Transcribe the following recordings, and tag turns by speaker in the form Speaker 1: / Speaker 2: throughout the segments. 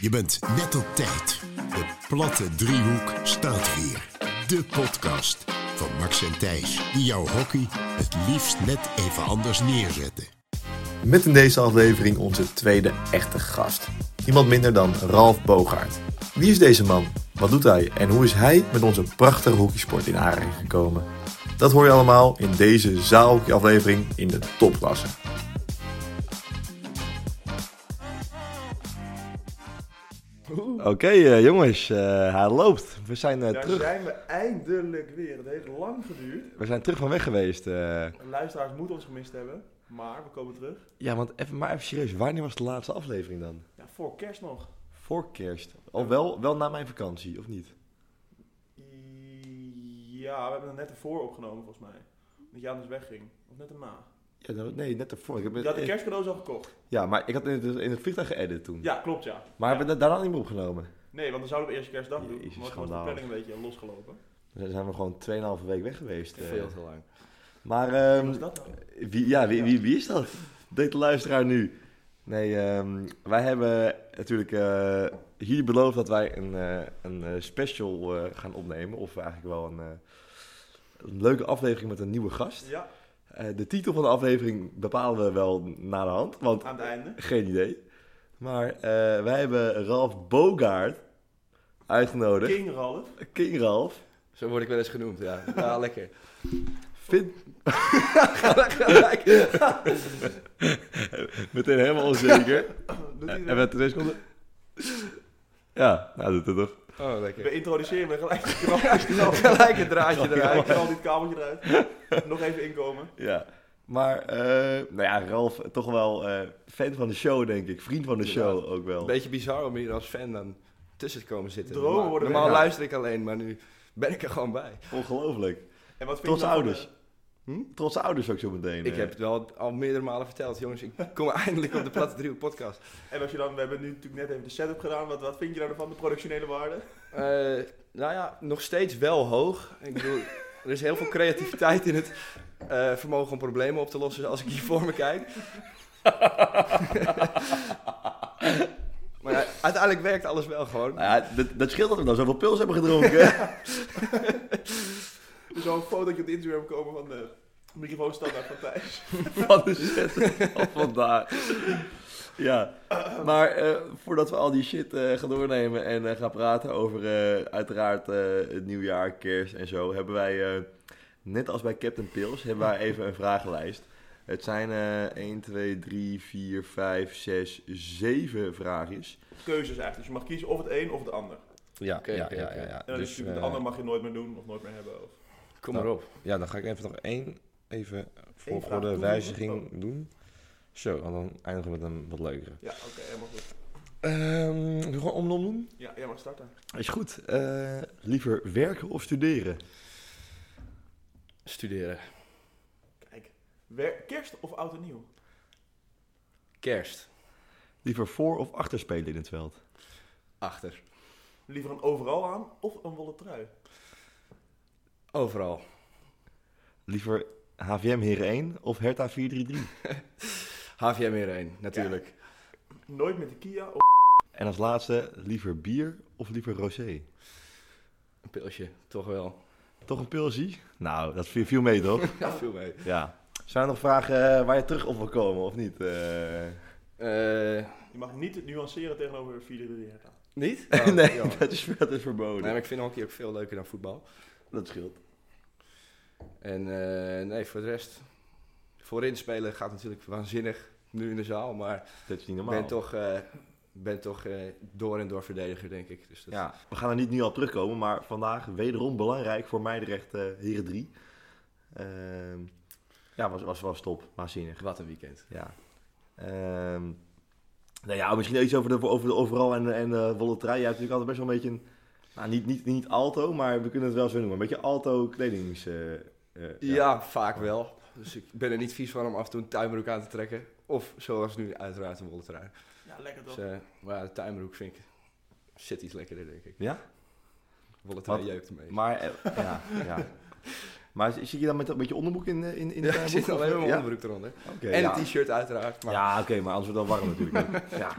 Speaker 1: Je bent net op tijd. De platte driehoek staat weer. De podcast van Max en Thijs, die jouw hockey het liefst net even anders neerzetten.
Speaker 2: Met in deze aflevering onze tweede echte gast. Niemand minder dan Ralf Bogaert. Wie is deze man? Wat doet hij? En hoe is hij met onze prachtige hockeysport in aanraking gekomen? Dat hoor je allemaal in deze zaalhockeyaflevering in de topklasse.
Speaker 3: Oké eh, jongens, eh, hij loopt. We zijn, eh,
Speaker 4: Daar
Speaker 3: terug.
Speaker 4: zijn we eindelijk weer. Het heeft lang geduurd.
Speaker 3: we zijn terug van weg geweest. eh.
Speaker 4: Luisteraars moeten ons gemist hebben. Maar we komen terug.
Speaker 3: Ja, want even, maar even serieus, wanneer was de laatste aflevering dan?
Speaker 4: Ja, voor kerst nog.
Speaker 3: Voor kerst. Al wel, wel na mijn vakantie, of niet?
Speaker 4: I- Ja, we hebben het net ervoor opgenomen volgens mij. Omdat jij anders wegging. Of net erna.
Speaker 3: Ja, nou, nee, net ervoor. Ik heb,
Speaker 4: Je had de kerstcadeaus al gekocht.
Speaker 3: ja, maar ik had in het, in het vliegtuig geëdit toen.
Speaker 4: Ja, klopt ja.
Speaker 3: Maar hebben we dat daarna niet meer opgenomen?
Speaker 4: Nee, want dan zouden we eerst kerstdag doen.
Speaker 3: Jezus,
Speaker 4: maar toen was de
Speaker 3: schandaal.
Speaker 4: planning een beetje losgelopen.
Speaker 3: Dan zijn we gewoon 2,5 week weg geweest. eh.
Speaker 5: Veel te lang.
Speaker 3: Maar
Speaker 4: Wat
Speaker 3: ehm,
Speaker 4: is dat nou?
Speaker 3: Wie, ja, wie, wie, wie is dat? Deed de luisteraar nu. Nee, ehm, wij hebben natuurlijk eh, hier beloofd dat wij een, eh, een eh, special eh, gaan opnemen. Of eigenlijk wel een, eh, een leuke aflevering met een nieuwe gast.
Speaker 4: Ja,
Speaker 3: Eh, de titel van de aflevering bepalen we wel na de hand, want
Speaker 4: aan het einde.
Speaker 3: geen idee. Maar eh, wij hebben Ralf Bogaert uitgenodigd.
Speaker 4: King Ralf.
Speaker 3: King Ralf.
Speaker 5: Zo word ik wel eens genoemd, ja. Ja, lekker.
Speaker 3: Vind...
Speaker 5: Gelijk.
Speaker 3: Meteen helemaal onzeker.
Speaker 4: Doet hij
Speaker 3: En
Speaker 4: dat?
Speaker 3: met de seconden. Ja, nou doet het toch.
Speaker 5: Oh, lekker.
Speaker 4: We introduceren me gelijk. Knal-
Speaker 5: Gelijk het draadje
Speaker 4: Knal
Speaker 5: eruit.
Speaker 4: knal dit kabeltje eruit. Nog even inkomen.
Speaker 3: Ja. Maar, eh, nou ja, Ralf, toch wel eh, fan van de show, denk ik. Vriend van de show
Speaker 5: Inderdaad.
Speaker 3: ook wel.
Speaker 5: Beetje bizar om hier als fan dan tussen te komen zitten.
Speaker 4: Dromen
Speaker 5: Normaal-
Speaker 4: worden we-
Speaker 5: Normaal
Speaker 3: ja.
Speaker 5: luister ik alleen, maar nu ben ik er gewoon bij.
Speaker 3: Ongelooflijk.
Speaker 4: En wat
Speaker 3: Trotse
Speaker 4: vind je nou van
Speaker 3: ouders. Trotse ouders ook zo meteen.
Speaker 5: Ik
Speaker 3: eh.
Speaker 5: heb het wel al meerdere malen verteld. Jongens, ik kom eindelijk op de Platte Driehoek podcast.
Speaker 4: En als je dan, we hebben nu natuurlijk net even de setup gedaan. Wat, wat vind je nou ervan, de productionele waarde?
Speaker 5: Eh, nou ja, nog steeds wel hoog. Ik bedoel, er is heel veel creativiteit in het eh, vermogen om problemen op te lossen als ik hier voor me kijk. maar ja, uiteindelijk werkt alles wel gewoon.
Speaker 3: Nou ja, dat, dat scheelt dat we nou zoveel pils hebben gedronken.
Speaker 4: Dus zo'n fotootje op de Instagram komen van de microfoonstandaard van Thijs.
Speaker 3: Wat is het? Al vandaag. Ja, maar eh, voordat we al die shit eh, gaan doornemen en eh, gaan praten over eh, uiteraard eh, het nieuwjaar, kerst en zo, hebben wij, eh, net als bij Captain Pils, hebben wij even een vragenlijst. Het zijn eh 1, 2, 3, 4, 5, 6, 7 vraagjes.
Speaker 4: Keuzes eigenlijk. Dus je mag kiezen of het een of het ander. En
Speaker 3: Ja,
Speaker 5: Oké, ja, oké, ja, oké. ja, eh, ja.
Speaker 4: dan is
Speaker 3: Dus,
Speaker 4: natuurlijk het ander mag je nooit meer doen of nooit meer hebben. Of...
Speaker 5: Kom
Speaker 3: Nou.
Speaker 5: maar op.
Speaker 3: ja, dan ga ik even nog één even
Speaker 4: volgorde toevoegen. wijziging
Speaker 3: doen. Zo, en dan eindigen we met een wat leukere.
Speaker 4: Ja, oké, helemaal goed.
Speaker 3: Ehm, gewoon om en om doen?
Speaker 4: Ja, jij mag starten.
Speaker 3: Is goed. Eh, liever werken of studeren?
Speaker 5: Studeren.
Speaker 4: Kijk. Wer- kerst of oud en nieuw?
Speaker 5: Kerst.
Speaker 3: Liever voor of achter spelen in het veld?
Speaker 5: Achter.
Speaker 4: Liever een overal aan of een wollen trui?
Speaker 5: Overal.
Speaker 3: Liever HVM Heren 1 of Hertha 433?
Speaker 5: HVM weer één, natuurlijk.
Speaker 4: Nooit met de Kia of...
Speaker 3: En als laatste, liever bier of liever rosé?
Speaker 5: Een pilsje, toch wel.
Speaker 3: Toch een pilsie? Nou, dat viel, viel mee toch?
Speaker 5: Ja, veel mee.
Speaker 3: ja. Zijn er nog vragen eh, waar je terug op wil komen of niet? Eh,
Speaker 5: Eh,
Speaker 4: Je mag niet het nuanceren tegenover 4 3
Speaker 5: niet?
Speaker 3: nee,
Speaker 5: jammer.
Speaker 3: dat is, dat is verboden.
Speaker 5: Nee, maar ik vind hockey ook veel leuker dan voetbal.
Speaker 3: Dat scheelt.
Speaker 5: En eh, nee, voor de rest. Voorin spelen gaat natuurlijk waanzinnig nu in de zaal. Maar
Speaker 3: Dat is niet
Speaker 5: ik
Speaker 3: normaal.
Speaker 5: ben toch, eh, ben toch eh, door en door verdediger, denk ik. Dus dat,
Speaker 3: Ja, we gaan er niet nu op terugkomen, maar vandaag wederom belangrijk voor Meidrecht eh Heren 3. Ehm, ja, was, was, was top, waanzinnig.
Speaker 5: Wat een weekend.
Speaker 3: Ja. Ehm, nou ja, misschien iets over de, over de overal en, en eh wollen trui. Jij hebt natuurlijk altijd best wel een beetje, een, nou niet, niet, niet alto, maar we kunnen het wel zo noemen. Een beetje alto kledings... eh, eh,
Speaker 5: Ja, vaak wel. Dus ik ben er niet vies van om af en toe een tuinbroek aan te trekken. Of zoals nu, uiteraard een wollen trui.
Speaker 4: Ja, lekker toch?
Speaker 5: Dus, eh, maar ja, de tuinbroek vind ik, zit iets lekkerder, denk ik.
Speaker 3: Ja?
Speaker 5: Wollen trui
Speaker 3: Wat?
Speaker 5: jeukt ermee.
Speaker 3: Maar, eh, ja, ja. Maar zit je dan met een beetje onderbroek in, eh, in, in de
Speaker 5: ja, er
Speaker 3: tuinbroek,
Speaker 5: zit alleen
Speaker 3: of-
Speaker 5: maar
Speaker 3: ja?
Speaker 5: mijn onderbroek eronder.
Speaker 3: Oké,
Speaker 5: en
Speaker 3: ja.
Speaker 5: een t-shirt uiteraard. Maar
Speaker 3: Ja, oké, maar anders wordt het wel warm natuurlijk. ook. ja.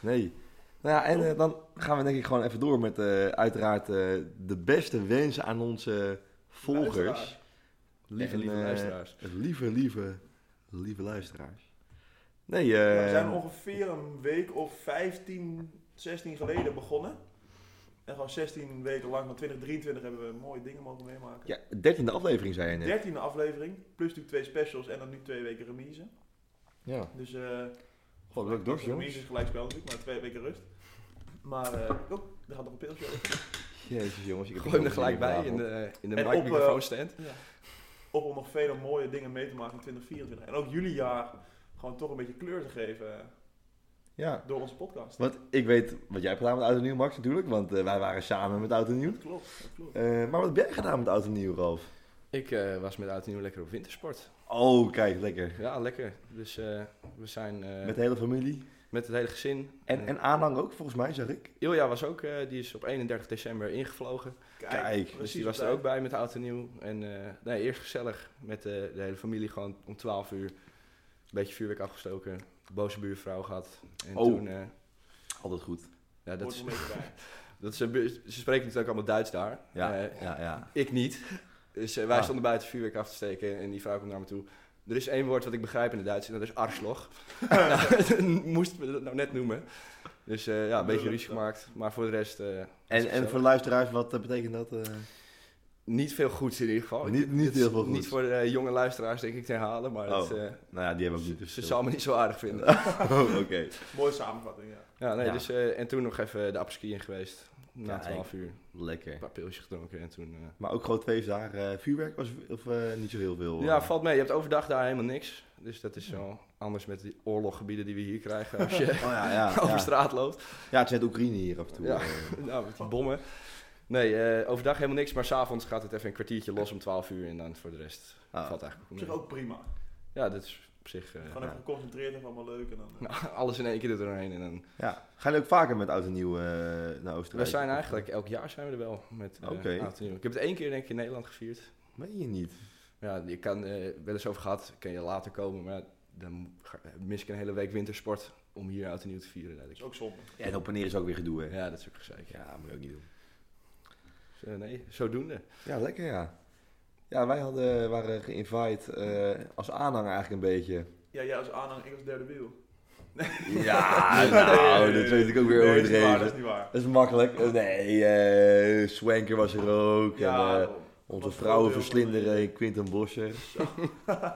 Speaker 3: Nee. Nou ja, en eh, dan gaan we denk ik gewoon even door met eh, uiteraard eh, de beste wensen aan onze volgers.
Speaker 4: Luisteraar.
Speaker 5: Lieve, lieve
Speaker 3: eh,
Speaker 5: luisteraars.
Speaker 3: Lieve, lieve, lieve luisteraars. Nee,
Speaker 4: Ja, we
Speaker 3: eh,
Speaker 4: zijn ongeveer een week of 15, 16 geleden begonnen. En gewoon 16 weken lang, van 2023 hebben we mooie dingen mogen meemaken.
Speaker 3: ja, dertiende aflevering zei je net.
Speaker 4: 13e aflevering, plus natuurlijk twee specials en dan nu twee weken remise.
Speaker 3: Ja.
Speaker 4: Dus eh
Speaker 5: Oh,
Speaker 3: Goh, leuk dorst, jongens.
Speaker 4: remise is gelijkspel natuurlijk, maar twee weken rust. Maar eh oh, er gaat nog een pilsje over.
Speaker 3: Jezus, jongens. Ik heb
Speaker 5: Gooi hem er
Speaker 3: nog
Speaker 5: gelijk
Speaker 3: een
Speaker 5: bij
Speaker 3: vraag
Speaker 5: in
Speaker 3: op.
Speaker 5: de, in de
Speaker 4: En
Speaker 5: mic-
Speaker 4: op, eh,
Speaker 5: microfoonstand.
Speaker 4: Ja. Op om nog vele mooie dingen mee te maken in 2024. En ook jullie jaar gewoon toch een beetje kleur te geven eh,
Speaker 3: Ja.
Speaker 4: door onze podcast.
Speaker 3: Want ik weet wat jij hebt gedaan met Oud en Nieuw, Max, natuurlijk. Want eh, wij waren samen met Oud en Nieuw.
Speaker 4: Dat klopt, dat klopt.
Speaker 3: Eh, maar wat heb jij gedaan met Oud en Nieuw, Ralf?
Speaker 5: Ik eh, was met Oud en Nieuw lekker op wintersport.
Speaker 3: Oh, kijk, lekker.
Speaker 5: Ja, lekker. Dus eh, we zijn eh,
Speaker 3: Met
Speaker 5: met,
Speaker 3: de hele familie.
Speaker 5: het hele gezin.
Speaker 3: En, en aanhang ook, volgens mij, zeg ik.
Speaker 5: Ilja was ook, eh, die is op 31 december ingevlogen.
Speaker 3: kijk,
Speaker 5: Dus
Speaker 4: precies
Speaker 5: die
Speaker 4: op
Speaker 5: was er
Speaker 4: tijd.
Speaker 5: ook bij met oud en nieuw. En eh, nee, eerst gezellig met eh, de hele familie gewoon om 12 uur. Een beetje vuurwerk afgestoken. Boze buurvrouw gehad. En
Speaker 3: Oh.
Speaker 5: toen, eh,
Speaker 3: Altijd goed.
Speaker 5: ja, dat
Speaker 4: Hoort
Speaker 5: is,
Speaker 4: er een beetje bij.
Speaker 5: dat is een bu- ze spreken natuurlijk allemaal Duits daar.
Speaker 3: Ja,
Speaker 5: Eh,
Speaker 3: ja, ja.
Speaker 5: Ik niet. Dus eh, wij
Speaker 3: Ah.
Speaker 5: stonden buiten vuurwerk af te steken en die vrouw kwam naar me toe. Er is één woord wat ik begrijp in het Duits en dat is arsloch. nou, moest me dat nou net noemen. Dus eh, ja, een beetje ruzie gemaakt. Maar voor de rest eh, was het
Speaker 3: En, en
Speaker 5: gezellig.
Speaker 3: voor de luisteraars, wat eh, betekent dat? eh?
Speaker 5: niet veel goeds in ieder geval.
Speaker 3: Niet-
Speaker 5: Dit-
Speaker 3: niet
Speaker 5: Oh, dit is
Speaker 3: heel veel goeds.
Speaker 5: Niet voor de eh, jonge luisteraars denk ik te herhalen, maar dat,
Speaker 3: Oh,
Speaker 5: eh,
Speaker 3: nou ja, die hebben we ook niet.
Speaker 5: ze,
Speaker 3: dus-
Speaker 5: ze zal me niet zo aardig vinden.
Speaker 3: Oh, oké.
Speaker 4: Mooie samenvatting, ja.
Speaker 5: ja, nee,
Speaker 3: Ja.
Speaker 5: Dus, eh, en toen nog even de apres in geweest. Na
Speaker 3: Kijk.
Speaker 5: 12 uur.
Speaker 3: Lekker.
Speaker 5: Een paar pilsjes gedronken en toen... eh,
Speaker 3: Maar ook gewoon twee dagen eh, vuurwerk was, of eh, niet zo heel veel?
Speaker 5: Ja,
Speaker 3: eh?
Speaker 5: valt mee. Je hebt overdag daar helemaal niks. Dus dat is wel anders met die oorloggebieden die we hier krijgen als je
Speaker 3: Oh ja, ja.
Speaker 5: over
Speaker 3: Ja,
Speaker 5: straat loopt.
Speaker 3: ja het zijn het Oekraïne hier af en toe.
Speaker 5: Ja.
Speaker 3: eh.
Speaker 5: Nou, met die bommen. Nee, eh, overdag helemaal niks, maar s'avonds gaat het even een kwartiertje los om 12 uur en dan voor de rest
Speaker 3: Ah.
Speaker 5: valt eigenlijk
Speaker 4: Op
Speaker 5: ook
Speaker 4: zich
Speaker 5: mee.
Speaker 4: ook prima.
Speaker 5: Ja, dat is op zich eh,
Speaker 4: Gewoon even geconcentreerd en allemaal leuk. En dan, eh,
Speaker 5: nou, alles in één keer er doorheen. En dan,
Speaker 3: Ja. Ga je ook vaker met oud en nieuw eh, naar Oostenrijk?
Speaker 5: we zijn eigenlijk, elk jaar zijn we er wel met eh,
Speaker 3: Oké.
Speaker 5: oud en nieuw. Ik heb het één keer denk ik in Nederland gevierd.
Speaker 3: Meen je niet?
Speaker 5: Ja, je kan, eh wel eens over gehad, kan je later komen, maar ja, dan ga- mis ik een hele week wintersport om hier oud en nieuw te vieren. denk
Speaker 4: dat
Speaker 5: ik.
Speaker 4: is ook zonde.
Speaker 3: En op en neer is ook weer gedoe, hè?
Speaker 5: Ja, dat is ook gezeik. Ja.
Speaker 3: Ja, moet je ook niet doen.
Speaker 5: Dus, eh, nee, zodoende.
Speaker 3: Ja, lekker ja. Ja, wij hadden, waren geïnvite eh, als aanhanger eigenlijk een beetje.
Speaker 4: Ja, jij als aanhang, ik als derde wiel.
Speaker 3: Ja, Ah, nou, dat weet ik ook weer
Speaker 4: Nee, dat is niet waar,
Speaker 3: overdreven.
Speaker 4: Dat is niet waar.
Speaker 3: Dat is makkelijk. Eh, Nee, eh Swanker was er ook. en, eh,
Speaker 4: daarom.
Speaker 3: onze
Speaker 4: Was
Speaker 3: vrouwen
Speaker 4: voordeel van,
Speaker 3: verslinderen, Quinten Bosser.
Speaker 4: eh,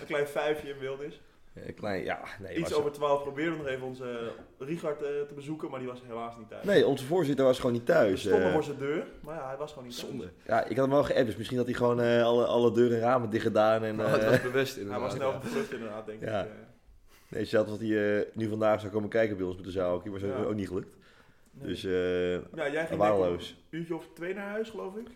Speaker 4: Een klein vijfje in Wildis.
Speaker 3: Eh, klein, ja, nee,
Speaker 4: Iets
Speaker 3: was-
Speaker 4: over twaalf probeerden we nog even onze eh, Richard eh, te bezoeken, maar die was helaas niet thuis.
Speaker 3: Nee, onze voorzitter was gewoon niet
Speaker 4: We
Speaker 3: thuis.
Speaker 4: stonden
Speaker 3: eh.
Speaker 4: voor zijn deur, maar ja, hij was gewoon niet thuis.
Speaker 5: Zonde.
Speaker 3: ja, ik had hem wel geappt, dus misschien had hij gewoon eh, alle, alle deuren en ramen dicht gedaan. En,
Speaker 5: Maar het
Speaker 3: eh,
Speaker 5: was bewust
Speaker 4: Hij
Speaker 5: inderdaad.
Speaker 4: was snel
Speaker 5: ja.
Speaker 4: gevlucht inderdaad, denk
Speaker 3: Ja.
Speaker 4: ik. eh.
Speaker 3: nee, zelfs dat hij eh, nu vandaag zou komen kijken bij ons met de zaal, maar zo
Speaker 4: Ja.
Speaker 3: ook niet gelukt.
Speaker 4: Nee.
Speaker 3: Dus eh,
Speaker 4: ja, jij ging denk ik
Speaker 3: waardeloos.
Speaker 4: een uurtje of twee naar huis, geloof ik.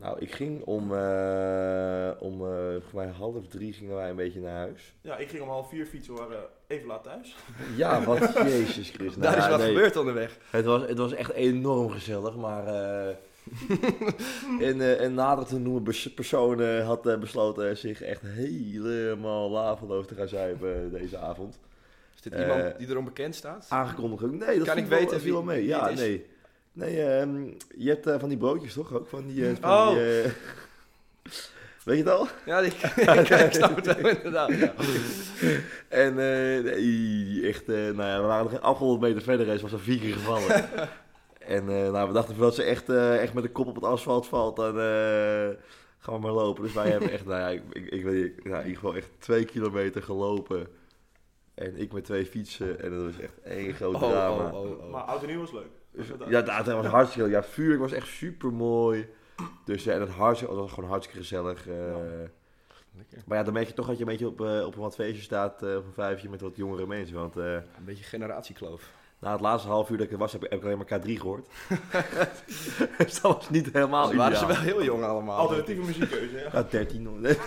Speaker 3: Nou, ik ging om, eh, om eh, volgens mij half drie gingen wij een beetje naar huis.
Speaker 4: Ja, ik ging om half vier fietsen, we waren even laat thuis.
Speaker 3: Ja, wat jezus Christus.
Speaker 5: Daar is
Speaker 3: ja,
Speaker 5: wat
Speaker 3: nee.
Speaker 5: gebeurd onderweg.
Speaker 3: Het was, het was echt enorm gezellig, maar eh een, eh, een nader te noemen pers- persoon eh, had eh, besloten zich echt helemaal laveloos te gaan zuipen eh, deze avond.
Speaker 5: Is dit
Speaker 3: Eh,
Speaker 5: iemand die erom bekend staat?
Speaker 3: Aangekondigd ook. Nee, dat
Speaker 5: Kan
Speaker 3: viel
Speaker 5: ik
Speaker 3: wel-
Speaker 5: weten
Speaker 3: viel wel
Speaker 5: wie-
Speaker 3: mee.
Speaker 5: wie
Speaker 3: Ja,
Speaker 5: het is?
Speaker 3: nee. Nee, ehm, je hebt eh, van die broodjes toch ook? Van die, eh, van
Speaker 5: Oh.
Speaker 3: die, eh, Weet je het al?
Speaker 5: Ja, ik, ik, ik snap het wel inderdaad. ja.
Speaker 3: En eh, nee, echt, eh, nou ja, we waren nog een 800 meter verder en ze was er vier keer gevallen. en eh, nou, we dachten voordat ze echt, eh, echt met de kop op het asfalt valt, dan eh, gaan we maar lopen. Dus wij hebben echt, nou ja, ik, ik, ik weet niet, nou, in ieder geval echt twee kilometer gelopen. En ik met twee fietsen en dat was echt één groot
Speaker 5: Oh,
Speaker 3: drama.
Speaker 5: oh, oh, oh.
Speaker 4: Maar oud en nieuw was leuk. Was dat-
Speaker 3: Dus, Ja, dat was hartstikke leuk. Ja, vuurwerk was echt super mooi. Dus ja, en het hartstikke, dat was gewoon hartstikke gezellig. eh.
Speaker 4: Ja.
Speaker 5: Lekker.
Speaker 3: Maar ja, dan merk je toch dat je een beetje op, eh, op een wat feestje staat, eh op een vijfje met wat jongere mensen. Want eh,
Speaker 5: Een beetje generatiekloof.
Speaker 3: na het laatste half uur dat ik er was, heb ik, heb ik alleen maar K3 gehoord. dus dat was niet helemaal
Speaker 5: Ze waren ze
Speaker 3: ideaal.
Speaker 5: wel heel jong allemaal.
Speaker 4: Alternatieve muziekkeuze, ja.
Speaker 3: Ja, 13 hoor.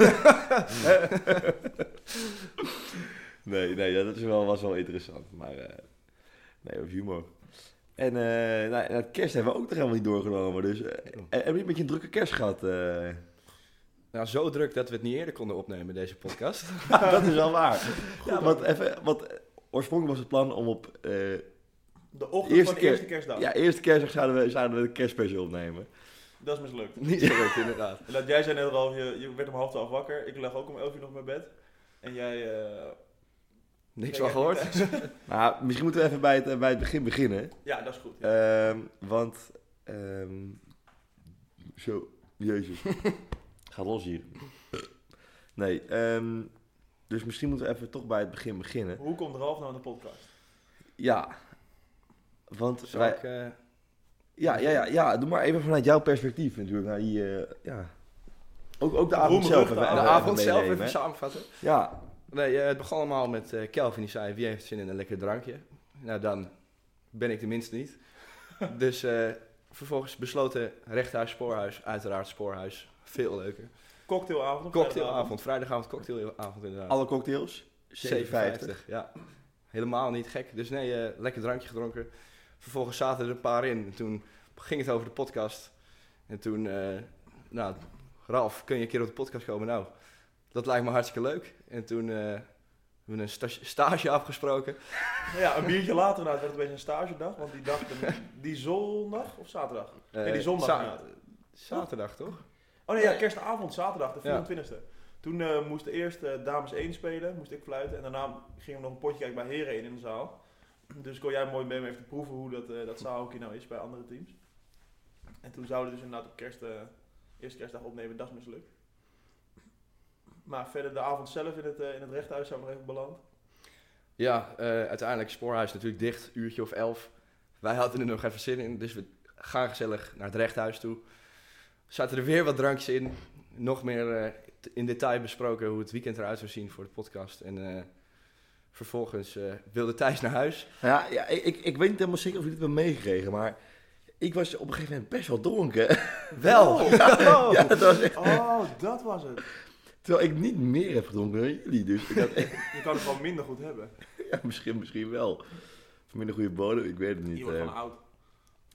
Speaker 3: nee, nee, ja, dat is wel, was wel interessant. Maar eh, nee, op humor. En eh nou, en het kerst hebben we ook nog helemaal niet doorgenomen. Dus eh, eh, hebben jullie een beetje een drukke kerst gehad? eh?
Speaker 5: Nou, zo druk dat we het niet eerder konden opnemen, deze podcast.
Speaker 3: dat is wel waar. Goed, want even, want eh, Oorspronkelijk was het plan om op eh,
Speaker 4: De ochtend
Speaker 3: Eerste
Speaker 4: van de
Speaker 3: keer-
Speaker 4: eerste kerstdag.
Speaker 3: ja, eerste kerstdag zouden we, zouden we de kerstspecial opnemen.
Speaker 4: Dat is mislukt.
Speaker 3: Niet gelukt, inderdaad.
Speaker 4: Laat, jij zei net al, je, je werd om half twaalf wakker. Ik lag ook om elf uur nog in mijn bed. En jij... eh,
Speaker 5: Niks
Speaker 4: jij
Speaker 5: van
Speaker 4: kijkt
Speaker 5: gehoord.
Speaker 4: niet thuis.
Speaker 3: Maar misschien moeten we even bij het, eh, bij het begin beginnen.
Speaker 4: Ja, dat is goed. Ja.
Speaker 3: Ehm, want... ehm, zo, jezus. Gaat los hier. Nee, ehm, dus misschien moeten we even toch bij het begin beginnen.
Speaker 4: Hoe komt Ralf nou aan de podcast?
Speaker 3: Ja, want
Speaker 5: Zal
Speaker 3: Dus wij...
Speaker 5: ik, eh,
Speaker 3: Ja, ja, ja, ja, doe maar even vanuit jouw perspectief natuurlijk. Nou, die, eh, ja. ook, ook de avond
Speaker 4: Roemruchte
Speaker 3: zelf. even-
Speaker 4: avond.
Speaker 5: de
Speaker 3: even
Speaker 5: avond zelf
Speaker 3: meenemen,
Speaker 5: even
Speaker 3: hè.
Speaker 5: samenvatten?
Speaker 3: Ja,
Speaker 5: Nee, eh, het begon allemaal met eh, Kelvin die zei, wie heeft zin in een lekker drankje? Nou, dan ben ik tenminste niet. dus eh, vervolgens besloten rechthuis, spoorhuis, uiteraard spoorhuis. Veel leuker.
Speaker 4: Cocktailavond? op
Speaker 5: Cocktailavond, vrijdagavond, cocktailavond inderdaad.
Speaker 3: alle cocktails. 7,50.
Speaker 5: 7,50, Ja, helemaal niet gek. Dus nee, eh, lekker drankje gedronken. Vervolgens zaten er een paar in. En toen ging het over de podcast. En toen, eh, nou, Ralf, kun je een keer op de podcast komen? Nou, dat lijkt me hartstikke leuk. En toen eh, hebben we een sta- stage afgesproken.
Speaker 4: Ja, een biertje later inderdaad werd het opeens een stagedag. Want die dag, die zondag of zaterdag?
Speaker 5: Eh,
Speaker 4: Nee, die zondag
Speaker 5: za-
Speaker 4: inderdaad.
Speaker 5: Zaterdag, toch?
Speaker 4: Oh nee, ja, kerstavond, zaterdag, de
Speaker 5: Ja.
Speaker 4: 24 e Toen eh, moest eerst eh, dames 1 spelen, moest ik fluiten. En daarna ging er nog een potje kijken bij heren 1 in de zaal. Dus kon jij mooi mee even te proeven hoe dat, eh dat zaalhockey nou is bij andere teams. En toen zouden we dus inderdaad op kerst, eh, eerste kerstdag opnemen, dat is mislukt. Maar verder de avond zelf in het, eh, in het rechthuis zijn we nog even beland.
Speaker 5: Ja, eh, uiteindelijk spoorhuis natuurlijk dicht, uurtje of elf. Wij hadden er nog even zin in, dus we gaan gezellig naar het rechthuis toe. Zaten er weer wat drankjes in. Nog meer eh, t- in detail besproken hoe het weekend eruit zou zien voor de podcast. En eh, vervolgens eh, wilde Thijs naar huis.
Speaker 3: Nou Ja, ja ik, ik, ik weet niet helemaal zeker of jullie het hebben meegekregen, maar ik was op een gegeven moment best wel dronken.
Speaker 5: Wel!
Speaker 4: Oh,
Speaker 3: Ja, dat was echt-
Speaker 4: oh, dat was het.
Speaker 3: terwijl ik niet meer heb gedronken dan jullie, dus ik had,
Speaker 4: Je kan het gewoon minder goed hebben.
Speaker 3: ja, misschien, misschien wel. Of minder goede bodem, ik weet het niet.
Speaker 4: Je wordt
Speaker 3: eh.
Speaker 4: gewoon oud.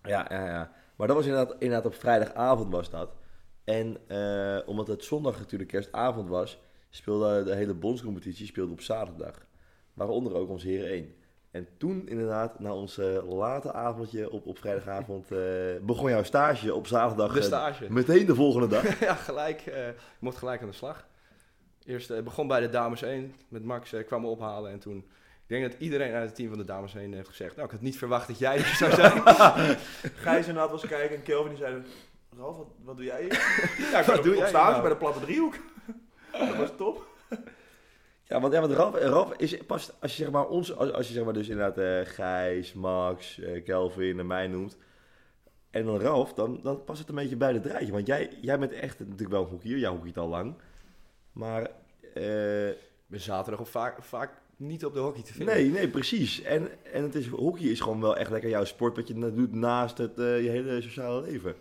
Speaker 3: Ja, ja, ja. Maar dat was inderdaad, inderdaad op vrijdagavond was dat. En eh, omdat het zondag natuurlijk kerstavond was, speelde de hele bondscompetitie speelde op zaterdag. Waaronder ook ons Heren 1. En toen inderdaad, na ons eh, late avondje op, op vrijdagavond, eh, begon jouw stage op zaterdag.
Speaker 5: De
Speaker 3: eh,
Speaker 5: stage.
Speaker 3: meteen de volgende dag.
Speaker 5: ja, gelijk. eh, ik mocht gelijk aan de slag. Eerst eh, begon bij de dames 1 met Max, eh, kwam me ophalen en toen... Ik denk dat iedereen uit het team van de dames 1 heeft gezegd... Nou, ik had niet verwacht dat jij hier zou zijn.
Speaker 4: Gijs inderdaad was kijken en Kelvin die zei... Ralf, wat, wat doe jij hier? ja, ik
Speaker 5: Wat
Speaker 4: ben op,
Speaker 5: doe
Speaker 4: op
Speaker 5: jij
Speaker 4: stage
Speaker 5: nou?
Speaker 4: bij de platte driehoek. dat was top.
Speaker 3: Ja, want, ja, want Ralf, Ralf is pas, als je zeg maar ons, als, als je zeg maar dus inderdaad eh, Gijs, Max, eh, Kelvin en mij noemt. En dan Ralf, dan, dan past het een beetje bij de draadje. Want jij, jij bent echt natuurlijk wel een hoekier, jij hoekiet al lang. Maar, eh,
Speaker 5: Ik ben zaterdag op vaak, vaak niet op de hockey te vinden.
Speaker 3: nee, nee, precies. En, en het is, hockey is gewoon wel echt lekker jouw sport, wat je na- doet naast het, eh, je hele sociale leven.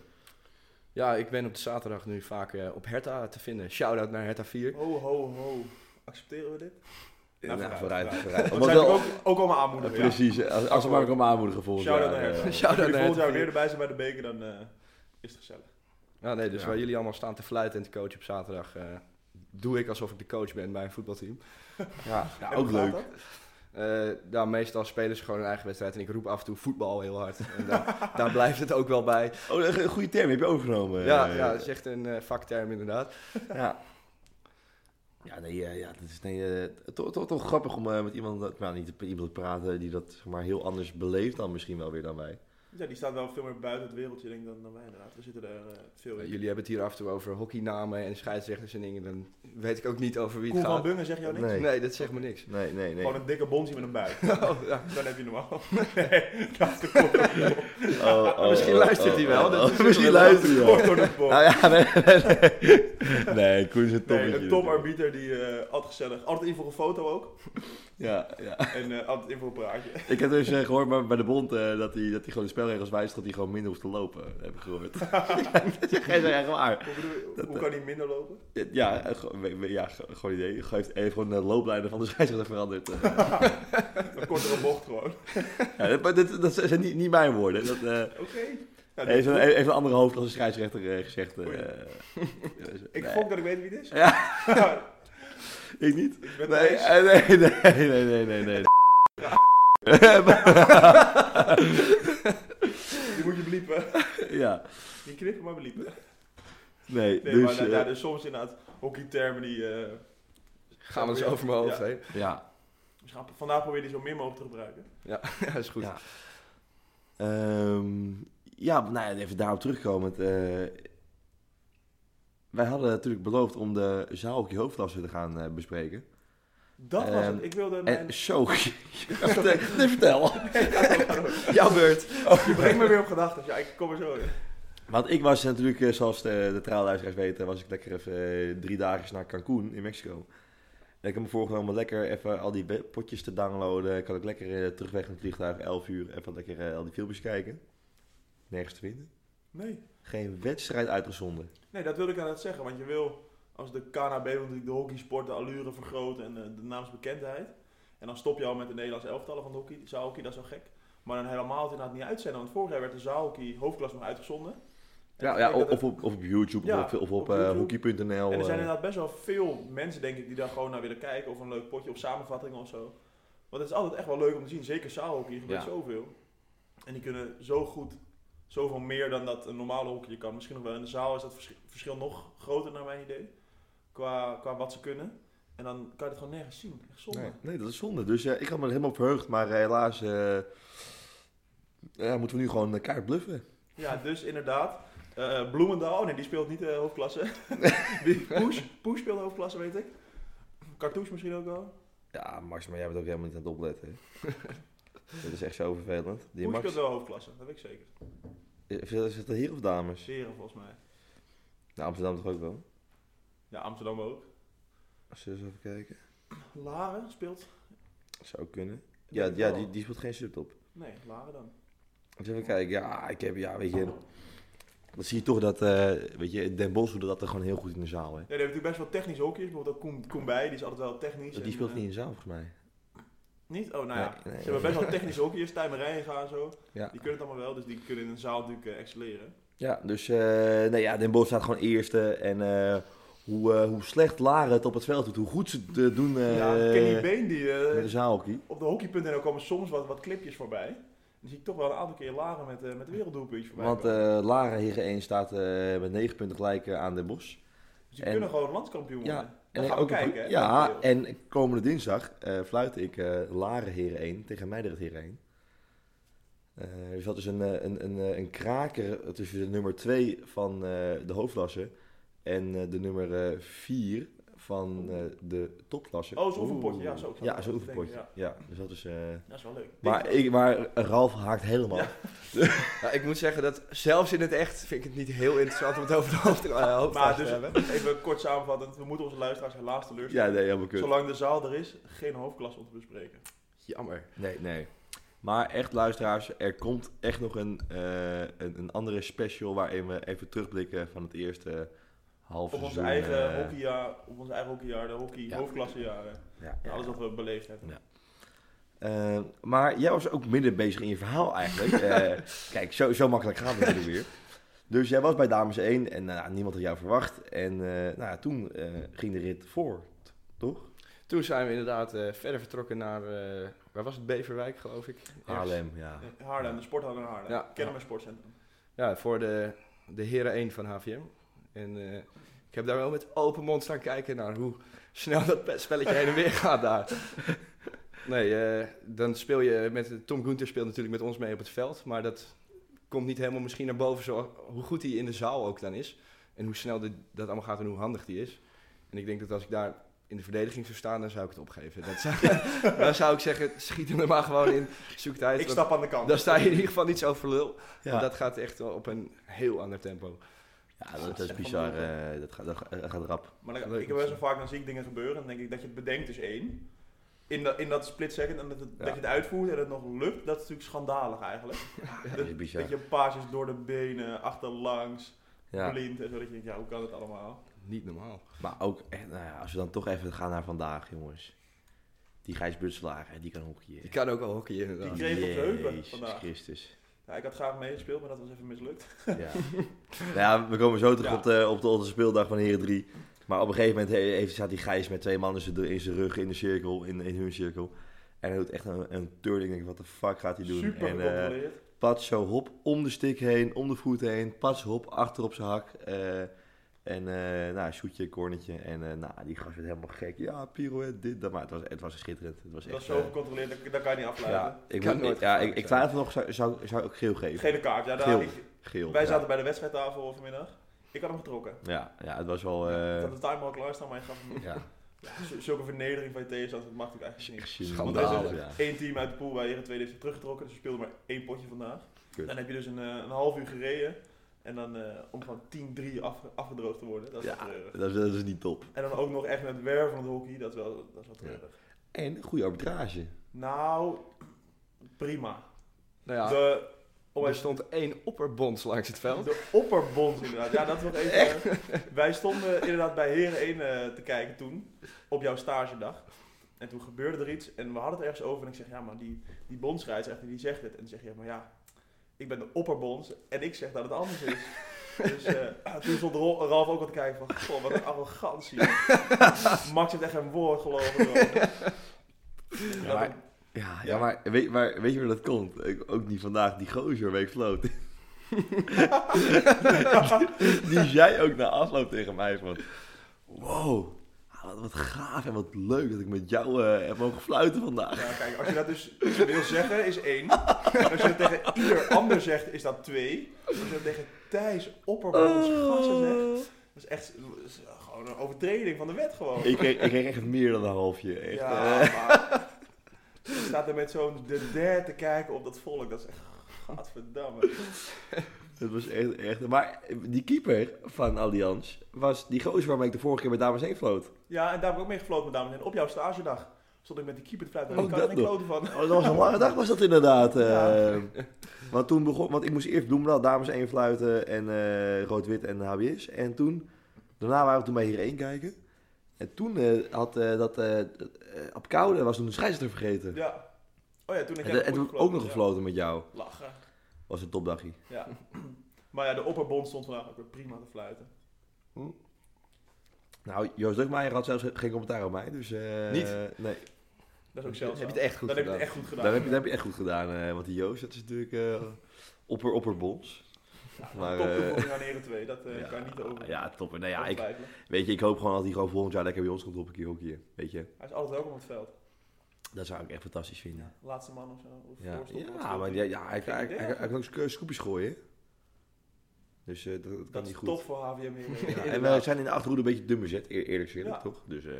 Speaker 5: Ja, ik ben op de zaterdag nu vaak eh, op Herta te vinden. Shout-out naar Herta 4.
Speaker 4: Ho, ho, ho. Accepteren we dit? Nou, vooruit,
Speaker 3: vooruit.
Speaker 4: Dat
Speaker 3: Omdat
Speaker 4: zijn
Speaker 3: wel-
Speaker 4: natuurlijk ook, ook allemaal aanmoedigen. ja.
Speaker 3: Precies, eh, als, als we maar komen aanmoedigen volgens
Speaker 4: Shout-out naar Hertha. Als
Speaker 5: Shout-out
Speaker 4: jullie
Speaker 5: naar
Speaker 4: volgend
Speaker 5: Hertha
Speaker 4: jaar weer
Speaker 5: vier.
Speaker 4: erbij zijn bij de beker, dan eh, is het gezellig.
Speaker 5: Ja, nee, dus
Speaker 3: Ja.
Speaker 5: waar jullie allemaal staan te fluiten en te coachen op zaterdag... eh, doe ik alsof ik de coach ben bij een voetbalteam.
Speaker 3: Ja, nou,
Speaker 4: En
Speaker 3: ook
Speaker 4: hoe
Speaker 3: leuk.
Speaker 4: gaat dat?
Speaker 5: Eh nou, meestal spelen ze gewoon hun eigen wedstrijd en ik roep af en toe voetbal heel hard. En daar, daar blijft het ook wel bij.
Speaker 3: Oh, een goede term, heb je overgenomen.
Speaker 5: Ja,
Speaker 3: eh,
Speaker 5: ja, dat is echt een eh, vakterm inderdaad.
Speaker 3: Ja. Ja, nee, eh, ja, dat is nee, eh, toch, toch, toch grappig om eh, met iemand, eh, nou, niet met iemand te praten die dat zeg maar heel anders beleeft dan misschien wel weer dan wij.
Speaker 4: Ja, die staat wel veel meer buiten het wereldje denk ik, dan, dan wij inderdaad. We zitten er eh, veel
Speaker 5: Eh,
Speaker 4: in.
Speaker 5: jullie hebben het hier af en toe over hockeynamen en scheidsrechters en dingen. Dan weet ik ook niet over wie
Speaker 4: Koen
Speaker 5: het
Speaker 4: van
Speaker 5: gaat.
Speaker 4: Bungen zegt jou niks?
Speaker 3: Nee.
Speaker 5: Nee, dat zegt me niks.
Speaker 3: Nee, nee, nee.
Speaker 4: Gewoon een dikke bonsie met een buik.
Speaker 5: Oh, ja.
Speaker 4: Dan heb je normaal. Nee, dat is de
Speaker 3: Oh, oh,
Speaker 5: Misschien
Speaker 3: oh,
Speaker 5: luistert
Speaker 3: oh,
Speaker 5: hij wel,
Speaker 3: oh,
Speaker 5: dat
Speaker 3: oh.
Speaker 5: is ook
Speaker 3: misschien
Speaker 5: wel
Speaker 3: luistert hij wel.
Speaker 4: kop. Door de bocht.
Speaker 3: Nou ja, nee, nee, nee. Nee, Koen is een
Speaker 4: Nee,
Speaker 3: toppetje.
Speaker 4: een toparbieder die eh, altijd gezellig, altijd in voor een foto ook
Speaker 3: Ja, ja.
Speaker 4: en eh, altijd in voor een praatje.
Speaker 3: Ik heb dus eh, gehoord maar bij de bond eh, dat hij dat hij gewoon de spelregels wijst dat hij gewoon minder hoeft te lopen, heb ik gehoord. dat is geen echt waar.
Speaker 4: Hoe, bedoel je, hoe
Speaker 3: eh,
Speaker 4: kan hij minder lopen?
Speaker 3: Ja, eh, gewoon- we- we- ja, ge- gewoon idee. Hij heeft even gewoon de looplijnen van de scheidsrechter veranderd. eh.
Speaker 4: Een kortere bocht gewoon. Oké.
Speaker 3: Ja, dat, maar dit- dat zijn niet, niet mijn woorden. Dat, eh
Speaker 4: Nou, dit-
Speaker 3: heeft, een, heeft een andere hoofd als een scheidsrechter eh, gezegd. eh,
Speaker 4: Oei.
Speaker 3: dus,
Speaker 4: ik
Speaker 3: nee,
Speaker 4: gok dat ik weet wie het is.
Speaker 3: Ja. ik niet.
Speaker 4: ik ben
Speaker 3: Nee,
Speaker 4: Thijs.
Speaker 3: eh, nee, nee, nee, nee, nee, nee.
Speaker 4: Die moet je bliepen.
Speaker 3: ja,
Speaker 4: Die knippen maar bliepen.
Speaker 3: nee,
Speaker 4: Nee,
Speaker 3: dus
Speaker 4: maar nou, ja,
Speaker 3: eh,
Speaker 4: dus soms inderdaad hockeytermen die... eh,
Speaker 5: Gaan we dus over mijn hoofd
Speaker 4: Ja.
Speaker 5: heen.
Speaker 3: ja.
Speaker 4: dus gaan- vandaag probeer je die zo min mogelijk te gebruiken.
Speaker 5: Ja, is goed.
Speaker 3: Ja. Ehm, ja, nou ja, even daarop terugkomend. eh, wij hadden natuurlijk beloofd om de zaalhockey hoofdklasse te gaan eh, bespreken.
Speaker 4: Dat was
Speaker 3: Ehm,
Speaker 4: het. Ik wilde... Mijn...
Speaker 3: En zo, vertel, nee, vertel.
Speaker 5: Jouw beurt.
Speaker 4: Je brengt me weer op gedachten. Ja, ik kom er zo in.
Speaker 3: Want ik was natuurlijk, eh, zoals de, de trouwluisteraars weten, was ik lekker even eh, drie dagen naar Cancún in Mexico. En ik heb me voorgenomen om lekker even al die be- potjes te downloaden. Kan ik lekker eh, terug weg in het vliegtuig, 11 uur, even lekker eh, al die filmpjes kijken. Nergens te vinden.
Speaker 4: Nee.
Speaker 3: Geen wedstrijd uitgezonden.
Speaker 4: Nee, dat wilde ik aan het zeggen. Want je wil als de KNHB wil natuurlijk de hockeysport de allure vergroten en eh, de naamsbekendheid. En dan stop je al met de Nederlandse elftallen van de hockey. Zaalhockey, dat is wel gek. Maar dan helemaal het inderdaad niet uitzenden. Want vorig jaar werd de zaalhockey hoofdklas nog uitgezonden. En
Speaker 3: Ja,
Speaker 4: ik
Speaker 3: ja
Speaker 4: denk dat
Speaker 3: of,
Speaker 4: het-
Speaker 3: op, of op YouTube
Speaker 4: Ja,
Speaker 3: of op, of op,
Speaker 4: op
Speaker 3: eh,
Speaker 4: YouTube.
Speaker 3: hockey.nl.
Speaker 4: En er zijn
Speaker 3: eh.
Speaker 4: inderdaad best wel veel mensen, denk ik, die daar gewoon naar willen kijken. Of een leuk potje of samenvattingen of zo. Want het is altijd echt wel leuk om te zien. Zeker zaalhockey, er gebeurt
Speaker 5: Ja.
Speaker 4: zoveel. En die kunnen zo goed, zoveel meer dan dat een normale hockey kan. Misschien nog wel in de zaal is dat versch- verschil nog groter naar mijn idee. Qua, qua wat ze kunnen. En dan kan je het gewoon nergens zien. Echt zonde.
Speaker 3: Nee, nee, dat is zonde. Dus eh, ik had me er helemaal op verheugd, maar eh, helaas eh, ja, moeten we nu gewoon eh, kaart bluffen.
Speaker 4: Ja, dus inderdaad. eh, Bloemendaal, oh nee, die speelt niet de hoofdklasse. Die Poes, Poes speelt hoofdklasse, weet ik. Cartouche misschien ook wel.
Speaker 3: Ja, Max, maar jij bent ook helemaal niet aan het opletten. hè. dat is echt zo vervelend. Die
Speaker 4: Poes
Speaker 3: Max,
Speaker 4: speelt wel hoofdklasse, dat weet ik zeker.
Speaker 3: is dat- is dat hier of dames?
Speaker 4: Seren volgens mij.
Speaker 3: Nou, Amsterdam toch ook wel?
Speaker 4: Ja, Amsterdam ook.
Speaker 3: Als we eens even kijken.
Speaker 4: Laren speelt?
Speaker 3: Zou kunnen.
Speaker 4: Ik
Speaker 3: Ja,
Speaker 4: denk
Speaker 3: ja
Speaker 4: het
Speaker 3: die,
Speaker 4: wel.
Speaker 3: die speelt geen sub op.
Speaker 4: Nee, Laren dan.
Speaker 3: Eens even kijken. Ja, ik heb, ja, weet je. Dan zie je toch dat, eh, weet je, Den Bosch doet dat er gewoon heel goed in de zaal, hè.
Speaker 4: Nee, die hebben natuurlijk best wel technisch hockeyers. Bijvoorbeeld ook Koen, Koen Bij, die is altijd wel technisch.
Speaker 3: Die
Speaker 4: en,
Speaker 3: speelt
Speaker 4: eh,
Speaker 3: niet in de zaal, volgens mij.
Speaker 4: Niet? Oh, nou ja.
Speaker 3: Nee, nee,
Speaker 4: Ze hebben best wel technische hockeyers, Tijmerijen gaan en zo.
Speaker 3: Ja.
Speaker 4: Die kunnen het allemaal wel, dus die kunnen in een zaal natuurlijk eh, excelleren.
Speaker 3: Ja, dus eh nee, ja, Den Bosch staat gewoon eerste. En eh, hoe, eh, hoe slecht Laren het op het veld doet, hoe goed ze het eh, doen eh,
Speaker 4: ja, Kenny Been, die, eh,
Speaker 3: met de zaalhockey.
Speaker 4: op de hockey.nl komen soms wat, wat clipjes voorbij. En dan zie ik toch wel een aantal keer Laren met, eh met werelddoelpuntjes voorbij
Speaker 3: Want
Speaker 4: komen.
Speaker 3: eh, Laren Higge 1 staat eh, met 9 punten gelijk eh, aan Den Bosch.
Speaker 4: dus die
Speaker 3: en-
Speaker 4: kunnen gewoon landskampioen
Speaker 3: ja,
Speaker 4: worden.
Speaker 3: En
Speaker 4: Dan gaan we
Speaker 3: ook een
Speaker 4: kijken.
Speaker 3: goe-
Speaker 4: hè.
Speaker 3: ja,
Speaker 4: Dankjewel.
Speaker 3: en komende dinsdag eh fluit ik eh Laren Heren 1 tegen Meideren Heren 1. Eh, er zat dus een, eh, een, een, eh, een kraker tussen de nummer 2 van eh, de hoofdklasse en eh, de nummer 4 van eh, de topklasse.
Speaker 4: Oh, zo'n oefenpotje. Ja, zo. Ik zat
Speaker 3: Ja,
Speaker 4: er
Speaker 3: zo'n
Speaker 4: aan te denken,
Speaker 3: oefenpotje.
Speaker 4: ja.
Speaker 3: Ja, dus dat is... eh,
Speaker 4: Dat is wel leuk.
Speaker 3: maar, ik, maar Ralf haakt helemaal.
Speaker 4: Ja.
Speaker 5: Nou, ik moet zeggen dat zelfs in het echt vind ik het niet heel interessant om het over de hoofd eh, hoofdvraag
Speaker 4: Maar
Speaker 5: te
Speaker 4: dus
Speaker 5: hebben.
Speaker 4: even kort samenvattend, we moeten onze luisteraars helaas teleurstellen.
Speaker 3: Ja, nee, helemaal kut.
Speaker 4: Zolang de zaal er is, geen hoofdklas om te bespreken.
Speaker 5: Jammer.
Speaker 3: Nee, nee. Maar echt luisteraars, er komt echt nog een, eh, een, een andere special waarin we even terugblikken van het eerste half
Speaker 4: Op onze
Speaker 3: seizoen,
Speaker 4: eigen
Speaker 3: eh,
Speaker 4: hockeyjaar, op onze eigen hockeyjaar, de hockey
Speaker 3: Ja.
Speaker 4: hoofdklassejaren.
Speaker 3: Ja, ja.
Speaker 4: Alles wat we beleefd hebben.
Speaker 3: Eh, maar jij was ook midden bezig in je verhaal eigenlijk. Eh, kijk, zo, zo makkelijk gaat het natuurlijk weer. Dus jij was bij Dames 1 en nou, niemand had jou verwacht. En eh, nou, ja, toen eh, ging de rit voort, toch?
Speaker 5: Toen zijn we inderdaad eh, verder vertrokken naar, eh, waar was het, Beverwijk geloof ik? Ergens.
Speaker 3: Haarlem, ja.
Speaker 4: In Haarlem, de sporthallen in Haarlem.
Speaker 5: Ja.
Speaker 4: Ja. Kennemer Sportcentrum.
Speaker 5: Ja, voor de, de heren 1 van HVM. En eh, ik heb daar wel met open mond staan kijken naar hoe snel dat pe- spelletje heen en weer gaat daar. Nee, eh, dan speel je met Tom Gunther speelt natuurlijk met ons mee op het veld, maar dat komt niet helemaal misschien naar boven zo, hoe goed hij in de zaal ook dan is en hoe snel dit, dat allemaal gaat en hoe handig die is. En ik denk dat als ik daar in de verdediging zou staan, dan zou ik het opgeven. Dat zou, dan zou ik zeggen, schiet hem er maar gewoon in, zoek het uit.
Speaker 4: Ik
Speaker 5: want
Speaker 4: stap aan de kant.
Speaker 5: Dan sta je in ieder geval niet zo voor lul.
Speaker 3: Ja,
Speaker 5: Want dat gaat echt wel op een heel ander tempo.
Speaker 3: Ja, dat, dat is bizar. eh, dat, gaat, dat gaat- dat gaat rap.
Speaker 4: Maar dan,
Speaker 5: Leuk
Speaker 4: ik heb best wel vaak, dan zie ik dingen gebeuren en dan denk ik dat je het bedenkt is één. In, dat in dat split second en dat, het-
Speaker 5: Ja.
Speaker 4: dat je het uitvoert en het nog lukt, dat is natuurlijk schandalig eigenlijk.
Speaker 3: Dat is bizar.
Speaker 4: Dat je paasjes door de benen, achterlangs,
Speaker 3: Ja.
Speaker 4: blind en zo. Dat je denkt, ja, hoe kan het allemaal?
Speaker 5: Niet normaal.
Speaker 3: Maar ook, echt, nou ja, als we dan toch even gaan naar vandaag, jongens. Die Gijs Butselaar, die kan hockeyen.
Speaker 5: Je kan ook al hockeyen inderdaad.
Speaker 4: Die kreeg op de heupen
Speaker 3: Jezus
Speaker 4: vandaag.
Speaker 3: Christus.
Speaker 4: Ja, ik had graag meegespeeld, maar dat was even mislukt.
Speaker 3: Ja. nou ja, we komen zo terug
Speaker 4: Ja.
Speaker 3: op, de, op de, onze speeldag van Heren 3. Maar op een gegeven moment he- heeft, staat die Gijs met twee mannen in zijn rug in de cirkel, in, in hun cirkel. En hij doet echt een, een turling. Denk ik, wat de fuck gaat hij doen?
Speaker 4: Super
Speaker 3: en, eh,
Speaker 4: gecontroleerd.
Speaker 3: Pats zo hop om de stick heen, om de voet heen. Pats hop achter op zijn hak. eh, en eh nou, shootje, cornetje. En eh, nou, die gast werd helemaal gek. Ja, pirouette, dit, dat. Maar het was, het was schitterend. Het was
Speaker 4: dat
Speaker 3: echt,
Speaker 4: is zo
Speaker 3: eh,
Speaker 4: gecontroleerd, dat, dat kan je niet afleiden.
Speaker 3: ja, ik,
Speaker 5: Kan
Speaker 3: moet-
Speaker 5: nooit
Speaker 3: ja, ik,
Speaker 5: gevaarlijk
Speaker 3: ik
Speaker 5: zijn.
Speaker 3: twijfel nog, zou, zou, zou ik geel geven?
Speaker 4: Gele kaart. Ja, daar-
Speaker 3: Geel.
Speaker 4: ik-
Speaker 3: Geel,
Speaker 4: wij
Speaker 3: ja.
Speaker 4: zaten bij de wedstrijdtafel vanmiddag. Ik had hem getrokken.
Speaker 3: Ja, ja, het was wel... eh,
Speaker 4: ik had de timer al klaarstaan, maar je gaf hem niet.
Speaker 3: ja,
Speaker 4: Z- Zulke vernedering van je tegenstander, dat mag natuurlijk eigenlijk niet.
Speaker 3: echt
Speaker 4: Want
Speaker 5: Schandalig,
Speaker 4: er
Speaker 3: schandaal.
Speaker 4: is
Speaker 3: Ja.
Speaker 4: één team uit de pool bij Heren 2 heeft zich teruggetrokken, dus we speelden maar één potje vandaag.
Speaker 3: Kut.
Speaker 4: Dan heb je dus een, eh, een half uur gereden en dan eh, om van 10-3 afge- afgedroogd te worden. Dat is
Speaker 3: Ja.
Speaker 4: wel treurig.
Speaker 3: Dat, is, dat is niet top.
Speaker 4: En dan ook nog echt met werven van het hockey, dat is wel, dat is wel treurig.
Speaker 3: En goede arbitrage.
Speaker 4: Nou, prima.
Speaker 5: Nou ja,
Speaker 4: De, om
Speaker 5: er
Speaker 4: even-
Speaker 5: stond één opperbonds langs het veld.
Speaker 4: de opperbond inderdaad. Ja, dat is nog even. eh, Wij stonden inderdaad bij Heren 1 eh, te kijken toen, op jouw stagedag. En toen gebeurde er iets en we hadden het ergens over. En ik zeg, ja, maar die, die bondsscheidsrechter die zegt het. En dan zeg je, maar ja, ik ben de opperbonds en ik zeg dat het anders is. Dus eh, toen stond Ro- Ralf ook al te kijken van, goh, wat een arrogantie. Max heeft echt een woord gelogen. joh.
Speaker 3: Ja, maar, ja, ja, maar, weet, maar weet je waar dat komt? Ik, ook niet vandaag, die gozer week floot. die zei ook na afloop tegen mij van... Wow, ah, wat, wat gaaf en wat leuk dat ik met jou eh, heb mogen fluiten vandaag.
Speaker 4: Ja, kijk, als je dat dus wil zeggen, is één. Als je dat tegen ieder ander zegt, is dat twee. Als je dat tegen Thijs
Speaker 3: Oh,
Speaker 4: Opperbond gassen zegt, dat is echt dat is gewoon een overtreding van de wet gewoon.
Speaker 3: Ik kreeg, ik kreeg echt meer dan een halfje. Echt.
Speaker 4: ja,
Speaker 3: eh.
Speaker 4: maar... Je staat er met zo'n de der te kijken op dat volk, dat is echt... Gadverdamme.
Speaker 3: Het was echt, echt... Maar die keeper van Allianz was die gozer waarmee ik de vorige keer met dames heen floot.
Speaker 4: Ja, en daar heb ik ook mee gefloten, met dames en heren. Op jouw stagedag stond ik met die keeper te fluiten. en
Speaker 3: Ook
Speaker 4: Ik had er
Speaker 3: dat
Speaker 4: geen
Speaker 3: nog.
Speaker 4: klote van.
Speaker 3: Oh, dat was een lange dag, was dat inderdaad. eh.
Speaker 4: Ja.
Speaker 3: Want toen begon, want ik moest eerst Bloemendaal, dames 1 fluiten en eh, rood-wit en HBS. En toen, daarna waren we toen bij hierheen kijken. En toen eh, had eh, dat eh, eh, op koude was toen de scheidsrechter vergeten.
Speaker 4: Ja. Oh ja, toen ik
Speaker 3: En,
Speaker 4: heb
Speaker 3: en toen heb ik ook nog gefloten met jou.
Speaker 4: Ja. Lachen.
Speaker 3: Was een topdagje.
Speaker 4: Ja. Maar ja, de opperbond stond vandaag ook weer prima te fluiten.
Speaker 3: Nou, Joost Drukmeijer had zelfs geen commentaar op mij, dus... eh,
Speaker 5: Niet?
Speaker 3: Nee.
Speaker 4: Dat is ook
Speaker 5: Heb
Speaker 4: zeldzaam.
Speaker 5: je het echt goed
Speaker 4: Dan heb je
Speaker 5: gedaan?
Speaker 4: het echt goed gedaan.
Speaker 3: Daar heb, je, daar heb je echt goed gedaan, eh, want die Joost, dat is natuurlijk eh opper opperbons.
Speaker 4: Maar,
Speaker 3: Maar,
Speaker 4: top
Speaker 3: eh,
Speaker 4: toevoeging aan Heren 2, dat eh, kan je niet over.
Speaker 3: Ja, topper. Nou ja,
Speaker 4: over
Speaker 3: ik,
Speaker 4: twijfelen.
Speaker 3: weet je, ik hoop gewoon dat hij gewoon volgend jaar lekker bij ons komt op een keer hockeyen, weet je.
Speaker 4: Hij is altijd welkom op het veld.
Speaker 3: Dat zou ik echt fantastisch vinden.
Speaker 4: Laatste man of zo. Of
Speaker 3: Ja,
Speaker 4: voorstopper, wat
Speaker 3: ja
Speaker 4: speelt
Speaker 3: maar
Speaker 4: hij?
Speaker 3: ja, ja, hij,
Speaker 4: Geen
Speaker 3: hij,
Speaker 4: idee
Speaker 3: hij- hij kan ook sco- scoopjes gooien. Dus eh, dat, dat kan
Speaker 4: Dat is
Speaker 3: niet goed.
Speaker 4: tof voor HVM Heren.
Speaker 3: Ja, en
Speaker 4: Inderdaad.
Speaker 3: wij zijn in de achterhoede een beetje dun bezet, eer- eerlijk gezegd,
Speaker 4: Ja.
Speaker 3: toch? Dus eh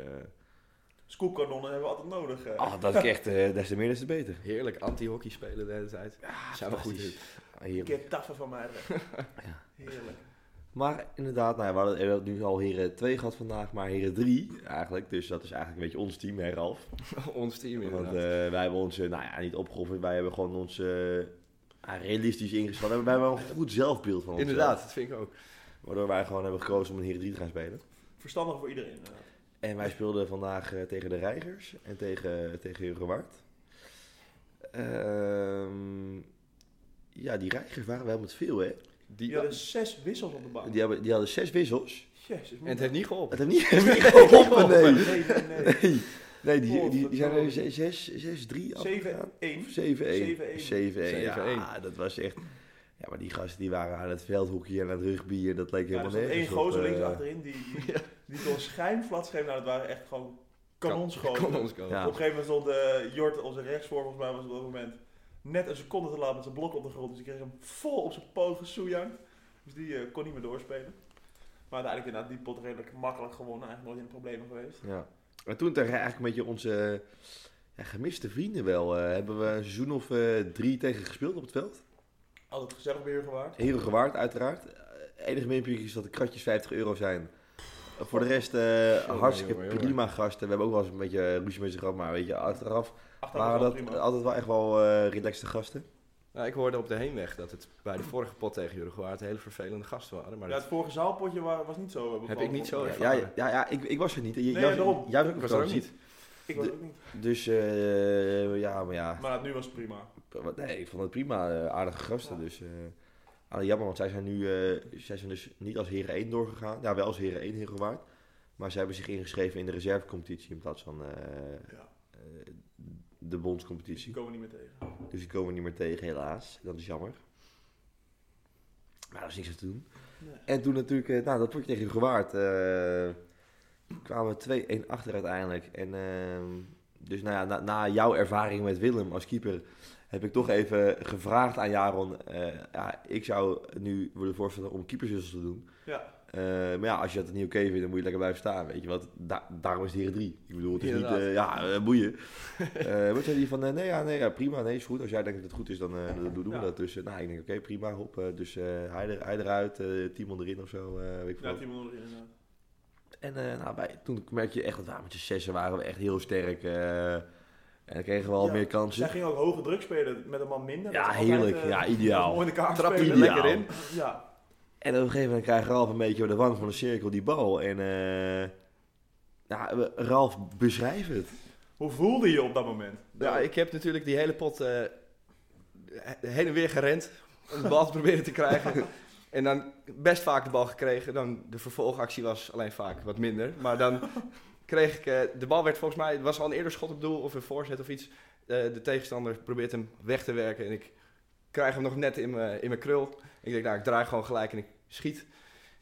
Speaker 4: Scoopkanonnen hebben we altijd nodig. eh.
Speaker 3: ah, dat is echt, eh, des te meer, des te beter.
Speaker 5: Heerlijk anti-hockey spelen de hele tijd. Zijn we goed in.
Speaker 3: Fantastisch. Ah,
Speaker 4: Een
Speaker 3: Heerlijk.
Speaker 4: keer taffen van mij.
Speaker 3: Ja.
Speaker 4: Heerlijk.
Speaker 3: Maar inderdaad, nou, ja, we hadden we hebben nu al heren 2 gehad vandaag, maar heren 3 eigenlijk. Dus dat is eigenlijk een beetje ons team, hè Ralf?
Speaker 5: Ons team
Speaker 3: Want
Speaker 5: inderdaad.
Speaker 3: eh, wij hebben ons, eh, nou ja, niet opgeofferd. Wij hebben gewoon ons eh, ja, realistisch ingeschat. Wij hebben wel een goed zelfbeeld van ons. eh,
Speaker 5: inderdaad, dat vind ik ook.
Speaker 3: Waardoor wij gewoon hebben gekozen om een heren 3 te gaan spelen.
Speaker 4: Verstandig voor iedereen. eh. inderdaad.
Speaker 3: En wij speelden vandaag eh, tegen de Reigers en tegen, eh, tegen Herengewaard. Ehm ja, die Reigers waren wel met veel, hè?
Speaker 4: Die
Speaker 5: Die,
Speaker 4: hadden zes wissels op de
Speaker 5: Oh.
Speaker 4: bank.
Speaker 3: Die hebben die hadden zes wissels.
Speaker 4: Jezus.
Speaker 5: en het heeft niet geholpen.
Speaker 3: Het heeft niet, heeft niet
Speaker 5: Oh,
Speaker 3: geholpen,
Speaker 4: nee,
Speaker 3: nee.
Speaker 4: nee, nee.
Speaker 3: Nee, nee die, die, die zijn
Speaker 4: Godverdomme.
Speaker 3: er zes- zes- zes- drie afgegaan.
Speaker 4: 7-1.
Speaker 3: 7-1.
Speaker 4: 7-1.
Speaker 3: 7-1, ja.
Speaker 5: 7-1.
Speaker 3: Dat was echt... Ja, maar die gasten die waren aan het veldhoekje en aan het rugby en dat leek
Speaker 4: Ja,
Speaker 3: helemaal
Speaker 4: er stond één
Speaker 3: nergens op,
Speaker 4: gozer
Speaker 3: eh,
Speaker 4: links achterin die, die, die kon schijnflat schreef. Nou, dat waren echt gewoon kanonschoten.
Speaker 5: Kon ons komen.
Speaker 3: Ja.
Speaker 4: Op een gegeven moment stond eh, Jort, onze rechtsvoor, volgens mij was het op dat moment net een seconde te laat met zijn blok op de grond. Dus ik kreeg hem vol op zijn poot gesoejang. Dus die eh, kon niet meer doorspelen. Maar uiteindelijk inderdaad die pot redelijk makkelijk gewonnen. Eigenlijk nooit in de problemen geweest.
Speaker 3: Ja. Maar toen tegen eigenlijk een beetje onze eh, ja, gemiste vrienden wel. eh, hebben we een seizoen of eh, drie tegen gespeeld op het veld.
Speaker 4: Altijd gezellig weer gewaard.
Speaker 3: Heel gewaard uiteraard. Het enige minpuntje is dat de kratjes 50 euro zijn. Eh, Voor de rest eh, hartstikke
Speaker 5: jongen, jongen.
Speaker 3: prima gasten. We hebben ook wel eens een beetje ruzie met ze gehad, maar weet je, achteraf
Speaker 4: Achteraf
Speaker 3: waren
Speaker 4: was
Speaker 3: dat
Speaker 4: prima.
Speaker 5: oh,
Speaker 3: altijd wel echt wel eh relaxte gasten.
Speaker 5: Nou, ik hoorde op de heenweg dat het bij de vorige pot tegen Uruguay hele vervelende gasten waren. Maar
Speaker 4: Ja,
Speaker 5: dat
Speaker 4: het vorige zaalpotje wa- was niet zo. eh, bevallend.
Speaker 5: ik niet zo
Speaker 3: Ja,
Speaker 5: ervaren.
Speaker 3: ja, ja, ja, ik, ik was er niet. en j-
Speaker 4: Nee,
Speaker 3: jij,
Speaker 4: daarom.
Speaker 3: jij was ook op
Speaker 5: was er ook
Speaker 3: vakantie.
Speaker 5: niet.
Speaker 4: Ik was ook niet.
Speaker 3: Dus eh, ja, maar ja.
Speaker 4: Maar nu was het prima.
Speaker 3: Wat- Nee, ik vond het prima. eh, aardige gasten.
Speaker 4: Ja.
Speaker 3: Dus eh, alleen jammer, want zij zijn nu eh, zij zijn dus niet als Heren 1 doorgegaan. Ja, wel als Heren 1 heel gewaard. Maar ze hebben zich ingeschreven in de reservecompetitie in plaats van eh,
Speaker 4: Ja.
Speaker 3: eh, eh, de
Speaker 4: Die
Speaker 3: bondscompetitie.
Speaker 4: komen we niet meer tegen.
Speaker 3: Dus die komen we niet meer tegen, helaas. Dat is jammer. Maar daar is niks aan te doen.
Speaker 4: Nee.
Speaker 3: En toen natuurlijk, eh, nou, dat word je tegen je gewaard. eh, kwamen we 2-1 achter uiteindelijk. En, ehm, dus nou ja, na, na jouw ervaring met Willem als keeper... heb ik toch even gevraagd aan Jaron... eh, ja, ik zou nu willen voorstellen om keeperswissels te doen.
Speaker 4: Ja.
Speaker 3: Eh, maar ja, als je dat niet oké vindt, dan moet je lekker blijven staan, weet je. Want da- daarom is het hier drie. Ik bedoel, het is niet,
Speaker 5: Inderdaad.
Speaker 3: eh, ja, eh, boeien. Eh wat zei hij van, eh, nee, ja, nee, ja, prima, nee, is goed. Als jij denkt dat het goed is, dan eh, dan doen we
Speaker 4: Ja.
Speaker 3: dat. Dus eh, nou, ik denk, oké, prima, hop. eh, dus eh, hij, er, hij eruit, eh Timon erin of zo, eh, weet ik veel
Speaker 4: Ja,
Speaker 3: wat.
Speaker 4: Timon onder inderdaad.
Speaker 3: En eh, nou, wij, toen merk je echt dat we met z'n zessen waren we echt heel sterk. eh, en dan kregen we al
Speaker 4: Ja,
Speaker 3: meer kansen.
Speaker 4: Zij ging ook hoge druk spelen met een man minder.
Speaker 3: Ja,
Speaker 4: Dat is altijd,
Speaker 3: heerlijk.
Speaker 4: eh,
Speaker 3: Ja, ideaal.
Speaker 4: dat is Mooi in de kaart
Speaker 5: Trap je
Speaker 4: spelen.
Speaker 5: er lekker
Speaker 3: Ideaal.
Speaker 5: in.
Speaker 4: Ja.
Speaker 3: En op een gegeven moment krijgt Ralf een beetje op de wang van de cirkel die bal. En eh ja, we- Ralf, beschrijf het.
Speaker 4: Hoe voelde je je op dat moment?
Speaker 5: Ja, ik heb natuurlijk die hele pot eh, heen en weer gerend om de bal te proberen te krijgen. En dan best vaak de bal gekregen. Dan de vervolgactie was alleen vaak wat minder. Maar dan kreeg ik... eh, de bal werd volgens mij... Het was al een eerder schot op doel of een voorzet of iets. Eh, de tegenstander probeert hem weg te werken. En ik krijg hem nog net in mijn in mijn krul. Ik denk, nou, ik draai gewoon gelijk en ik schiet.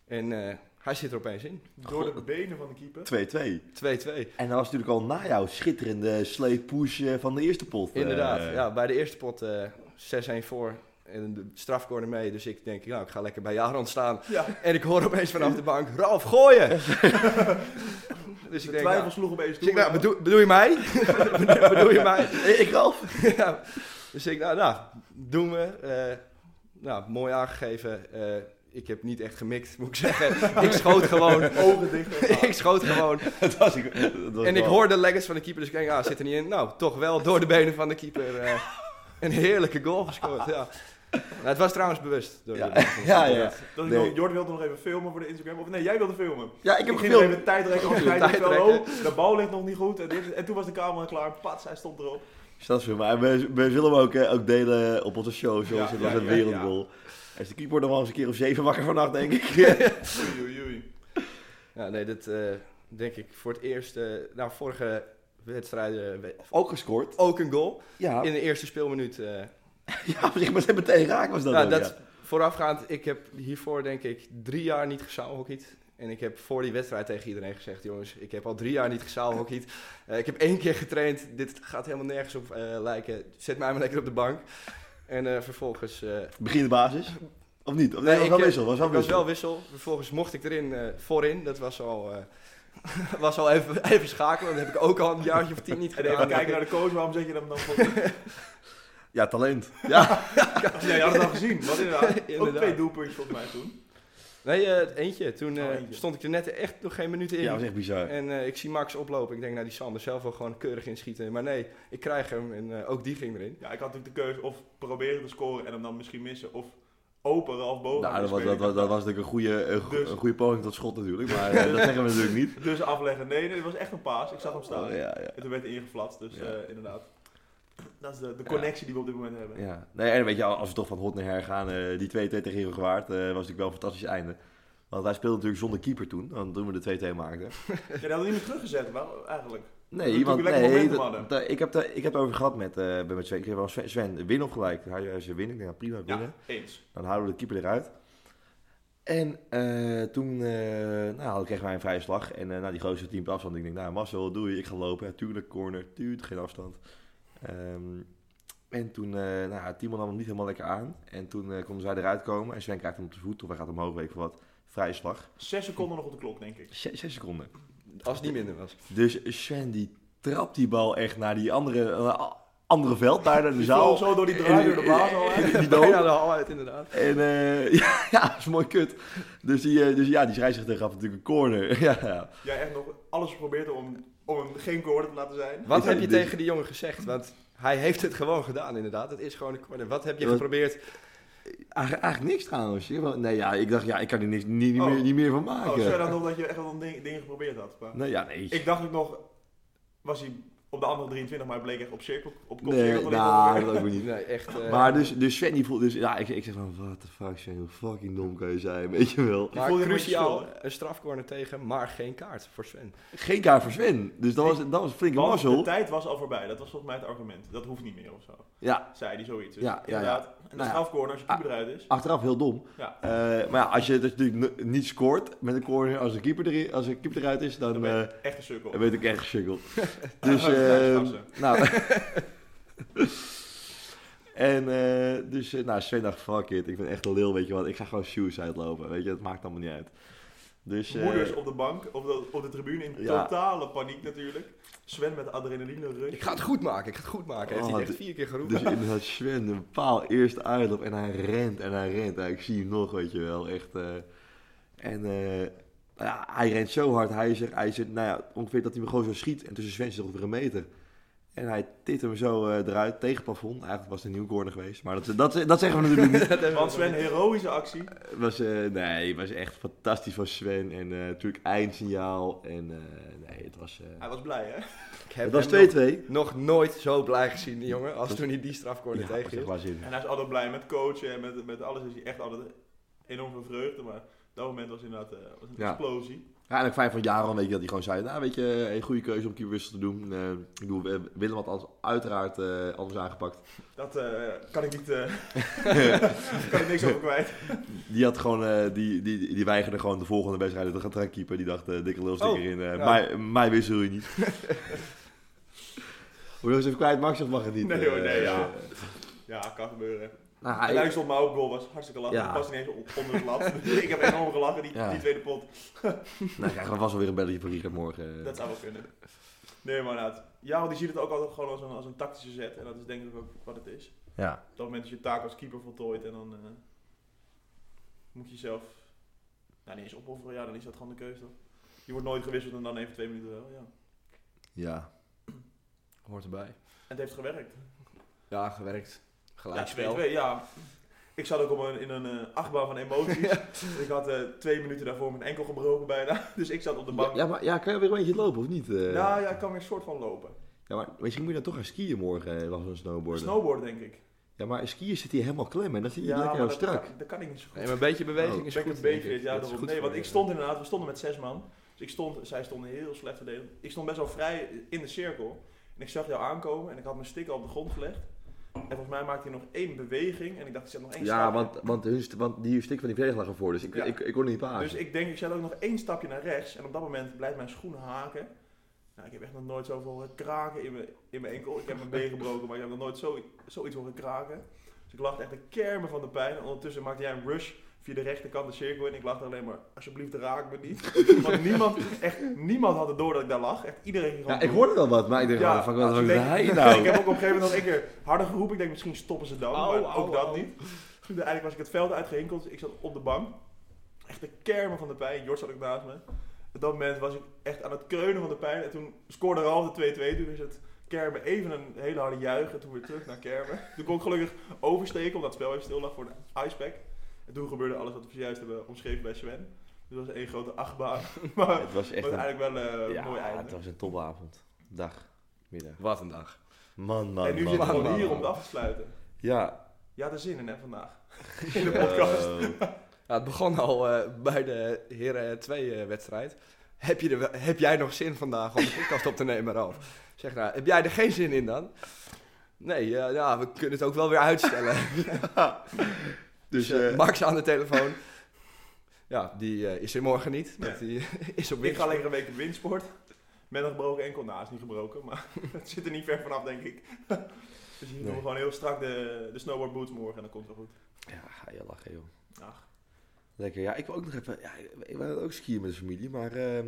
Speaker 5: En eh, hij zit er opeens in.
Speaker 4: Door de benen van de keeper.
Speaker 3: 2-2.
Speaker 5: 2-2.
Speaker 3: En dat was natuurlijk al na jouw schitterende sleeppush eh, van de eerste pot. eh.
Speaker 5: Inderdaad, ja, bij de eerste pot eh 6-1 voor en de strafcorner mee. Dus ik denk, nou, ik ga lekker bij Jaron staan.
Speaker 4: Ja.
Speaker 5: En ik hoor opeens vanaf de bank, Ralf, gooien! dus
Speaker 4: De
Speaker 5: ik denk,
Speaker 4: twijfel
Speaker 5: nou,
Speaker 4: sloeg opeens
Speaker 5: dus
Speaker 4: toe.
Speaker 5: ik, nou, bedoel, bedoel je mij? bedoel, bedoel je mij?
Speaker 3: Ik Ralf?
Speaker 5: ja. Dus ik, nou, nou, doen we. Eh, nou, mooi aangegeven. Eh, ik heb niet echt gemikt, moet ik zeggen. ik schoot gewoon.
Speaker 4: Ogen dicht.
Speaker 5: ik schoot gewoon.
Speaker 3: dat was ik. dat was
Speaker 5: En ik
Speaker 3: wel-
Speaker 5: hoor de leggings van de keeper, dus ik denk, ah, zit er niet in. Nou, toch wel door de benen van de keeper. eh, een heerlijke goal gescoord, ja. Nou, het was trouwens bewust. Door de
Speaker 3: Ja,
Speaker 5: benen van de
Speaker 3: ja,
Speaker 5: keeper.
Speaker 3: ja.
Speaker 4: Dat ik
Speaker 3: Nee.
Speaker 4: nog- Jord wilde nog even filmen voor de Instagram. Of nee, jij wilde filmen.
Speaker 3: Ja, ik heb
Speaker 4: Ik ging nog
Speaker 3: gefilmd.
Speaker 4: even tijd rekken.
Speaker 5: Ja,
Speaker 4: Tijd
Speaker 5: tijd
Speaker 4: rekken. De bal ligt nog niet goed. En, dit- en toen was de camera klaar. Pats, hij stond erop.
Speaker 3: Dus dat is weer- maar we, we zullen hem ook, eh, ook delen op onze socials.
Speaker 4: Ja,
Speaker 3: het
Speaker 4: ja,
Speaker 3: was een
Speaker 4: ja,
Speaker 3: wereldgoal. Hij is de keeper nog wel eens een keer of zeven wakker vannacht, denk ik.
Speaker 4: Oei, oei, oei.
Speaker 5: Ja, nee, dat eh, denk ik voor het eerst. eh, nou, vorige wedstrijden we-
Speaker 3: Ook gescoord.
Speaker 5: ook een goal.
Speaker 3: Ja,
Speaker 5: In de eerste speelminuut. eh,
Speaker 3: ja op zich, maar ze meteen raak was dat
Speaker 5: nou,
Speaker 3: ook,
Speaker 5: dat
Speaker 3: ja.
Speaker 5: Voorafgaand, ik heb hiervoor denk ik drie jaar niet gezaalhockeyd. En ik heb voor die wedstrijd tegen iedereen gezegd, jongens, ik heb al drie jaar niet gezaalhockeyd. Eh, ik heb één keer getraind, dit gaat helemaal nergens op eh, lijken. Zet mij maar lekker op de bank. En eh, vervolgens... eh,
Speaker 3: Begin de basis. Of niet? Of, nee, was wel
Speaker 5: ik, eh,
Speaker 3: wissel. Was wel
Speaker 5: ik was
Speaker 3: wissel.
Speaker 5: wel wissel. Vervolgens mocht ik erin eh, voorin. Dat was al, eh, was al even, even schakelen. Dat heb ik ook al een jaartje of tien niet
Speaker 4: En
Speaker 5: gedaan.
Speaker 4: even kijken naar de coach. Waarom zet je hem dan voor?
Speaker 3: Ja, talent. Ja.
Speaker 4: Ja, je had het al gezien. Wat inderdaad. Ook
Speaker 5: Inderdaad.
Speaker 4: twee doelpuntjes volgens mij toen.
Speaker 5: Nee, eh, eentje. Toen eh,
Speaker 4: Oh, eentje.
Speaker 5: stond ik er net echt nog geen minuut in.
Speaker 3: ja, was echt bizar.
Speaker 5: En eh, ik zie Max oplopen. Ik denk, nou, die Sander zelf wil gewoon keurig inschieten. Maar nee, ik krijg hem en eh, ook die ging erin.
Speaker 4: Ja, ik had natuurlijk de keuze of proberen te scoren en hem dan misschien missen. Of open Ralf boven.
Speaker 3: Nou, dat was, dat, was- dat was natuurlijk een goede, een, go-
Speaker 4: Dus-
Speaker 3: een goede poging tot schot natuurlijk. Maar eh, dat zeggen we natuurlijk niet.
Speaker 4: Dus afleggen. Nee, nee, het was echt een paas. Ik zag hem staan.
Speaker 3: Oh, ja, ja.
Speaker 4: En toen werd hij ingeflatst. Dus
Speaker 3: Ja.
Speaker 4: eh, inderdaad. Dat is de, de connectie die we op dit moment hebben.
Speaker 3: Ja, nee, en weet je, als we toch van hot naar her gaan, eh, die 2-2 tegen Heerlijk Gewaard, eh, was natuurlijk wel een fantastisch einde. Want wij speelden natuurlijk zonder keeper toen, want toen we de 2-2 maakten.
Speaker 4: Ja, die hadden we niet meer teruggezet, wel, eigenlijk.
Speaker 3: Nee,
Speaker 4: Toen
Speaker 3: iemand,
Speaker 4: we lekker
Speaker 3: nee
Speaker 4: momentum
Speaker 3: dat-
Speaker 4: hadden.
Speaker 3: dat- ik, heb daar- ik heb het over gehad met, eh, bij met Sven. Ik heb wel Sven, Sven, win of gelijk. Hij hij zei win, ik denk, nou, prima,
Speaker 4: Ja,
Speaker 3: winnen.
Speaker 4: eens.
Speaker 3: Dan houden we de keeper eruit. En eh, toen eh nou, kregen wij een vrije slag. En eh nou, die gozer team op afstand. Ik denk, nou Marcel, doe je. Ik ga lopen. Ja, tuurlijk, corner. Tuurt, geen afstand. Ehm, en toen, eh nou, ja, Timon nam hem niet helemaal lekker aan. En toen eh, konden zij eruit komen. En Sven krijgt hem op de voet. Of hij gaat omhoog, weet ik veel wat. Vrije slag.
Speaker 4: Zes seconden nog op de klok, denk ik.
Speaker 3: Zes, zes seconden.
Speaker 5: Als het niet minder was.
Speaker 3: Dus Sven die trapt die bal echt naar die andere, eh, andere veld. Daar naar de
Speaker 4: Die
Speaker 3: zaal.
Speaker 4: vloog zo door die draai, door de baas al heen.
Speaker 3: Die dood.
Speaker 5: Bijna de hal uit, inderdaad.
Speaker 3: En eh, ja, ja, dat is mooi kut. Dus, die, eh, dus ja, die scheidsrechter gaf natuurlijk een corner. Ja, ja.
Speaker 4: Jij echt nog alles geprobeerd om, om hem geen koorden te laten zijn.
Speaker 5: Wat
Speaker 3: Ik-
Speaker 5: heb je
Speaker 3: dus-
Speaker 5: tegen die jongen gezegd? Want hij heeft het gewoon gedaan, inderdaad. Het is gewoon een corner. Wat heb je
Speaker 3: Wat-
Speaker 5: geprobeerd?
Speaker 3: Eigen- eigenlijk niks trouwens. Nee, ja, ik dacht, ja, ik kan er niks, niet, niet,
Speaker 4: Oh.
Speaker 3: meer, niet meer van maken.
Speaker 4: Oh, zei dan nog dat je echt wel ding, dingen geprobeerd had. maar-
Speaker 3: nee, ja, nee.
Speaker 4: Ik dacht ook nog, was hij op de andere 23, maar hij bleek echt op cirkel. Op kop
Speaker 3: Nee,
Speaker 4: cirkel.
Speaker 3: nou, dat ook weer niet.
Speaker 5: Nee, echt. eh,
Speaker 3: Maar dus, dus Sven die voelt, dus ja, ik, ik zeg van, what the fuck Sven, hoe fucking dom kan je zijn, weet je wel.
Speaker 5: maar
Speaker 4: voelde je
Speaker 5: cruciaal,
Speaker 4: gewoon je
Speaker 5: een strafcorner tegen, maar geen kaart voor Sven.
Speaker 3: Geen kaart voor Sven, dus dat was, dat was een flinke
Speaker 4: Want de
Speaker 3: mazzel.
Speaker 4: tijd was al voorbij. Dat was volgens mij het argument. Dat hoeft niet meer of zo.
Speaker 3: Ja,
Speaker 4: Zei die zoiets. Dus
Speaker 3: Ja, ja, ja.
Speaker 4: inderdaad. En
Speaker 3: ja.
Speaker 4: de
Speaker 3: Ah.
Speaker 4: strafcorner, als je keeper eruit is.
Speaker 3: achteraf heel dom.
Speaker 4: Ja.
Speaker 3: Eh, maar ja, als je dus natuurlijk n- niet scoort met een corner, als de keeper, erin, als de keeper eruit is, dan...
Speaker 4: Dan
Speaker 3: eh,
Speaker 4: ben je echt een cirkel.
Speaker 3: Dat weet ik echt geschikkeld. dus,
Speaker 4: Ja,
Speaker 3: ehm,
Speaker 4: gasten.
Speaker 3: nou. en, eh, dus, eh, nou, Sven dacht, fuck it, ik ben echt een lul, weet je wat. Ik ga gewoon shoes uitlopen, weet je, dat maakt allemaal niet uit. Dus, eh,
Speaker 4: Moeders op de bank, op de, op de tribune in
Speaker 3: Ja.
Speaker 4: totale paniek natuurlijk. Sven met adrenaline
Speaker 5: Ik ga het goed maken, ik ga het goed maken. Heeft
Speaker 3: Oh,
Speaker 5: hij echt
Speaker 3: dit-
Speaker 5: vier keer geroepen.
Speaker 3: dus inderdaad, Sven een paal eerst uitloopt en hij rent en hij rent. Ja, ik zie hem nog, weet je wel, echt. eh, en eh, ja, hij rent zo hard, hij zegt, hij zegt, nou ja, ongeveer dat hij me gewoon zo schiet. En tussen Sven zit ongeveer een meter. En hij tikt hem zo eh, eruit, tegen het plafond. Eigenlijk was het een nieuw corner geweest, maar dat, dat, dat zeggen we natuurlijk niet.
Speaker 5: Dat hebben we
Speaker 4: Want
Speaker 5: nog
Speaker 4: Sven, heroïsche actie.
Speaker 3: Het was, eh, nee, het was echt fantastisch van Sven. En eh, natuurlijk eindsignaal. En eh, nee, het was... eh,
Speaker 4: Hij was blij, hè?
Speaker 5: niet. Ik
Speaker 3: het
Speaker 5: heb
Speaker 3: was 2-2.
Speaker 5: hem nog, nog nooit zo blij gezien, die jongen, als
Speaker 3: Dat-
Speaker 5: toen hij die strafcorner
Speaker 3: Ja,
Speaker 5: tegen
Speaker 3: was echt
Speaker 5: hield.
Speaker 3: waanzinnig.
Speaker 4: En hij is altijd blij met coachen en met, met alles. Is hij echt altijd enorm veel vreugde. Maar op dat moment was inderdaad eh, was een
Speaker 3: Ja.
Speaker 4: explosie.
Speaker 3: Ja, en ook fijn van Jaron, weet je, dat hij gewoon zei, nou weet je, een goede keuze om keeperwissel te doen. Eh, ik bedoel, eh, Willem had alles uiteraard eh, anders aangepakt.
Speaker 4: Dat eh, kan ik niet. eh kan ik niks over kwijt.
Speaker 3: Die had gewoon, eh, die, die, die weigerde gewoon de volgende wedstrijd te gaan gaan keeper. Die dacht, eh, dikke lulstik
Speaker 5: Oh,
Speaker 3: erin, eh,
Speaker 5: ja.
Speaker 3: mij, mij wissel je niet. Moet je nog eens even kwijt, Max, of mag het niet?
Speaker 4: Nee, hoor, nee,
Speaker 3: Eh,
Speaker 4: ja.
Speaker 3: eh,
Speaker 4: Ja, kan gebeuren.
Speaker 3: nou,
Speaker 4: En
Speaker 3: hij-
Speaker 4: hij stond maar op goal, was hartstikke lachen.
Speaker 3: Ja.
Speaker 4: Ja. past niet eens op- onder het lat. Dus ik heb enorm gelachen, die,
Speaker 3: Ja.
Speaker 4: die tweede pot.
Speaker 3: nou, krijgen we vast wel weer een belletje van Richard morgen. eh.
Speaker 4: Dat zou wel kunnen. Nee, maar inderdaad. Ja, want die ziet het ook altijd gewoon als een, als een tactische zet. En dat is denk ik ook wat het is.
Speaker 3: Ja.
Speaker 4: Op dat moment is je taak als keeper voltooid en dan eh, moet je jezelf nou, niet eens opofferen. Ja, dan is dat gewoon de keuze toch? Je wordt nooit gewisseld en dan even twee minuten wel. Ja.
Speaker 3: Ja.
Speaker 5: Hoort erbij.
Speaker 4: En het heeft gewerkt.
Speaker 5: Ja, gewerkt.
Speaker 4: Ja,
Speaker 5: Gelijkspel.
Speaker 4: 2-2, ja. Ik zat ook op een, in een eh, achtbaan van emoties. Ik had eh, twee minuten daarvoor mijn enkel gebroken bijna. Dus ik zat op de bank.
Speaker 3: Ja, maar, ja, kan je weer een beetje lopen of niet? Eh,
Speaker 4: Nou ja, ik kan weer een soort van lopen.
Speaker 3: ja, maar misschien moet je dan toch gaan skiën morgen, eh, was een snowboarden.
Speaker 4: Snowboarden denk ik.
Speaker 3: Ja, maar skiën zit hier helemaal klem en dan zit je
Speaker 4: ja,
Speaker 3: lekker
Speaker 4: maar
Speaker 3: heel
Speaker 4: dat,
Speaker 3: strak.
Speaker 4: Kan, dat kan ik niet zo goed.
Speaker 5: Nee, maar een beetje beweging
Speaker 3: Oh,
Speaker 5: is
Speaker 4: Ik ben
Speaker 5: goed.
Speaker 4: een
Speaker 5: denk
Speaker 4: beetje,
Speaker 5: ik.
Speaker 4: ja,
Speaker 5: Dat is
Speaker 4: daarom.
Speaker 5: goed
Speaker 4: Nee,
Speaker 5: voor
Speaker 4: want
Speaker 5: je.
Speaker 4: ik stond inderdaad, we stonden met zes man. Dus ik stond, zij stonden heel slecht verdedigd. Ik stond best wel vrij in de cirkel. En ik zag jou aankomen en ik had mijn stick al op de grond gelegd. En volgens mij maakte hij nog één beweging en ik dacht, ik zet nog één
Speaker 3: Ja,
Speaker 4: stapje.
Speaker 3: want, want, hun, st- want die stik van die verdediging lag ervoor, dus ik,
Speaker 4: Ja.
Speaker 3: ik, ik kon niet paas.
Speaker 4: Dus ik denk, ik zet ook nog één stapje naar rechts. En op dat moment blijft mijn schoen haken. Nou, ik heb echt nog nooit zoveel horen kraken in mijn, in mijn enkel. Ik heb mijn been gebroken, maar ik heb nog nooit zo, zoiets horen kraken. Dus ik lag echt de kermen van de pijn. En ondertussen maakte jij een rush via de rechterkant de cirkel. En ik lag daar alleen maar, alsjeblieft raak me niet. Want niemand, echt niemand had het door dat ik daar lag. Echt iedereen ging gewoon
Speaker 3: ja, ik
Speaker 4: door.
Speaker 3: hoorde wel wat, maar ik dacht,
Speaker 4: Ja,
Speaker 3: ja, fuck, wat
Speaker 4: als
Speaker 3: wat
Speaker 4: je
Speaker 3: deed
Speaker 4: denkt-
Speaker 3: hij
Speaker 4: Ik
Speaker 3: nou?
Speaker 4: heb ook op een gegeven moment nog een keer harder geroepen. Ik denk, misschien stoppen ze dan,
Speaker 5: Au,
Speaker 4: maar
Speaker 5: au,
Speaker 4: ook dat
Speaker 5: au.
Speaker 4: niet. Dus Eigenlijk was ik het veld uitgehinkeld. Ik zat op de bank. Echt de kermen van de pijn. Jort zat ook naast me. Op dat moment was ik echt aan het kreunen van de pijn. En toen scoorde Ralf de 2-2. Toen is het Kermen even een hele harde juichen. Toen weer terug naar Kermen. Toen kon ik gelukkig oversteken, omdat het spel even stil lag voor een icepack. En toen gebeurde alles wat we zojuist hebben omschreven bij Sven. Dus dat was één grote achtbaan. Maar
Speaker 3: Het was
Speaker 4: het
Speaker 3: echt
Speaker 4: was
Speaker 3: een,
Speaker 4: eigenlijk wel eh, een mooi
Speaker 3: ja,
Speaker 4: einde.
Speaker 3: het was een topavond. Dag, middag.
Speaker 5: Wat een dag.
Speaker 3: Man,
Speaker 5: Oh,
Speaker 3: man,
Speaker 4: En nu
Speaker 3: man,
Speaker 4: zitten we
Speaker 3: man,
Speaker 4: gewoon hier
Speaker 3: man.
Speaker 4: om het af te sluiten.
Speaker 3: Ja.
Speaker 4: Je had er zin in, hè, vandaag. In de podcast.
Speaker 3: Eh,
Speaker 5: Ja, het begon al eh, bij de Heren 2-wedstrijd. heb, je er wel- heb jij nog zin vandaag om de podcast op te nemen, Ralf? Zeg nou, heb jij er geen zin in dan? Nee, eh, ja, we kunnen het ook wel weer uitstellen.
Speaker 3: Dus,
Speaker 5: Dus, eh,
Speaker 3: eh,
Speaker 5: Max aan de telefoon. Ja, die eh, is er morgen niet.
Speaker 4: Nee.
Speaker 5: want Die is op
Speaker 4: ik ga
Speaker 5: winst.
Speaker 4: lekker een week op windsport. Met een gebroken enkel. Nou, is niet gebroken, maar het zit er niet ver vanaf, denk ik. Dus hier doen we gewoon heel strak de, de snowboard boots morgen en dan komt het wel goed.
Speaker 3: ja, ga je lachen, joh.
Speaker 4: Ach,
Speaker 3: Lekker, ja. Ik wil ook nog even... Ja, ik wil ook skiën met de familie, maar... eh, het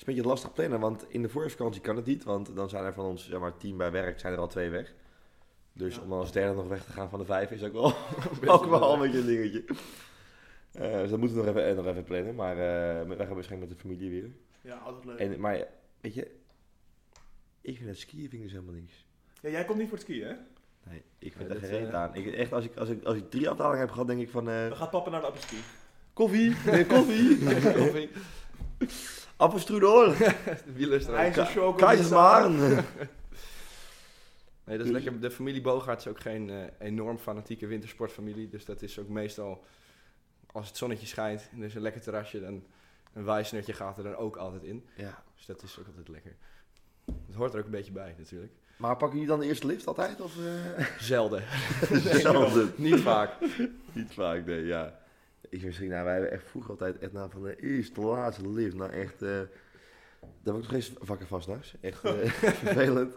Speaker 3: is een beetje lastig plannen, want in de voorvakantie kan het niet. Want dan zijn er van ons, zeg maar, team bij werk, zijn er al twee weg. Dus
Speaker 4: Ja.
Speaker 3: om dan als derde nog weg te gaan van de vijf is ook wel, ook wel een beetje een dingetje. Eh, dus dat moeten we nog even, eh, nog even plannen. Maar eh, wij gaan waarschijnlijk met de familie weer.
Speaker 4: ja, altijd leuk.
Speaker 3: En, maar ja, weet je, ik vind het skiën vind ik dus helemaal niks.
Speaker 4: Ja, jij komt niet voor het skiën, hè?
Speaker 3: Nee, ik
Speaker 5: Nee,
Speaker 3: vind er
Speaker 5: dat,
Speaker 3: geen reet
Speaker 5: eh,
Speaker 3: aan. Ik, echt, als ik, als, ik, als ik drie afdalingen heb gehad, denk ik van... eh,
Speaker 4: Dan gaat papa naar de appetit.
Speaker 3: koffie, nee, koffie.
Speaker 5: Koffie.
Speaker 3: Appelstruudel.
Speaker 5: Wielerstraat.
Speaker 4: IJzerschok.
Speaker 3: Keizersmaren.
Speaker 5: Nee, dat is lekker. De familie Bogaert is ook geen eh, enorm fanatieke wintersportfamilie. Dus dat is ook meestal, als het zonnetje schijnt en er is een lekker terrasje, dan een wijsnutje gaat er dan ook altijd in.
Speaker 3: Ja.
Speaker 5: Dus dat is ook altijd lekker. Dat hoort er ook een beetje bij natuurlijk.
Speaker 3: Maar pakken jullie dan de eerste lift altijd? Of, eh?
Speaker 5: Zelden.
Speaker 3: Zelden.
Speaker 5: Niet vaak.
Speaker 3: Niet vaak, nee, ja. Ik misschien, nou, wij hebben echt vroeger altijd echt na van de eerste laatste lift. Nou, echt, eh, daar word ik nog eens wakker van s'nachts. Echt eh, vervelend.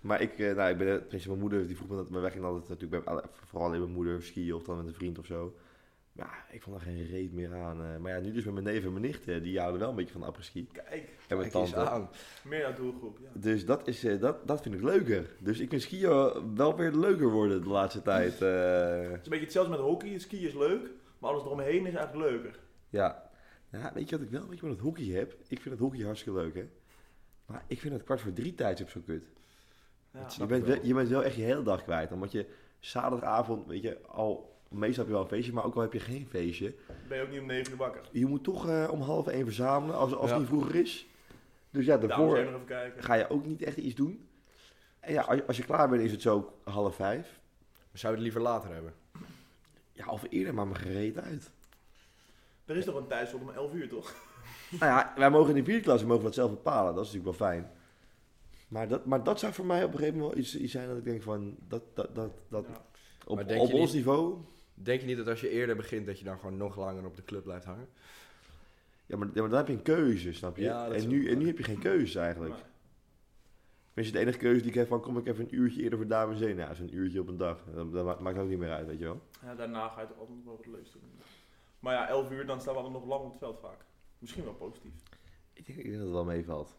Speaker 3: Maar ik, eh, nou, ik ben, eh, tenminste, mijn moeder die vroeg me dat, maar wij gingen altijd natuurlijk bij, alle- vooral in mijn moeder skiën of dan met een vriend of zo. Maar ja, ik vond er geen reet meer aan. eh. maar ja, nu dus met mijn neef en mijn nicht, eh, die houden wel een beetje van apres-ski.
Speaker 4: Kijk,
Speaker 3: En mijn
Speaker 5: Kijk eens
Speaker 3: tante.
Speaker 5: aan.
Speaker 4: meer jouw doelgroep. Ja.
Speaker 3: Dus dat, is, eh, dat, dat vind ik leuker. Dus ik vind skiën wel- wel weer leuker worden de laatste tijd. eh.
Speaker 4: Het is een beetje hetzelfde met hockey. Ski is leuk, maar alles eromheen is eigenlijk leuker.
Speaker 3: Ja. ja. Weet je wat ik wel een beetje met het hockey heb? Ik vind het hockey hartstikke leuk, hè? Maar ik vind het kwart voor drie tijdstip zo kut.
Speaker 4: Ja.
Speaker 3: Je
Speaker 5: Snap
Speaker 3: bent,
Speaker 5: ik wel.
Speaker 3: wel, je bent wel echt je hele dag kwijt. Omdat je zaterdagavond, weet je, al... Meestal heb je wel een feestje, maar ook al heb je geen feestje.
Speaker 4: Ben je ook niet om 9 uur wakker.
Speaker 3: Je moet toch eh, om half één verzamelen, als, als
Speaker 5: Ja.
Speaker 3: het niet vroeger is. Dus ja,
Speaker 4: Daarom zijn Nou, we
Speaker 3: daarvoor
Speaker 4: nog even kijken.
Speaker 3: ga je ook niet echt iets doen. En ja, als, als je klaar bent is het zo half vijf.
Speaker 5: Zou je het liever later hebben?
Speaker 3: Ja, of eerder, maar mijn gereed uit.
Speaker 4: Er is nog een tijdstop om 11 uur, toch?
Speaker 3: Nou ja, wij mogen in de vierde klas, we mogen dat zelf bepalen. Dat is natuurlijk wel fijn. Maar dat, maar dat zou voor mij op een gegeven moment wel iets, iets zijn dat ik denk van, dat, dat, dat, dat
Speaker 4: Ja.
Speaker 3: op,
Speaker 5: Maar denk
Speaker 3: op
Speaker 5: je
Speaker 3: ons niveau.
Speaker 5: Denk je niet dat als je eerder begint, dat je dan gewoon nog langer op de club blijft hangen?
Speaker 3: Ja maar, ja, maar dan heb je een keuze, snap je?
Speaker 5: Ja, dat is
Speaker 3: en,
Speaker 5: ook
Speaker 3: nu,
Speaker 5: waar.
Speaker 3: en nu heb je geen keuze eigenlijk.
Speaker 4: Maar-
Speaker 3: Tenminste, de enige keuze die ik heb van, kom ik even een uurtje eerder voor dames heen. Nou, zo'n uurtje op een dag. Dat, dat ma- maakt ook niet meer uit, weet je wel.
Speaker 4: Ja, daarna ga je toch altijd nog wel wat leuks doen. Maar ja, 11 uur, dan staan we allemaal nog lang op het veld vaak. Misschien wel positief.
Speaker 3: Ik denk, ik denk dat het wel meevalt.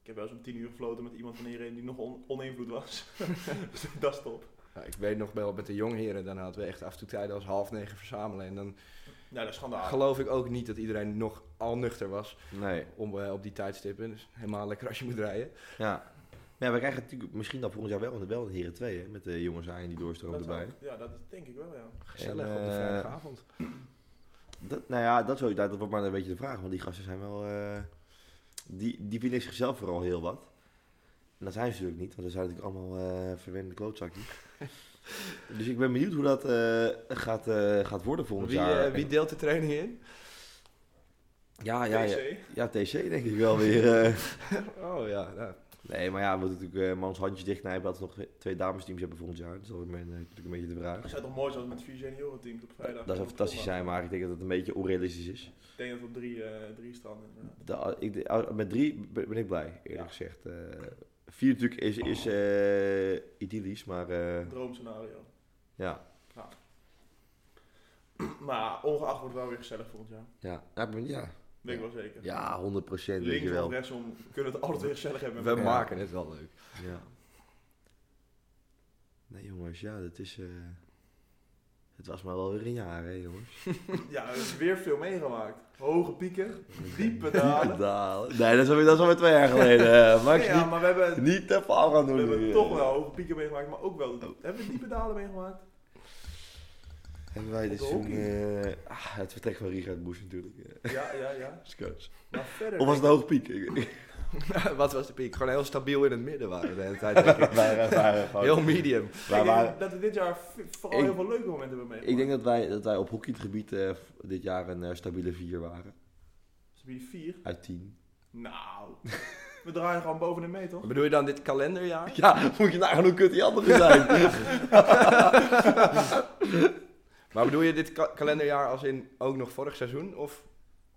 Speaker 4: Ik heb wel eens om 10 uur gefloten met iemand van iedereen die nog on oneenvloed was. Dus dat is top.
Speaker 5: Nou, ik weet nog wel met de jongheren, dan hadden we echt af en toe tijden als half negen verzamelen. En dan
Speaker 4: Ja, dat is schandaal.
Speaker 5: geloof ik ook niet dat iedereen nog al nuchter was.
Speaker 3: Nee,
Speaker 5: om, eh, op die tijdstippen. Dus helemaal lekker als je moet rijden.
Speaker 3: ja. Maar ja, we krijgen natuurlijk misschien dan volgend jaar wel, wel een heren 2, hè? Met de jongens aan die doorstroom
Speaker 4: Dat
Speaker 3: erbij.
Speaker 4: zou- Ja, dat is- denk ik wel, ja.
Speaker 5: Gezellig
Speaker 3: En,
Speaker 5: op de
Speaker 3: eh,
Speaker 5: vrijdagavond.
Speaker 3: Dat, nou ja, dat, zou, dat wordt maar een beetje de vraag. Want die gasten zijn wel... eh, die, die vinden zichzelf vooral heel wat. En dat zijn ze natuurlijk niet. Want ze zijn natuurlijk allemaal eh verwende klootzakjes. dus ik ben benieuwd hoe dat eh, gaat, eh, gaat worden volgend
Speaker 5: Wie,
Speaker 3: jaar.
Speaker 5: eh, wie deelt de training in?
Speaker 3: ja, ja, ja,
Speaker 4: TC.
Speaker 3: ja, TC denk ik wel weer. eh.
Speaker 5: Oh ja, nou,
Speaker 3: Nee, maar ja, we moeten natuurlijk eh, maar ons handjes dichtknijpen. Dat we nog twee damesteams hebben volgend jaar. Dat is altijd mijn, eh, natuurlijk een beetje de vraag.
Speaker 4: Het zou toch mooi zijn met vier seniorenteams op vrijdag.
Speaker 3: Dat zou fantastisch zijn, maar ik denk dat het een beetje onrealistisch is.
Speaker 4: Ik denk dat we op drie, eh, drie stranden inderdaad.
Speaker 3: Da- ik, de- ah, met drie ben ben ik blij, eerlijk
Speaker 4: Ja.
Speaker 3: gezegd. Eh, vier natuurlijk is, is eh, idyllisch, maar eh,
Speaker 4: Droomscenario.
Speaker 3: ja.
Speaker 4: Maar ja, ongeacht wordt het wel weer gezellig volgend jaar.
Speaker 3: Ja, ja, ik ben- ja.
Speaker 4: Weet ik wel zeker.
Speaker 3: ja 100 procent, weet je
Speaker 4: Links of
Speaker 3: wel.
Speaker 4: rechtsom kunnen we het altijd weer gezellig hebben.
Speaker 5: we
Speaker 4: met elkaar.
Speaker 5: maken het wel leuk.
Speaker 3: Ja. Nee jongens, ja, dat is... eh, het was maar wel weer een jaar, hè jongens.
Speaker 4: Ja, er is weer veel meegemaakt. Hoge pieken, diepe dalen.
Speaker 3: Dalen. Nee, dat is alweer, dat is alweer twee jaar geleden. eh, Max,
Speaker 4: Nee, ja, maar we hebben
Speaker 3: niet, niet even af gaan
Speaker 4: We
Speaker 3: doen. nu,
Speaker 4: hebben
Speaker 3: eh. Oh.
Speaker 4: toch wel hoge pieken meegemaakt, maar ook wel. Hebben we diepe dalen meegemaakt?
Speaker 3: Hebben wij dit
Speaker 4: Op de
Speaker 3: seizoen...
Speaker 4: hockey.
Speaker 3: eh, ah, het vertrek van Richard Boes natuurlijk. eh,
Speaker 4: Ja, ja, ja.
Speaker 3: als coach.
Speaker 4: Maar verder.
Speaker 3: Of was het een hoog piek? Ik-
Speaker 5: Wat was de piek? Gewoon heel stabiel in het midden waren we de hele tijd. denk ik.
Speaker 3: Wij waren gewoon-
Speaker 5: heel medium.
Speaker 3: wij
Speaker 4: ik
Speaker 3: waren-
Speaker 4: denk dat we dit jaar v- vooral
Speaker 3: Ik-
Speaker 4: heel veel leuke momenten hebben meegemaakt.
Speaker 3: Ik denk dat wij, dat wij op hockeygebied eh, v- dit jaar een eh, stabiele 4 waren.
Speaker 4: Dus wie vier?
Speaker 3: Uit 10.
Speaker 4: Nou, we draaien gewoon bovenin mee, toch?
Speaker 5: Bedoel je dan dit kalenderjaar?
Speaker 3: Ja, moet je nagaan hoe kut die anderen zijn.
Speaker 5: Maar bedoel je dit ka- kalenderjaar als in ook nog vorig seizoen? Of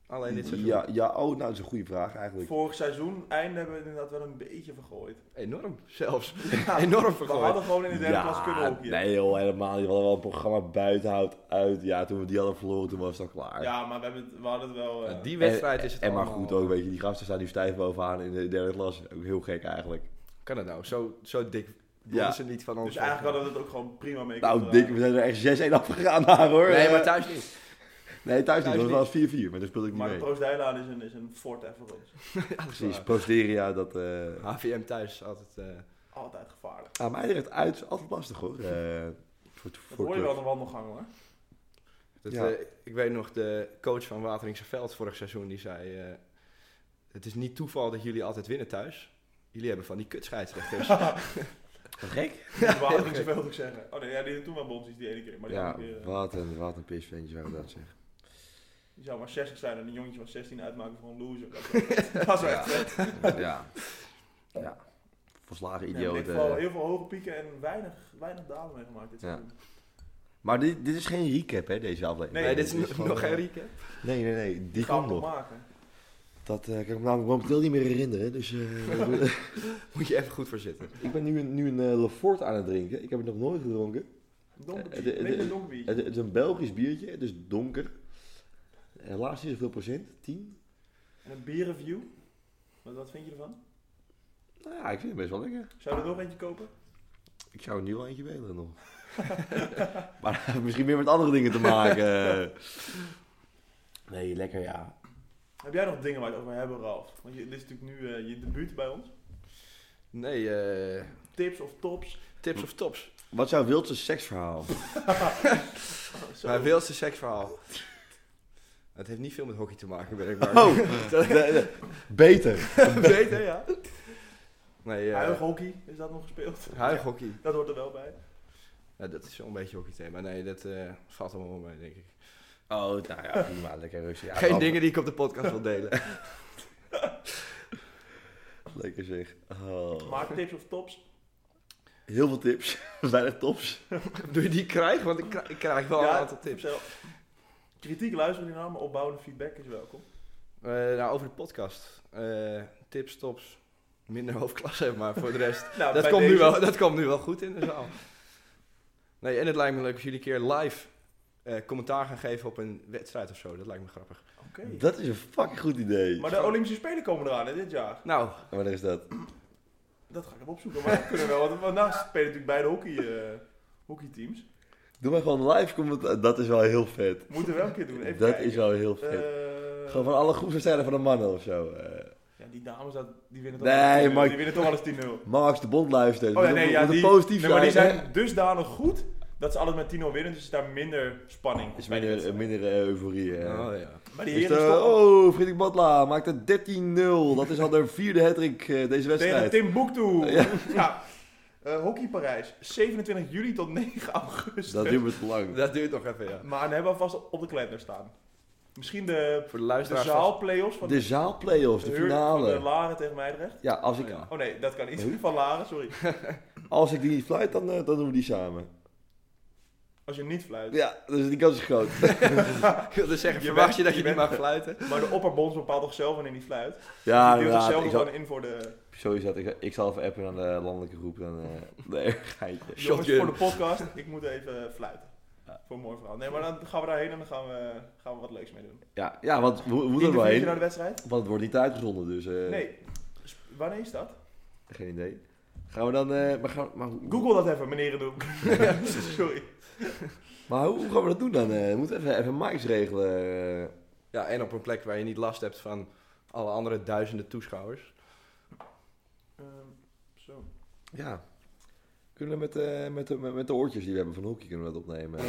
Speaker 5: alleen dit seizoen?
Speaker 3: ja, ja, oh, nou, dat is een goede vraag eigenlijk.
Speaker 4: Vorig seizoen einde hebben we inderdaad wel een beetje vergooid.
Speaker 5: Enorm zelfs. Enorm
Speaker 4: We
Speaker 5: vergooid.
Speaker 4: hadden gewoon in de derde klas kunnen op
Speaker 3: nee joh, helemaal niet. We hadden wel een programma buitenhoud uit. Ja, toen we die hadden verloren, toen was het al klaar.
Speaker 4: Ja, maar we, hebben het, we hadden het wel. eh,
Speaker 5: Nou, Die wedstrijd
Speaker 3: En-
Speaker 5: is het
Speaker 3: En maar
Speaker 5: allemaal- eh.
Speaker 3: goed ook, weet je, die gasten staan nu stijf bovenaan in de derde klas. Ook heel gek eigenlijk.
Speaker 5: Kan het nou? Zo, zo dik
Speaker 3: Ja.
Speaker 5: ja. ze niet van ons.
Speaker 4: dus eigenlijk hadden we het ook gewoon prima mee kunnen
Speaker 3: Nou, dik, we
Speaker 4: draaien.
Speaker 3: zijn er echt 6-1 afgegaan daar hoor.
Speaker 5: Nee, maar
Speaker 3: Eh,
Speaker 5: thuis niet.
Speaker 3: nee, thuis niet.
Speaker 5: thuis
Speaker 3: Het was 4-4, maar daar speelde ik niet
Speaker 4: Maar de
Speaker 3: mee.
Speaker 4: Proost Dijlaan is een, is een fort even voor ons.
Speaker 3: Precies, Posteria, dat... eh,
Speaker 5: HVM thuis altijd... eh,
Speaker 4: Altijd gevaarlijk.
Speaker 3: Aan mij direct uit is altijd lastig hoor. Eh, voor,
Speaker 4: Dat
Speaker 3: voor
Speaker 4: hoor je wel aan
Speaker 3: club.
Speaker 4: de wandelgang hoor.
Speaker 5: Dat,
Speaker 2: Ja.
Speaker 5: eh, ik weet nog, de coach van Wateringse Veld vorig seizoen, die zei... eh, het is niet toeval dat jullie altijd winnen thuis. Jullie hebben van die kutscheidsrechters.
Speaker 3: Gek?
Speaker 4: Dat wou ik
Speaker 5: Oké.
Speaker 4: niet zoveel ook zeggen. Oh nee, ja, die toen wel bonsies die ene keer. Maar die,
Speaker 3: Ja,
Speaker 4: andere keer, eh,
Speaker 3: wat een, wat een pisventje zou dat zeggen.
Speaker 4: die zou maar 60 zijn en een jongetje van 16 uitmaken voor een loser. Dat is wel- Dat is wel echt vet.
Speaker 3: Ja. Ja. Volslagen
Speaker 4: Ja, maar
Speaker 3: idioot.
Speaker 4: ik heb vooral
Speaker 3: eh.
Speaker 4: heel veel hoge pieken en weinig, weinig dalen meegemaakt dit
Speaker 3: Ja.
Speaker 4: seizoen.
Speaker 3: Maar dit, dit is geen recap, hè, deze aflevering.
Speaker 5: nee, dit is
Speaker 4: dit is
Speaker 5: nog,
Speaker 4: gewoon,
Speaker 5: nog
Speaker 4: eh,
Speaker 5: geen recap.
Speaker 3: Nee, nee, nee. Die
Speaker 4: Gaan
Speaker 3: komt
Speaker 4: we nog
Speaker 3: nog.
Speaker 4: maken.
Speaker 3: Dat eh, kan ik me namelijk momenteel niet meer herinneren. Dus eh,
Speaker 5: Moet je even goed voor zitten.
Speaker 3: ik ben nu een, nu een eh, Lefort aan het drinken. Ik heb het nog nooit gedronken.
Speaker 4: Donkerbier.
Speaker 3: Eh, de-
Speaker 4: Weet je
Speaker 3: de-
Speaker 4: donkerbier?
Speaker 3: Het, het is een Belgisch biertje. Het is donker. Helaas niet zoveel procent. 10? eh.
Speaker 4: En een bierreview. Wat, wat vind je ervan?
Speaker 3: Nou ja, ik vind het best wel lekker.
Speaker 4: Zou je er nog eentje kopen?
Speaker 3: Ik zou er nu wel eentje willen nog. maar dat heeft misschien meer met andere dingen te maken. nee, lekker ja.
Speaker 4: Heb jij nog dingen waar we het over hebben, Ralf? Want je, dit is natuurlijk nu eh, je debuut bij ons.
Speaker 5: Nee, eh,
Speaker 4: Tips of tops?
Speaker 5: tips of tops.
Speaker 3: Wat zou Wiltse seksverhaal?
Speaker 4: Zo.
Speaker 5: Mijn wilste seksverhaal. Het heeft niet veel met hockey te maken, ben ik maar.
Speaker 3: Oh, de- de- beter.
Speaker 5: Beter, ja. Nee, eh,
Speaker 4: Huig hockey, is dat nog gespeeld?
Speaker 5: huighockey.
Speaker 4: Dat hoort er wel bij.
Speaker 5: Ja, dat is zo'n beetje hockeythema. Nee, dat eh, valt allemaal wel mee, denk ik.
Speaker 3: Oh, nou ja, prima. Lekker rustig. Ja,
Speaker 5: Geen
Speaker 3: dan-
Speaker 5: dingen die ik op de podcast wil delen.
Speaker 3: Lekker zeg. Oh.
Speaker 4: Maar tips of tops?
Speaker 3: Heel veel tips. Weinig tops.
Speaker 5: Doe je die krijgen? Want ik krijg, ik krijg wel een aantal tips.
Speaker 4: vertel. Kritiek luisteren we niet naar, maar opbouwende feedback is welkom.
Speaker 5: Eh, nou, over de podcast. Eh, tips, tops. Minder hoofdklasse, maar voor de rest.
Speaker 4: Nou,
Speaker 5: dat,
Speaker 4: bij
Speaker 5: komt nu
Speaker 4: deze-
Speaker 5: wel, dat komt nu wel goed in de zaal. Nee, en het lijkt me leuk als jullie een keer live eh, commentaar gaan geven op een wedstrijd of zo. Dat lijkt me grappig.
Speaker 4: Oké.
Speaker 3: Dat is een fucking goed idee.
Speaker 4: Maar de Olympische Spelen komen eraan hè, dit jaar.
Speaker 5: Nou,
Speaker 3: Wanneer is dat?
Speaker 4: Dat ga ik even opzoeken, maar dat kunnen we wel. Want vandaag spelen natuurlijk beide hockey, eh hockeyteams.
Speaker 3: Doe maar gewoon live commentaar. Dat is wel heel vet.
Speaker 4: Moeten we wel een keer doen. Even
Speaker 3: dat
Speaker 4: kijken.
Speaker 3: is wel heel vet.
Speaker 4: Eh,
Speaker 3: gewoon van alle groepswedstrijden van de mannen of zo. eh.
Speaker 4: Ja, die dames, dat, die winnen toch
Speaker 3: Nee,
Speaker 4: alles 10-0.
Speaker 3: maar-
Speaker 4: Die winnen toch alles 10-0.
Speaker 3: Max de Bond luistert.
Speaker 4: Oh ja,
Speaker 3: Moet-
Speaker 4: nee,
Speaker 3: moet-
Speaker 4: ja,
Speaker 3: moet
Speaker 4: die,
Speaker 3: positief
Speaker 4: nee, maar die
Speaker 3: zijn. hè?
Speaker 4: zijn dusdanig goed dat ze alles met 10-0 winnen. Dus is daar minder spanning.
Speaker 3: is
Speaker 4: bij
Speaker 3: minder,
Speaker 4: die wedstrijd.
Speaker 3: minder eh, euforie. hè.
Speaker 5: oh ja.
Speaker 4: Maar die
Speaker 3: Is
Speaker 4: heren
Speaker 3: de-
Speaker 4: is toch
Speaker 3: oh, Frederik Batla maakt een 13-0. Dat is al de vierde hat-trick eh, deze
Speaker 4: tegen
Speaker 3: wedstrijd.
Speaker 4: Timbuktu.
Speaker 3: Ja.
Speaker 4: Ja. Eh, hockey Parijs, 27 juli tot 9 augustus.
Speaker 3: Dat duurt me te lang.
Speaker 5: Dat duurt nog even, ja.
Speaker 4: Maar dan hebben we vast op de kalender staan. Misschien de,
Speaker 5: Voor de
Speaker 4: de
Speaker 5: luisteraars.
Speaker 4: zaal playoffs van
Speaker 3: De zaalplayoffs, de
Speaker 4: Heur- van de
Speaker 3: finale.
Speaker 4: Laren tegen Meidrecht.
Speaker 3: Ja, als ik,
Speaker 5: ja.
Speaker 4: Oh nee, dat kan niet. Van Laren, sorry.
Speaker 3: als ik die niet fluit, dan, eh, dan doen we die samen.
Speaker 4: Als je hem niet fluit.
Speaker 3: Ja, dus die kans is groot.
Speaker 5: Ik wilde zeggen,
Speaker 4: Je
Speaker 5: verwacht
Speaker 4: bent-
Speaker 5: je dat je,
Speaker 4: je bent-
Speaker 5: niet mag fluiten?
Speaker 4: Maar de opperbonds bepaalt toch zelf wanneer hij fluit.
Speaker 3: Ja,
Speaker 4: die duwt
Speaker 3: inderdaad.
Speaker 4: zichzelf
Speaker 3: Ik
Speaker 4: gewoon
Speaker 3: zal,
Speaker 4: in voor de
Speaker 3: zo is dat. Ik, ik zal even appen aan de landelijke groep. Dan, eh nee, geitje.
Speaker 4: jongens
Speaker 5: Shotgun.
Speaker 4: voor de podcast. Ik moet even fluiten. Voor een mooi verhaal. Nee, maar dan gaan we daarheen en dan gaan we, gaan we wat leuks mee doen.
Speaker 3: Ja, ja, want we, we moeten er wel
Speaker 4: Interviewtje
Speaker 3: heen.
Speaker 4: naar de wedstrijd?
Speaker 3: Want het wordt niet uitgezonden, dus eh,
Speaker 4: Nee. Sp- Wanneer is dat?
Speaker 3: geen idee. Gaan we dan... eh, maar, gaan, maar, hoe-
Speaker 4: Google dat even, meneer Doem. sorry.
Speaker 3: maar hoe, hoe gaan we dat doen dan? eh? we moeten even, even mics regelen. eh.
Speaker 5: Ja, en op een plek waar je niet last hebt van alle andere duizenden toeschouwers.
Speaker 4: Ehm, zo.
Speaker 3: ja. Kunnen we met, eh, met, de- met, met de oortjes die we hebben van Hoekie kunnen we dat opnemen.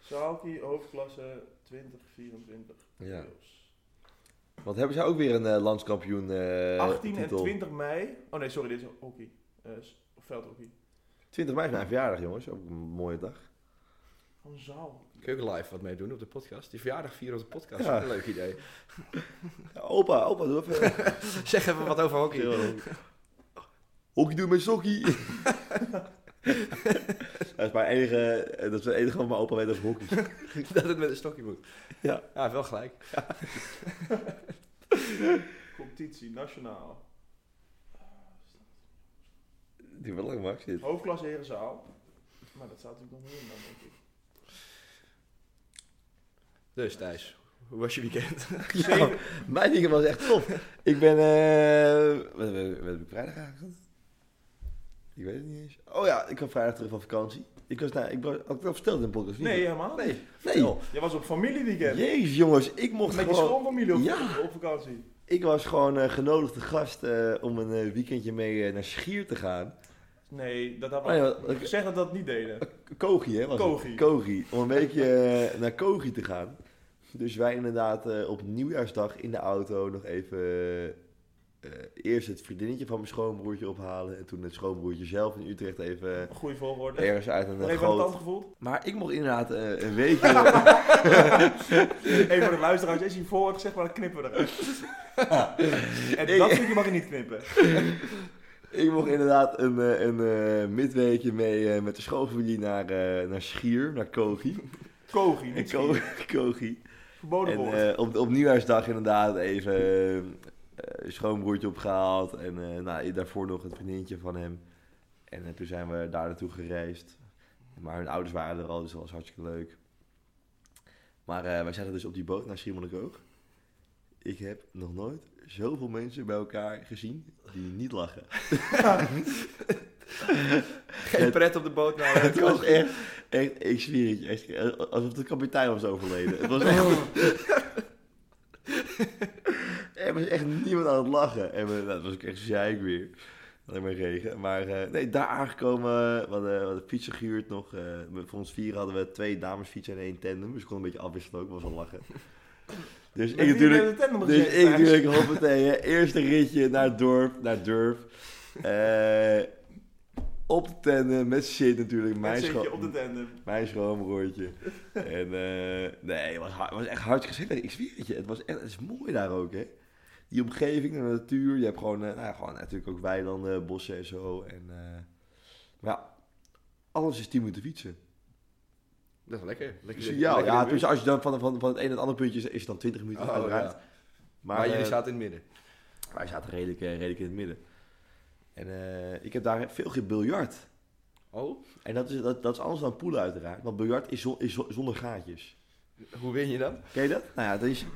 Speaker 4: Zaalkie, hoofdklasse 2024.
Speaker 3: ja. Want hebben zij ook weer een eh, landskampioen eh
Speaker 4: 18 en
Speaker 3: titel?
Speaker 4: 20 mei. Oh nee, sorry, dit is hockey. Eh, s- veldhockey.
Speaker 3: 20 mei is mijn verjaardag, jongens. Ook een mooie dag.
Speaker 4: Gewoon zaal.
Speaker 5: Kun je ook live wat mee doen op de podcast? Die verjaardag vieren op de podcast.
Speaker 3: Ja.
Speaker 5: Een leuk idee.
Speaker 3: Ja, opa, opa, doe even...
Speaker 5: Zeg even wat over hockey.
Speaker 3: Hockey doen met sokkie. dat is mijn enige, dat is het enige wat mijn opa weet over hockey.
Speaker 5: dat het met een stokje moet.
Speaker 3: Ja.
Speaker 5: Ja, hij heeft wel gelijk.
Speaker 4: Competitie, nationaal.
Speaker 3: Die wel lang Max dit.
Speaker 4: Hoofdklasse herenzaal. Maar dat staat natuurlijk nog meer in dan, denk ik.
Speaker 5: Dus Thijs, hoe was je weekend?
Speaker 3: Ja, Nou, mijn weekend was echt top. Ik ben, eh wat, wat- wat heb ik vrijdag eigenlijk gedaan? Ik weet het niet eens. Oh ja, ik kwam vrijdag terug van vakantie. Ik was daar, ik bra- had ik dat verteld in de podcast? of niet?
Speaker 4: Nee, helemaal niet.
Speaker 3: nee.
Speaker 4: Je was op familieweekend.
Speaker 3: Jezus jongens, ik mocht
Speaker 4: Met je
Speaker 3: gewoon...
Speaker 4: schoonfamilie op,
Speaker 3: Ja.
Speaker 4: op vakantie.
Speaker 3: Ik was gewoon eh, genodigd te gast eh, om een eh, weekendje mee eh, naar Schier te gaan.
Speaker 4: Nee, dat had
Speaker 3: Oh ja,
Speaker 4: ik
Speaker 3: ik-
Speaker 4: gezegd dat we dat niet deden.
Speaker 3: Kogi, hè? Was het?
Speaker 4: Kogi.
Speaker 3: Kogi. Om een beetje eh, naar Kogi te gaan. Dus wij inderdaad eh, op nieuwjaarsdag in de auto nog even... eh, eerst het vriendinnetje van mijn schoonbroertje ophalen. En toen het schoonbroertje zelf in Utrecht even
Speaker 4: Goede volgorde.
Speaker 3: eh, ergens uit een
Speaker 4: Nog
Speaker 3: eh,
Speaker 4: even aan de tand
Speaker 3: groot...
Speaker 4: gevoeld.
Speaker 3: Maar ik mocht inderdaad eh, een weekje...
Speaker 4: Even voor de luisteraars, als je voor hebt gezegd, maar dan knippen we eruit. en dat stukje mag je niet knippen.
Speaker 3: ik mocht inderdaad een, eh, een eh, midweekje mee eh, met de schoonfamilie naar, eh, naar Schier, naar Kogi.
Speaker 4: Kogi, niet
Speaker 3: En
Speaker 4: schieten.
Speaker 3: Ko- Kogi.
Speaker 4: Verboden
Speaker 3: En
Speaker 4: woord.
Speaker 3: eh, op, op nieuwjaarsdag inderdaad even eh, eh, schoonbroertje opgehaald. En eh, nou, daarvoor nog het vriendinnetje van hem. En eh, toen zijn we daar naartoe gereisd. Maar hun ouders waren er al, dus dat was hartstikke leuk. Maar eh, wij zaten dus op die boot naar Schiermonnikoog. Ik heb nog nooit zoveel mensen bij elkaar gezien die niet lachen.
Speaker 5: Geen pret op de boot nou. hè?
Speaker 3: Het was echt, echt, ik zweer het je, echt, alsof de kapitein was overleden. Het was echt... er was echt niemand aan het lachen. En we, nou, dat was ook echt zeik weer. Alleen maar regen. Maar eh, nee, daar aangekomen, eh, we hadden, we hadden fietsen gehuurd nog. eh, we- voor ons vier hadden we twee damesfietsen en één tandem. Dus ik kon een beetje afwisselen ook, was wel lachen. Dus
Speaker 4: Met
Speaker 3: ik
Speaker 4: wie
Speaker 3: natuurlijk...
Speaker 4: ben je de tandem
Speaker 3: Dus
Speaker 4: gezeten
Speaker 3: ik
Speaker 4: thuis?
Speaker 3: natuurlijk, hoppatee, hè. eh, eerste ritje naar het dorp, naar het dorp. Eh, op de tanden, met shit natuurlijk,
Speaker 4: Met
Speaker 3: mijn,
Speaker 4: zitje
Speaker 3: scho-
Speaker 4: op de tandem.
Speaker 3: mijn schoonbroertje. en eh, nee, het was, hard- het was echt hard gezellig, ik zweer het je. Het, was echt, het is mooi daar ook, hè. Die omgeving, de natuur, je hebt gewoon, eh, nou, ja, gewoon natuurlijk ook weilanden, bossen en zo. En, eh, maar ja, alles is 10 minuten fietsen.
Speaker 5: Dat is wel lekker. lekker
Speaker 3: Dus ja,
Speaker 5: lekker
Speaker 3: ja
Speaker 5: in de
Speaker 3: dus
Speaker 5: buurt.
Speaker 3: als je dan van, van, van het een naar het andere puntje is, is het dan 20 minuten
Speaker 5: Oh,
Speaker 3: uiteraard.
Speaker 5: ja. Maar, jullie
Speaker 3: eh,
Speaker 5: zaten in het midden.
Speaker 3: wij zaten redelijk, eh, redelijk in het midden. En eh, ik heb daar veel gebiljart.
Speaker 5: Oh,
Speaker 3: En dat is, dat, dat is anders dan poelen uiteraard. Want biljart is, zon- is zo- zonder gaatjes.
Speaker 5: hoe win je dan?
Speaker 3: Ken je dat? Nou ja, dat is,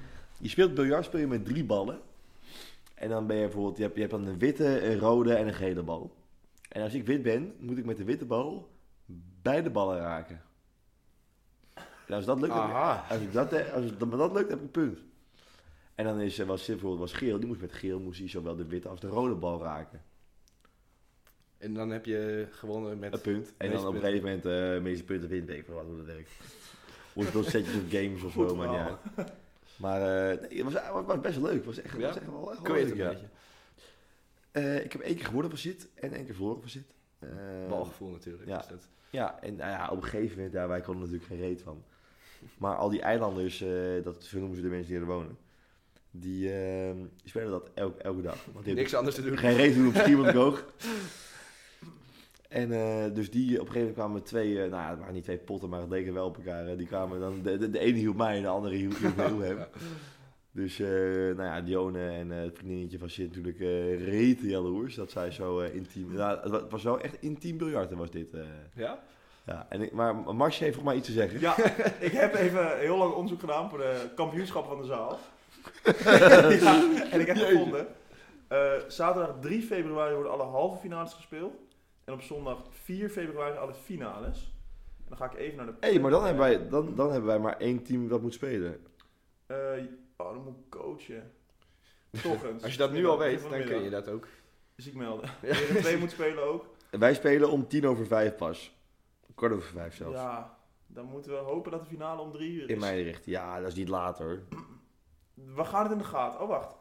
Speaker 3: je speelt biljart speel je met drie ballen. En dan ben je bijvoorbeeld, je hebt, je hebt dan een witte, een rode en een gele bal. En als ik wit ben, moet ik met de witte bal beide ballen raken. En als dat lukt, heb ik-
Speaker 5: Aha.
Speaker 3: als, ik dat, eh, als het met dat lukt, heb ik een punt. En dan is, eh, was bijvoorbeeld was geel, die moest met geel moest hij zowel de witte als de rode bal raken.
Speaker 5: En dan heb je gewonnen met...
Speaker 3: Een punt. En
Speaker 5: meeste
Speaker 3: dan op een
Speaker 5: punten.
Speaker 3: gegeven moment eh, de meeste punten wint, weet ik van wat hoe dat werkt. Wordt wel setjes op games of zo, maar niet
Speaker 4: verhaal.
Speaker 3: uit. Maar eh, nee, het, was, het was best leuk. Het was echt, het
Speaker 5: Ja?
Speaker 3: was echt wel echt
Speaker 5: Kun
Speaker 3: wel
Speaker 5: je
Speaker 3: leuk,
Speaker 5: het een
Speaker 3: ja.
Speaker 5: beetje?
Speaker 3: Eh, Ik heb één keer gewonnen van zit en één keer verloren van zit. Eh,
Speaker 5: Balgevoel natuurlijk.
Speaker 3: ja.
Speaker 5: dus dat-
Speaker 3: Ja, en nou ja, op een gegeven moment, ja, wij konden natuurlijk geen reet van. Maar al die eilanders, eh, dat zo noemen ze de mensen die er wonen, die eh, spelen dat elke, elke dag. Want die hebben-
Speaker 5: Niks anders te doen.
Speaker 3: Geen race doen op Schiermonnikoog. En eh, dus die, op een gegeven moment kwamen twee, eh, nou ja, het waren niet twee potten, maar het leken wel op elkaar. eh, die kwamen dan, de, de, de ene hielp mij en de andere hielp, hielp, hielp hem. Dus, eh, nou ja, Dione en eh, het vriendinnetje van Sint natuurlijk eh reten jaloers. Dat zij zo eh, intiem, nou, het wa- het was wel echt intiem biljarten was dit. eh.
Speaker 5: Ja?
Speaker 3: ja, en ik, maar Marsje heeft voor mij iets te zeggen.
Speaker 4: Ja, ik heb even heel lang onderzoek gedaan voor de kampioenschappen van de zaal. ja, en ik heb gevonden. eh, zaterdag 3 februari worden alle halve finales gespeeld. En op zondag 4 februari alle finales. En dan ga ik even naar de.
Speaker 3: Hé, maar dan hebben, wij, dan, dan hebben wij maar één team dat moet spelen.
Speaker 4: Eh, oh, dan moet ik coachen. Toch eens.
Speaker 5: Als je dat nu al weet, dan kun je dat ook.
Speaker 4: Ziek melden. Heren 2 moet spelen ook.
Speaker 3: Wij spelen om tien over vijf pas. Kwart over vijf zelfs.
Speaker 4: Ja, dan moeten we hopen dat de finale om 3 uur is.
Speaker 3: In mijn richting. Ja, dat is niet later. hoor.
Speaker 4: We gaan het in de gaten. Oh, wacht.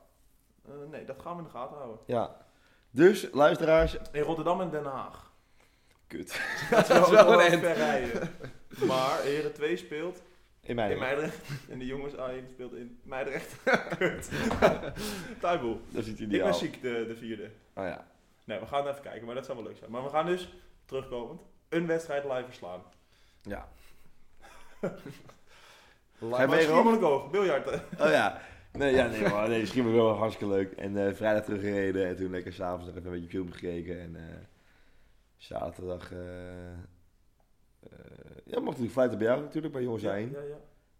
Speaker 4: Eh, nee, dat gaan we in de gaten houden.
Speaker 3: Ja. Dus, luisteraars.
Speaker 4: In Rotterdam en Den Haag.
Speaker 3: Kut.
Speaker 4: Dat is
Speaker 5: wel een end.
Speaker 4: ver rijden. Maar Heren 2 speelt
Speaker 3: In mijn
Speaker 4: in
Speaker 3: richting.
Speaker 4: Meidrecht. En de jongens A1 speelt in Meidrecht. Kut. Tuinboel.
Speaker 3: Dat is niet
Speaker 4: Ik
Speaker 3: ideaal.
Speaker 4: ben ziek, de, de vierde.
Speaker 3: Oh ja.
Speaker 4: Nee, we gaan even kijken, maar dat zou wel leuk zijn. Maar we gaan dus, terugkomend, een wedstrijd live verslaan.
Speaker 3: Ja.
Speaker 5: Live-
Speaker 3: wij
Speaker 4: Maar
Speaker 3: Rome?
Speaker 4: schiemelijk oog, biljarten.
Speaker 3: Oh ja. Nee, ja, nee, maar, nee, misschien wel hartstikke leuk. En eh, vrijdag teruggereden en toen lekker s'avonds nog even een beetje film gekeken. En eh, zaterdag... eh, eh, ja, mocht ik fluiten bij jou natuurlijk, bij jongens zijn.
Speaker 4: Ja, ja.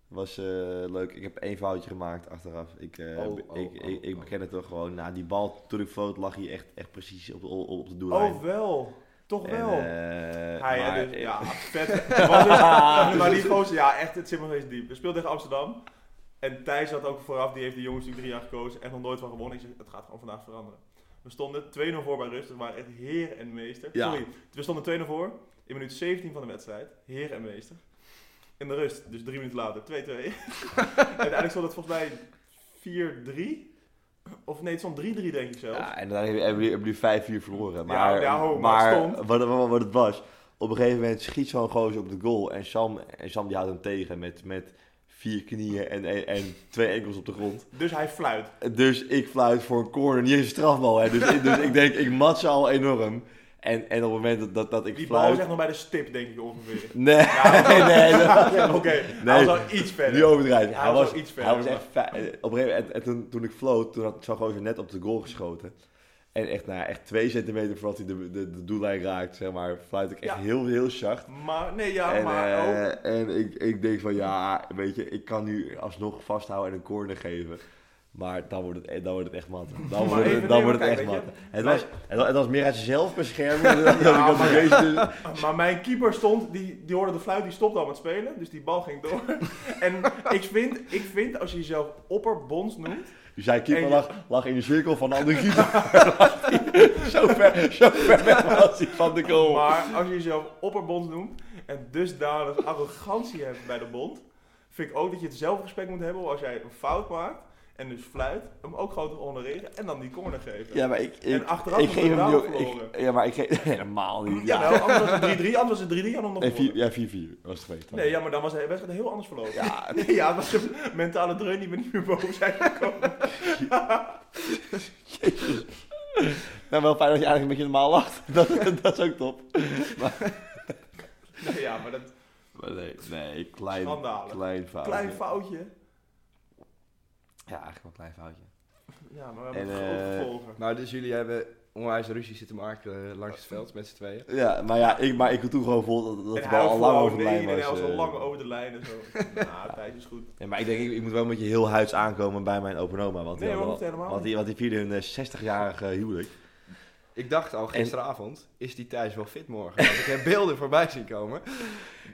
Speaker 3: Was eh, leuk. Ik heb één foutje gemaakt achteraf. Ik, eh,
Speaker 5: Oh,
Speaker 3: ik,
Speaker 5: oh,
Speaker 3: ik,
Speaker 5: oh,
Speaker 3: ik, ik
Speaker 5: oh.
Speaker 3: beken het toch gewoon. Nou, die bal toen ik floot lag hij echt, echt precies op, de- op de doellijn.
Speaker 4: Oh, wel. Toch wel.
Speaker 3: En, eh,
Speaker 4: Hij, hè,
Speaker 3: maar-
Speaker 4: dus, ja, vet. Maar dus- maar die gozer, ja, echt, het zit me nog steeds diep. We speelden tegen Amsterdam. En Thijs had ook vooraf, die heeft de jongens natuurlijk drie jaar gekozen. Echt nog nooit van gewonnen. Ik zeg, het gaat gewoon vandaag veranderen. We stonden 2-0 voor bij rust. Dus we waren echt heer en meester.
Speaker 3: Ja.
Speaker 4: Sorry, we stonden 2-0 voor in minuut 17 van de wedstrijd. Heer en meester. In de rust, dus drie minuten later, 2-2. Uiteindelijk stond het volgens mij 4-3. Of nee, het stond 3-3 denk ik zelf.
Speaker 3: Ja, en dan hebben jullie, hebben jullie vijf uur verloren. Maar,
Speaker 4: ja, ho, maar
Speaker 3: maar
Speaker 4: stond.
Speaker 3: wat, wat, wat het was, op een gegeven moment schiet zo'n gozer op de goal. En Sam, en Sam die houdt hem tegen met, met vier knieën en, en, en twee enkels op de grond.
Speaker 4: Dus hij fluit.
Speaker 3: Dus ik fluit voor een corner, niet eens een strafbal. Hè. Dus, ik- dus ik denk, ik mat ze al enorm. En, en op het moment dat, dat, dat ik
Speaker 4: Die bal is
Speaker 3: fluit...
Speaker 4: echt nog bij de stip, denk ik ongeveer.
Speaker 3: Nee, nee, dat-
Speaker 4: Oké, hij was al iets verder.
Speaker 3: niet overdrijven.
Speaker 4: Hij
Speaker 3: Hij
Speaker 4: was
Speaker 3: was,
Speaker 4: wel iets
Speaker 3: hij was
Speaker 4: verder,
Speaker 3: echt fa- eh, Op een gegeven moment, en, en toen, toen ik floot, toen had zo'n gozer net op de goal geschoten. En echt, nou, ja, echt twee centimeter voordat hij de, de, de doellijn raakt, zeg maar, fluit ik echt
Speaker 4: Ja.
Speaker 3: heel, heel zacht.
Speaker 4: Maar, nee, ja,
Speaker 3: en
Speaker 4: maar ook.
Speaker 3: eh, en ik, ik denk van, ja, weet je, ik kan nu alsnog vasthouden en een corner geven. Maar dan wordt het, dan wordt het echt mat. Dan wordt
Speaker 4: even
Speaker 3: het, dan
Speaker 4: nemen,
Speaker 3: wordt het
Speaker 4: kijk,
Speaker 3: echt
Speaker 4: weet
Speaker 3: mat.
Speaker 4: je,
Speaker 3: Het
Speaker 4: wij-
Speaker 3: was, het, was- het was meer uit zichzelf beschermen. dan dat ik op
Speaker 4: maar-
Speaker 3: deze- dus-
Speaker 4: Maar mijn keeper stond, die, die hoorde de fluit, die stopte al met spelen. Dus die bal ging door. en ik vind, ik vind als je jezelf opperbonds noemt.
Speaker 3: Zijn keeper
Speaker 4: En-
Speaker 3: lag, lag in de cirkel van de andere keeper. zo, ver, zo ver weg was hij van de goal.
Speaker 4: Maar als je jezelf opperbonds noemt. En dusdanig arrogantie hebt bij de bond. Vind ik ook dat je het zelfrespect moet hebben als jij een fout maakt. En dus fluit, hem ook gewoon te honoreren en dan die corner geven.
Speaker 3: Ja, maar ik, ik,
Speaker 4: En achteraf
Speaker 3: ik
Speaker 4: nog
Speaker 3: geef hem
Speaker 4: de
Speaker 3: nu ook.
Speaker 4: naam
Speaker 3: Ik,
Speaker 4: verloren.
Speaker 3: ja, maar ik geef nee, helemaal niet. Ja.
Speaker 4: Jawel, anders was het 3-3, anders was het 3-3 en dan nog
Speaker 3: Nee,
Speaker 4: gewonnen.
Speaker 3: vier- ja, 4-4 was het geweest. dan.
Speaker 4: Nee, ja, maar dan was de wedstrijd heel anders verlopen.
Speaker 3: Ja.
Speaker 4: Nee, ja, het was een mentale dreun die we niet meer boven zijn gekomen.
Speaker 3: Nou, wel fijn dat je eigenlijk een beetje normaal lacht. Dat, dat is ook top.
Speaker 4: Nee, ja, maar dat
Speaker 3: Maar nee, nee, klein,
Speaker 4: Schandalen.
Speaker 3: klein foutje.
Speaker 4: klein foutje.
Speaker 3: Ja, eigenlijk wel een klein foutje.
Speaker 4: Ja, maar we hebben
Speaker 3: En,
Speaker 4: grote
Speaker 3: eh,
Speaker 4: gevolgen.
Speaker 5: Maar dus jullie hebben onwijs ruzie zitten maken eh, langs het veld met z'n tweeën.
Speaker 3: Ja, maar ja, ik, maar ik toen gewoon vol dat, dat
Speaker 4: En
Speaker 3: de
Speaker 4: hij
Speaker 3: bal
Speaker 4: was
Speaker 3: al
Speaker 4: al
Speaker 3: lang over de
Speaker 4: nee,
Speaker 3: lijn
Speaker 4: en hij was
Speaker 3: was.
Speaker 4: al
Speaker 3: eh.
Speaker 4: lang over de lijn en zo. nou, Thijs is goed.
Speaker 3: Ja, maar ik denk, ik, ik moet wel een beetje heel huids aankomen bij mijn open oma. Want die
Speaker 4: Nee,
Speaker 3: hadden
Speaker 4: hoor, hoeft
Speaker 3: wel-
Speaker 4: helemaal
Speaker 3: want die, want die vierde hun eh, 60-jarig eh, huwelijk.
Speaker 5: Ik dacht al gisteravond, is die Thijs wel fit morgen? Want ik heb beelden voorbij zien komen.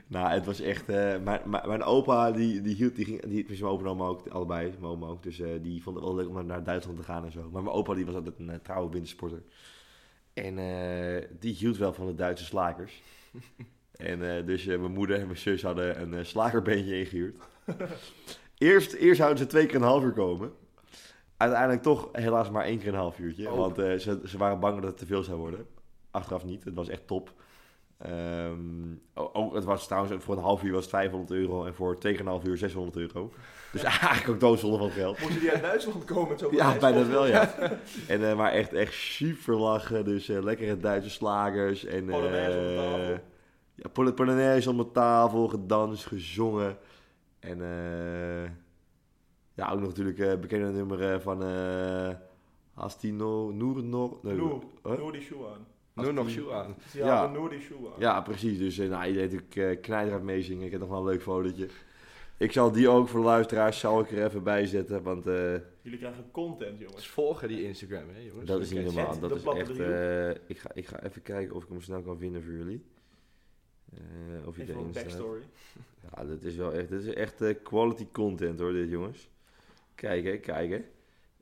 Speaker 3: Nou, het was echt. eh, mijn, mijn, mijn opa, die, die hield. Die ging, die, precies mijn opa en oma ook, allebei, mijn oma ook. Dus eh, die vond het wel leuk om naar, naar Duitsland te gaan en zo. Maar mijn opa, die was altijd een eh, trouwe wintersporter. En eh, die hield wel van de Duitse slakers. en eh, dus eh, mijn moeder en mijn zus hadden een eh, slagerbeentje ingehuurd. eerst, eerst zouden ze twee keer een half uur komen. Uiteindelijk toch helaas maar één keer een half uurtje.
Speaker 5: Oh.
Speaker 3: Want eh, ze, ze waren bang dat het te veel zou worden. Achteraf niet, het was echt top. Ehm, o- ook, het was trouwens, voor een half uur was het 500 euro en voor tegen een half uur 600 euro. Dus eigenlijk ook doodzonde van geld.
Speaker 4: Moesten die uit Duitsland komen met zo'n
Speaker 3: Ja,
Speaker 4: prijs?
Speaker 3: bijna wel, ja. En, eh, maar echt, echt super lachen. Dus eh, lekkere Duitse slagers. En, eh,
Speaker 4: Polonaise op de tafel.
Speaker 3: Ja, pol- Polonaise op de tafel, gedanst, gezongen. En eh, ja, ook nog natuurlijk eh, bekende nummeren van eh Hastino, Noer, Noor. nee,
Speaker 4: Noor,
Speaker 3: huh?
Speaker 4: Noor die shoe aan.
Speaker 5: Nu nog shoe aan.
Speaker 4: Ze
Speaker 3: eh, Ja.
Speaker 4: hadden Noor die shoe aan.
Speaker 3: Ja, precies. Dus eh nou, iedereen natuurlijk uh, knijterhard meezingen. Ik heb nog wel een leuk fotootje. Ik zal die ook voor de luisteraars zal ik er even bij zetten. Want eh,
Speaker 4: Jullie krijgen content,
Speaker 5: Dus
Speaker 4: jongens.
Speaker 5: volgen die Instagram, hè jongens.
Speaker 3: dat is niet
Speaker 5: Kijk,
Speaker 3: normaal.
Speaker 4: het,
Speaker 3: Dat
Speaker 4: de
Speaker 3: is
Speaker 4: platte
Speaker 3: echt...
Speaker 4: driehoek.
Speaker 3: eh, ik, ga, ik ga even kijken of ik hem snel kan vinden voor jullie. Eh, of hij
Speaker 4: Even een
Speaker 3: erin staat.
Speaker 4: backstory.
Speaker 3: Ja, dat is wel echt... Dit is echt eh, quality content hoor, dit jongens. Kijk hè, kijk hè.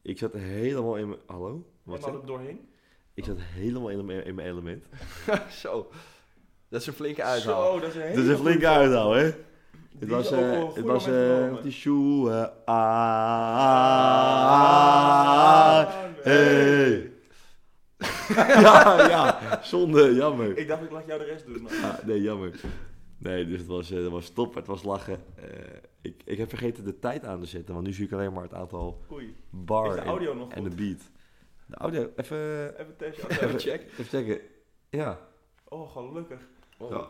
Speaker 3: Ik zat helemaal in mijn... Hallo?
Speaker 4: En
Speaker 3: Wat
Speaker 4: dan
Speaker 3: zeg?
Speaker 4: er doorheen.
Speaker 3: Ik zat helemaal in mijn, in mijn element.
Speaker 5: Zo. Dat is een flinke uithaal.
Speaker 4: Zo, dat is een
Speaker 3: Dat
Speaker 4: hele
Speaker 3: is een flinke uithaal hè. Het was, eh, het was eh, ah,
Speaker 4: een
Speaker 3: op die schoenen
Speaker 4: Ah,
Speaker 3: aan. ah. Hey. ja, ja, zonde, jammer.
Speaker 4: Ik dacht, ik laat jou de rest doen. maar-
Speaker 3: Ah, nee, jammer. Nee, dus het was, eh, dat was top, het was lachen. Eh, ik, ik heb vergeten de tijd aan te zetten, want nu zie ik alleen maar het aantal
Speaker 4: Oei.
Speaker 3: bar
Speaker 4: Is de
Speaker 3: en-
Speaker 4: audio nog
Speaker 3: en de
Speaker 4: goed?
Speaker 3: beat. De audio, even,
Speaker 4: Even testje.
Speaker 5: Oh, Even
Speaker 4: afzetten.
Speaker 5: check.
Speaker 3: even checken. Ja.
Speaker 4: Oh, gelukkig.
Speaker 5: Oh.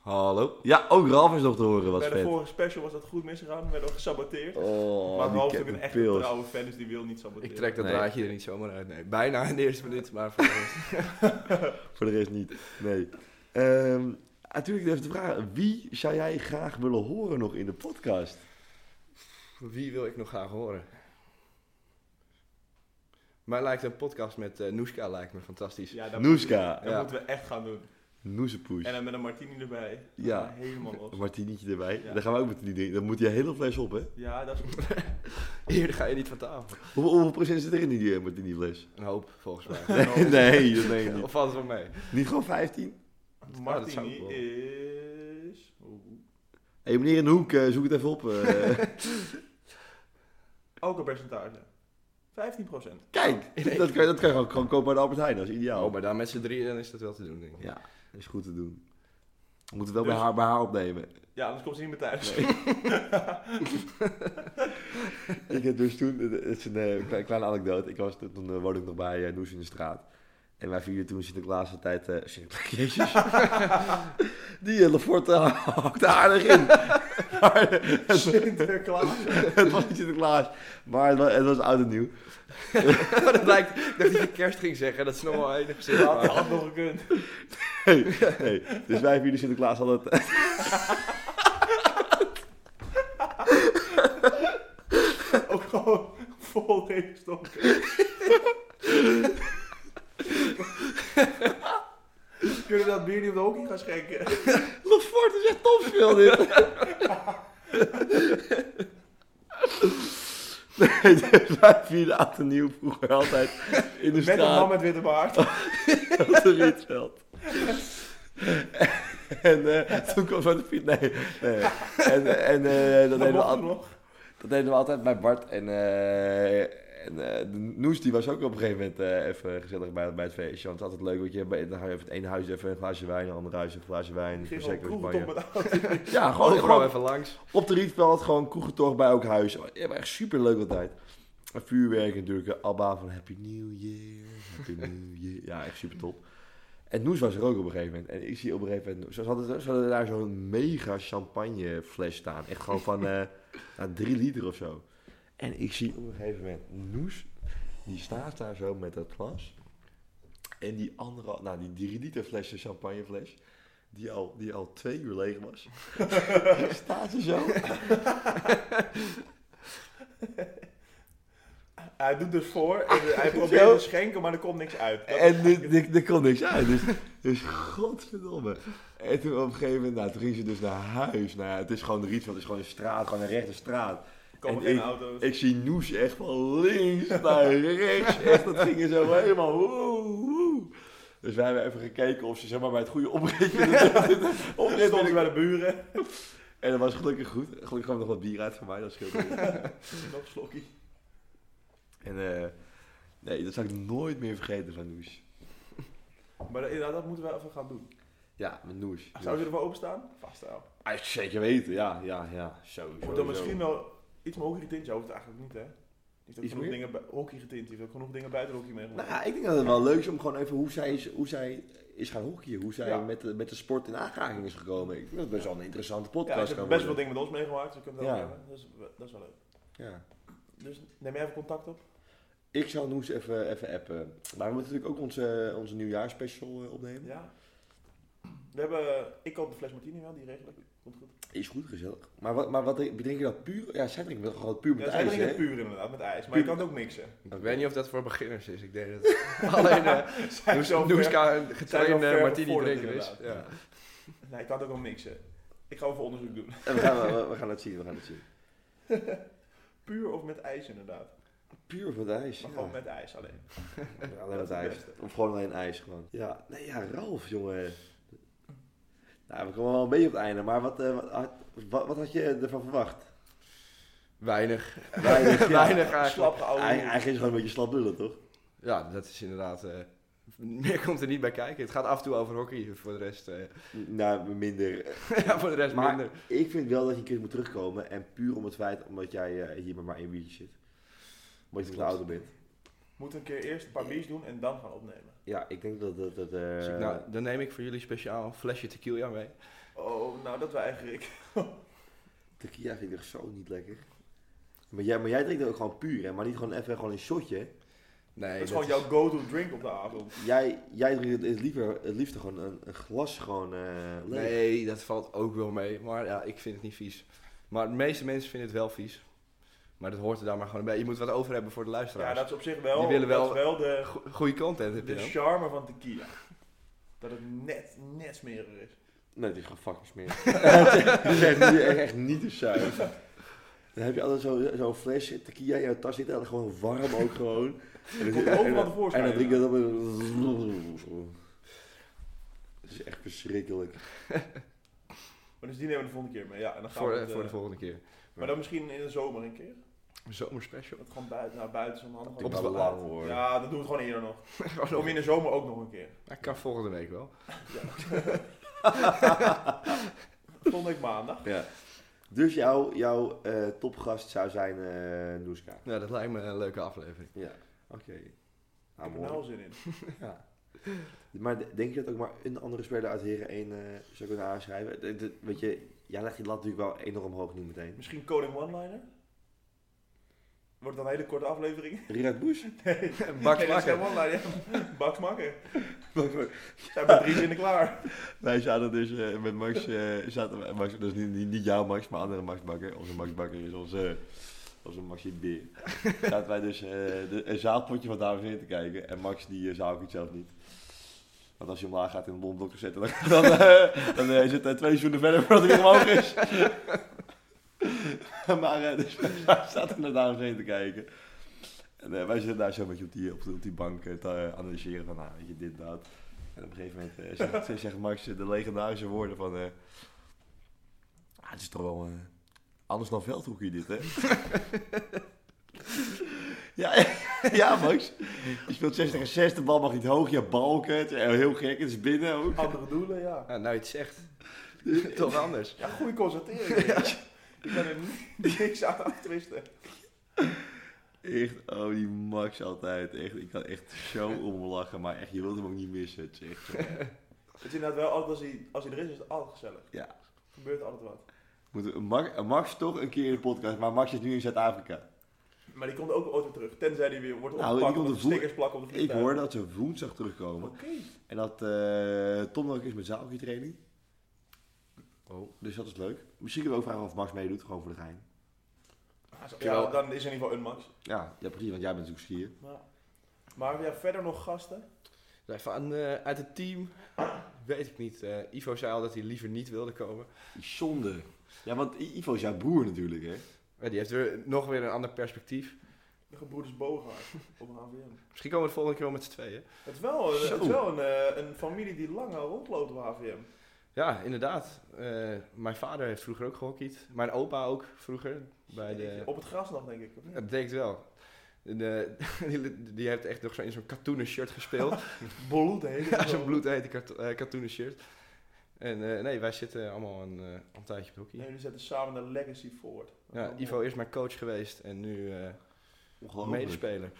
Speaker 3: Hallo? Ja, ook Ralf is nog te horen, wat
Speaker 4: Bij de
Speaker 3: vet.
Speaker 4: vorige special was dat goed misgegaan. We werden ook gesaboteerd.
Speaker 3: Oh,
Speaker 4: maar
Speaker 3: die
Speaker 4: Ralf is ook
Speaker 3: Captain
Speaker 4: een echt
Speaker 3: Pils.
Speaker 4: trouwe fan, dus die wil niet saboteren.
Speaker 5: Ik trek dat
Speaker 3: Nee.
Speaker 5: draadje er niet zomaar uit. Nee, bijna in de eerste minuut, maar voor de rest.
Speaker 3: Voor de rest niet. Nee. Ehm, natuurlijk even de vraag: wie zou jij graag willen horen nog in de podcast?
Speaker 5: Wie wil ik nog graag horen? Mij lijkt een podcast met eh Noeska lijkt me fantastisch.
Speaker 4: Ja, dat,
Speaker 3: Noeska.
Speaker 4: dat
Speaker 5: Ja.
Speaker 4: moeten we echt gaan doen.
Speaker 3: Noezepoes.
Speaker 4: En dan met een martini erbij. Ah,
Speaker 3: Ja.
Speaker 4: Helemaal los.
Speaker 3: Een martinietje erbij.
Speaker 4: Ja.
Speaker 3: Daar gaan we ook met die dingen. Dan moet die hele fles op, hè?
Speaker 4: Ja, dat is goed.
Speaker 5: Hier ga je niet van tafel.
Speaker 3: Hoeveel, hoeveel procent zit er in die eh, martini-fles?
Speaker 5: Een hoop, volgens mij.
Speaker 3: Nee, nee, dat meen je niet.
Speaker 5: Of valt het wel mee?
Speaker 3: Niet gewoon 15?
Speaker 5: dat zou ik
Speaker 4: Martini
Speaker 5: wel.
Speaker 4: is... Oeh.
Speaker 3: Hé, hey, meneer in de hoek, eh, zoek het even op. eh.
Speaker 4: Alcoholpercentage. 15 procent.
Speaker 3: Kijk, dat kan, dat kan je gewoon, gewoon kopen bij de Albert Heijn. Dat is ideaal.
Speaker 5: Oh, maar dan met z'n drieën dan is dat wel te doen, denk ik.
Speaker 3: Ja, dat is goed te doen. We moeten het wel
Speaker 4: Dus-
Speaker 3: bij, haar, bij haar opnemen.
Speaker 4: Ja, anders komt ze niet meer thuis.
Speaker 3: Ik heb dus toen, het is een eh, kle- kleine anekdote. Ik was, toen eh, woonde ik nog bij eh, Noes in de straat. En wij vierden toen Sinterklaas de tijd... eh Sinterklaas, jezus. Die hele fort eh, hakte aardig in. Maar eh, het,
Speaker 4: Sinterklaas.
Speaker 3: het was niet Sinterklaas. Maar het was, het was oud en nieuw.
Speaker 5: maar dat lijkt, ik dacht dat je kerst ging zeggen, dat is nog wel enig zin.
Speaker 4: Dat had nog gekund.
Speaker 3: Nee, nee. Dus wij vierden Sinterklaas al het...
Speaker 4: Ook gewoon vol regenstof. Kunnen we dat bier niet op de hockey gaan schenken?
Speaker 3: Lefort is echt topspel dit. Nee, dus wij vierden oud en nieuw vroeger altijd in de
Speaker 4: Met een man
Speaker 3: straat.
Speaker 4: met witte baard.
Speaker 3: op de Rietveld. En eh, toen kwam van de fiets. Nee, nee. En, eh, en eh, dat,
Speaker 4: Dat
Speaker 3: deden we
Speaker 4: mocht
Speaker 3: al-
Speaker 4: toen nog.
Speaker 3: dat deden we altijd bij Bart. En, eh, en eh, de Noes die was ook op een gegeven moment eh, even gezellig bij, bij het feestje. Want het is altijd leuk, want je bij, dan ga je even het ene huis even een glaasje wijn, het andere huis een glaasje wijn.
Speaker 4: Ik ging
Speaker 3: Prosecco,
Speaker 4: gewoon
Speaker 3: Spanje.
Speaker 4: kroegen op met Oh, oud.
Speaker 3: Ja,
Speaker 5: Gewoon
Speaker 3: gewoon,
Speaker 5: gewoon
Speaker 3: gewoon
Speaker 5: even langs.
Speaker 3: op de Rietveld, gewoon kroegentocht bij elk huis. Ja, maar echt super leuk altijd. En vuurwerk natuurlijk, eh, Abba van Happy New Year, Happy New Year. Ja, echt super top. En Noes was er ook op een gegeven moment. En ik zie op een gegeven moment, ze hadden, ze hadden daar zo'n mega champagnefles staan. Echt gewoon van eh nou, drie liter of zo. En ik zie op een gegeven moment Noes, die staat daar zo met dat glas. En die andere, nou die drie liter flesje champagnefles, die al, die al twee uur leeg was. staat ze zo.
Speaker 4: Hij doet dus voor. En hij probeert
Speaker 3: Zo.
Speaker 4: te schenken, maar er komt niks uit. Dat-
Speaker 3: En er- er- er kon niks uit. Dus, dus godverdomme. En toen op een gegeven moment, nou, toen ging ze dus naar huis. Nou ja, het is gewoon de Rietveld, het is gewoon een straat, gewoon een rechte straat.
Speaker 4: Komen
Speaker 3: En
Speaker 4: geen
Speaker 3: ik-
Speaker 4: auto's.
Speaker 3: Ik zie Noes echt van links naar rechts. Echt, dat ging er zo helemaal woe, woe. Dus wij hebben even gekeken of ze zeg maar bij het goede opritje
Speaker 4: Dit stond
Speaker 3: oprit
Speaker 4: hij bij de buren.
Speaker 3: En dat was gelukkig goed. Gelukkig kwam er nog wat bier uit voor mij, dat scheelt. ook.
Speaker 4: Nog een slokkie.
Speaker 3: En eh, nee, dat zou ik nooit meer vergeten van Noes.
Speaker 4: Maar inderdaad, dat moeten we even gaan doen.
Speaker 3: Ja, met Noes.
Speaker 4: Zou je ervoor openstaan? Vast wel.
Speaker 3: Ah, zeker weten, ja, ja, ja. Sowieso.
Speaker 4: Wordt dan misschien wel iets meer hockey getint? Je hoeft het eigenlijk niet, hè? Die heeft ook
Speaker 3: Iets
Speaker 4: genoeg
Speaker 3: meer?
Speaker 4: dingen bij, hockey getint. Die heeft ook genoeg dingen buiten hockey meegemaakt.
Speaker 3: Nou, ja, ik denk dat het wel leuk is om gewoon even hoe zij is, hoe zij is gaan hockeyen. Hoe zij
Speaker 4: Ja.
Speaker 3: met, de, met de sport in aanraking is gekomen. Ik vind dat best wel een interessante
Speaker 4: ja,
Speaker 3: podcast
Speaker 4: ik heb
Speaker 3: kan
Speaker 4: best wel
Speaker 3: worden.
Speaker 4: dingen met ons meegemaakt, dus we kunnen het
Speaker 3: Ja.
Speaker 4: ook hebben. Dus, we- dat is wel leuk.
Speaker 3: Ja.
Speaker 4: Dus neem jij even contact op?
Speaker 3: Ik zal Noes even, even appen. Maar we moeten natuurlijk ook onze, onze nieuwjaarspecial eh, opnemen.
Speaker 4: Ja. We hebben, eh, ik koop de fles martini wel, die regel ik. Komt goed.
Speaker 3: Is goed, gezellig. Maar wat, maar wat drink je dat puur? Ja, zij drinken wel gewoon puur met
Speaker 4: Ja, zij
Speaker 3: ijs,
Speaker 4: drinken
Speaker 3: hè?
Speaker 4: het puur inderdaad, met ijs. Maar
Speaker 3: Puur
Speaker 4: je kan het ook mixen.
Speaker 5: Ik weet niet of dat voor beginners is. Ik denk dat alleen eh
Speaker 4: Zij is zo ver-
Speaker 5: Noeska een
Speaker 4: zijn zo
Speaker 5: getrainde
Speaker 4: ver
Speaker 5: martini
Speaker 4: bevorderd,
Speaker 5: drinker is. Ja.
Speaker 4: inderdaad. Nee, ik kan het ook wel mixen. Ik ga even onderzoek doen.
Speaker 3: En we, gaan, we, we gaan het zien, we gaan het zien.
Speaker 4: Puur of met ijs inderdaad.
Speaker 3: Puur met ijs.
Speaker 4: Maar
Speaker 3: ja.
Speaker 4: gewoon met ijs alleen.
Speaker 3: Ja, Alleen wat
Speaker 4: Dat is het
Speaker 3: ijs.
Speaker 4: beste.
Speaker 3: Of gewoon alleen ijs gewoon. Ja, nee, ja, Ralf, jongen. Nou, we komen wel een beetje op het einde, maar wat, eh, wat, had- wat, wat had je ervan verwacht?
Speaker 5: Weinig.
Speaker 3: Weinig, ja.
Speaker 5: Weinig eigenlijk.
Speaker 4: Slap geouwe
Speaker 3: Hij,
Speaker 4: hoer.
Speaker 3: hij is gewoon een beetje slap lullen, toch?
Speaker 5: Ja, dat is inderdaad... eh, meer komt er niet bij kijken. Het gaat af en toe over hockey. Voor de rest, eh,
Speaker 3: Nou, minder.
Speaker 5: ja, voor de rest
Speaker 3: Maar
Speaker 5: minder.
Speaker 3: ik vind wel dat je een keer moet terugkomen. En puur om het feit omdat jij eh, hier met maar één biertje zit. Omdat je te
Speaker 5: Klopt.
Speaker 3: ouder bent.
Speaker 4: Moeten we een keer eerst een paar biertjes doen en dan gaan opnemen.
Speaker 3: Ja, ik denk dat dat... dat eh,
Speaker 5: Dus ik, nou, dan neem ik voor jullie speciaal een flesje tequila mee.
Speaker 4: Oh, nou dat weiger ik.
Speaker 3: Tequila vind ik echt zo niet lekker. Maar jij, maar jij drinkt ook gewoon puur, hè? Maar niet gewoon even gewoon een shotje, hè?
Speaker 5: Nee,
Speaker 4: dat is gewoon jouw go-to drink op de avond.
Speaker 3: Jij, jij drinkt het, liever, het liefste gewoon een, een glas gewoon eh, leeg.
Speaker 5: Nee, dat valt ook wel mee. Maar ja, ik vind het niet vies. Maar de meeste mensen vinden het wel vies. Maar dat hoort er daar maar gewoon bij. Je moet wat over hebben voor de
Speaker 4: Ja,
Speaker 5: luisteraars.
Speaker 4: dat is op zich wel,
Speaker 5: Die willen wel-
Speaker 4: dat is wel de,
Speaker 5: Dus Goede content heb je
Speaker 4: de
Speaker 5: dan.
Speaker 4: charme van tequila. Dat het net, net smeriger is.
Speaker 3: Nee, het is gewoon fucking smerig. Het is echt, niet- echt niet te zuiver. Dan heb je altijd zo- zo'n flesje tequila in je tas zitten. En dan gewoon warm ook gewoon. En dan-
Speaker 4: Komt
Speaker 3: en-
Speaker 4: overal
Speaker 3: en-
Speaker 4: tevoorschijn,
Speaker 3: En dan drink je
Speaker 4: ja.
Speaker 3: dat op. en- Het is echt verschrikkelijk.
Speaker 4: Maar dus die nemen we de volgende keer mee. Ja, en dan gaan
Speaker 5: Voor,
Speaker 4: we
Speaker 5: eh,
Speaker 4: het,
Speaker 5: voor de
Speaker 4: eh,
Speaker 5: volgende keer.
Speaker 4: Maar dan misschien in de zomer een keer.
Speaker 5: Een zomerspecial.
Speaker 4: Dat gewoon buiten, naar buiten is onhandig.
Speaker 5: Op
Speaker 4: want
Speaker 5: het Oh,
Speaker 4: is
Speaker 3: lang,
Speaker 4: laat.
Speaker 3: hoor.
Speaker 4: Ja, dat doen we het gewoon eerder nog. Dan
Speaker 5: Gewoon
Speaker 4: kom je in de zomer ook nog een keer.
Speaker 5: Dat kan volgende week wel.
Speaker 4: Volgende week maandag.
Speaker 3: Ja. Dus jouw jouw eh, topgast zou zijn eh Noeska.
Speaker 5: Nou, dat lijkt me een leuke aflevering.
Speaker 3: Ja. Oké.
Speaker 4: Ik
Speaker 3: Nou,
Speaker 4: heb er
Speaker 3: mooi.
Speaker 4: nou al zin in.
Speaker 3: Ja. Maar d- denk je dat ook maar een andere speler uit Heren 1 eh, zou kunnen aanschrijven? De- de- weet je, jij legt die lat natuurlijk wel enorm hoog nu meteen.
Speaker 4: Misschien Coding One-Liner? Wordt dan een hele korte aflevering.
Speaker 3: Gerard Boes?
Speaker 5: Baks
Speaker 4: Nee, dat is
Speaker 5: Makker.
Speaker 4: geen one-liner, ja. Baks Makker.
Speaker 3: Wij
Speaker 4: Zijn we drie zinnen klaar.
Speaker 3: zaten dus eh, met Max, eh, zaten, we- Max, dat is niet, niet, niet jouw Max, maar andere Max Bakker. Onze Max Bakker is onze, onze Maxi Beer. zaten wij dus eh, de, een zaalpotje van dames en heren te kijken. En Max die eh, zou ik het zelf niet. Want als je omlaag gaat in een bomblok zetten, dan, dan, eh, dan eh, zit hij twee seizoenen verder voordat hij weer omhoog is. maar eh, dus wij zaten naar dames en heren te kijken. En eh, wij zitten daar zo een beetje op die, op, die- op die bank eh, te eh, analyseren van, nou, weet je, dit, dat. En op een gegeven moment eh, zegt, zegt Max eh, de legendarische woorden van... eh, ah, het is toch wel eh, anders dan veldhoekje dit, hè? ja, ja, Max. Je speelt 60 en 6, de bal mag niet hoog. Je balken, het is heel gek, het is binnen ook.
Speaker 4: Andere doelen, ja.
Speaker 5: Nou, nou je het zegt. Toch anders.
Speaker 4: Ja, goede constatering. Ik ben er ni- niks aan aftwisten.
Speaker 3: Echt, oh, die Max altijd. Echt, ik kan echt zo om lachen, maar echt, je wilt hem ook niet missen. Het is echt zo.
Speaker 4: Het is inderdaad wel altijd als hij, als hij er is, is het altijd gezellig.
Speaker 3: Ja.
Speaker 4: Gebeurt altijd wat.
Speaker 3: Moeten we- Max, Max toch een keer in de podcast, maar Max is nu in Zuid-Afrika.
Speaker 4: Maar die komt ook ooit weer terug. Tenzij die weer wordt
Speaker 3: Nou,
Speaker 4: opgepakt
Speaker 3: die komt
Speaker 4: omdat
Speaker 3: de
Speaker 4: ze
Speaker 3: vloer-
Speaker 4: stickers plakken op de
Speaker 3: Ik
Speaker 4: vliegtuig.
Speaker 3: hoor dat ze woensdag terugkomen.
Speaker 4: Oké.
Speaker 3: En dat eh, Tom dan ook is met zaalhockey training.
Speaker 5: Oh.
Speaker 3: Dus dat is leuk. Misschien kunnen we ook vragen of Max meedoet, gewoon voor de gein.
Speaker 4: Ah, Ja, dan is er in ieder geval een max.
Speaker 3: Ja, ja precies, want jij bent natuurlijk skier.
Speaker 4: Ja. Maar hebben jij verder nog gasten?
Speaker 5: Zij Van, eh, uit het team weet ik niet. Eh, Ivo zei al dat hij liever niet wilde komen.
Speaker 3: Zonde. Ja, want I- Ivo is jouw broer natuurlijk, hè?
Speaker 5: Maar die heeft weer, nog weer een ander perspectief.
Speaker 4: De gebroeders Bogaard op een AVM.
Speaker 5: Misschien komen we de volgende keer wel met z'n tweeën.
Speaker 4: Het is wel, een,
Speaker 3: Zo.
Speaker 4: het is wel een, eh, een familie die lang al rondloopt op HVM.
Speaker 5: Ja, inderdaad. Eh, mijn vader heeft vroeger ook gehockeyd. Mijn opa ook vroeger. Bij de...
Speaker 4: Op het gras nog, denk ik. of niet?
Speaker 5: Dat denk ik wel. De, die, die heeft echt nog zo in zo'n katoenen shirt gespeeld.
Speaker 4: Bloed heet het
Speaker 5: Ja,
Speaker 4: wel.
Speaker 5: zo'n bloedhete kat- eh, katoenen shirt. En eh, nee, wij zitten allemaal een, eh, al een tijdje op hockey.
Speaker 4: En jullie zetten samen de legacy voort. Dat is
Speaker 5: Ja,
Speaker 4: wel
Speaker 5: Ivo
Speaker 4: mooi.
Speaker 5: is mijn coach geweest en nu eh, medespeler.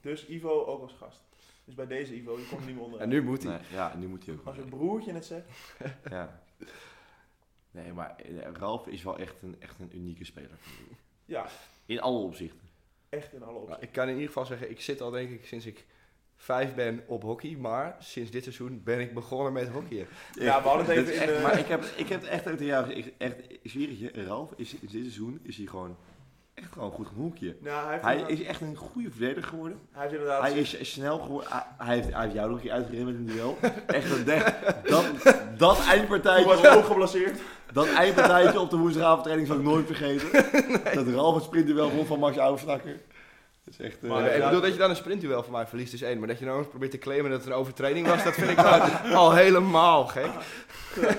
Speaker 4: Dus Ivo ook als gast. Dus bij deze Ivo, je komt er niet meer onderuit.
Speaker 5: En nu moet hij.
Speaker 3: Nee, ja, nu moet hij ook.
Speaker 4: Als je
Speaker 3: mee.
Speaker 4: broertje het zegt,
Speaker 3: Ja. Nee, maar eh, Ralf is wel echt een, echt een unieke speler.
Speaker 4: ja,
Speaker 3: In alle opzichten.
Speaker 4: echt in alle
Speaker 5: Nou,
Speaker 4: opzichten.
Speaker 5: ik kan in ieder geval zeggen, ik zit al denk ik sinds ik vijf ben op hockey. Maar sinds dit seizoen ben ik begonnen met hockeyen.
Speaker 4: Ja, we hadden het
Speaker 3: Dat
Speaker 4: even
Speaker 3: is
Speaker 4: in
Speaker 3: echt-
Speaker 4: de-
Speaker 3: Maar ik heb, ik heb het echt tegen jou gezegd. ik- Echt, ik zweer het je, Ralf is in dit seizoen is hij gewoon echt gewoon goed genoeg hier.
Speaker 4: Nou, hij heeft,
Speaker 3: Hij
Speaker 4: inderdaad,
Speaker 3: is echt een goede verdediger geworden.
Speaker 4: hij heeft inderdaad...
Speaker 3: Hij is snel geworden. Hij, hij heeft, hij heeft jou nog een keer uitgereden met een duel. Echt een dek- dat, dat,
Speaker 4: Hij
Speaker 3: eindpartijtje,
Speaker 4: was ook geblesseerd.
Speaker 3: dat eindpartijtje op de woensdagavondtraining zal ik nooit vergeten. Dat Ralf het sprintduel won van Max Oudersnakker. Dat is echt... eh,
Speaker 4: Maar,
Speaker 5: ik
Speaker 4: ja,
Speaker 5: bedoel dat je dan een sprintduel van mij verliest is één. Maar dat je nou ook probeert te claimen dat het een overtreding was, dat vind ik al, al helemaal gek.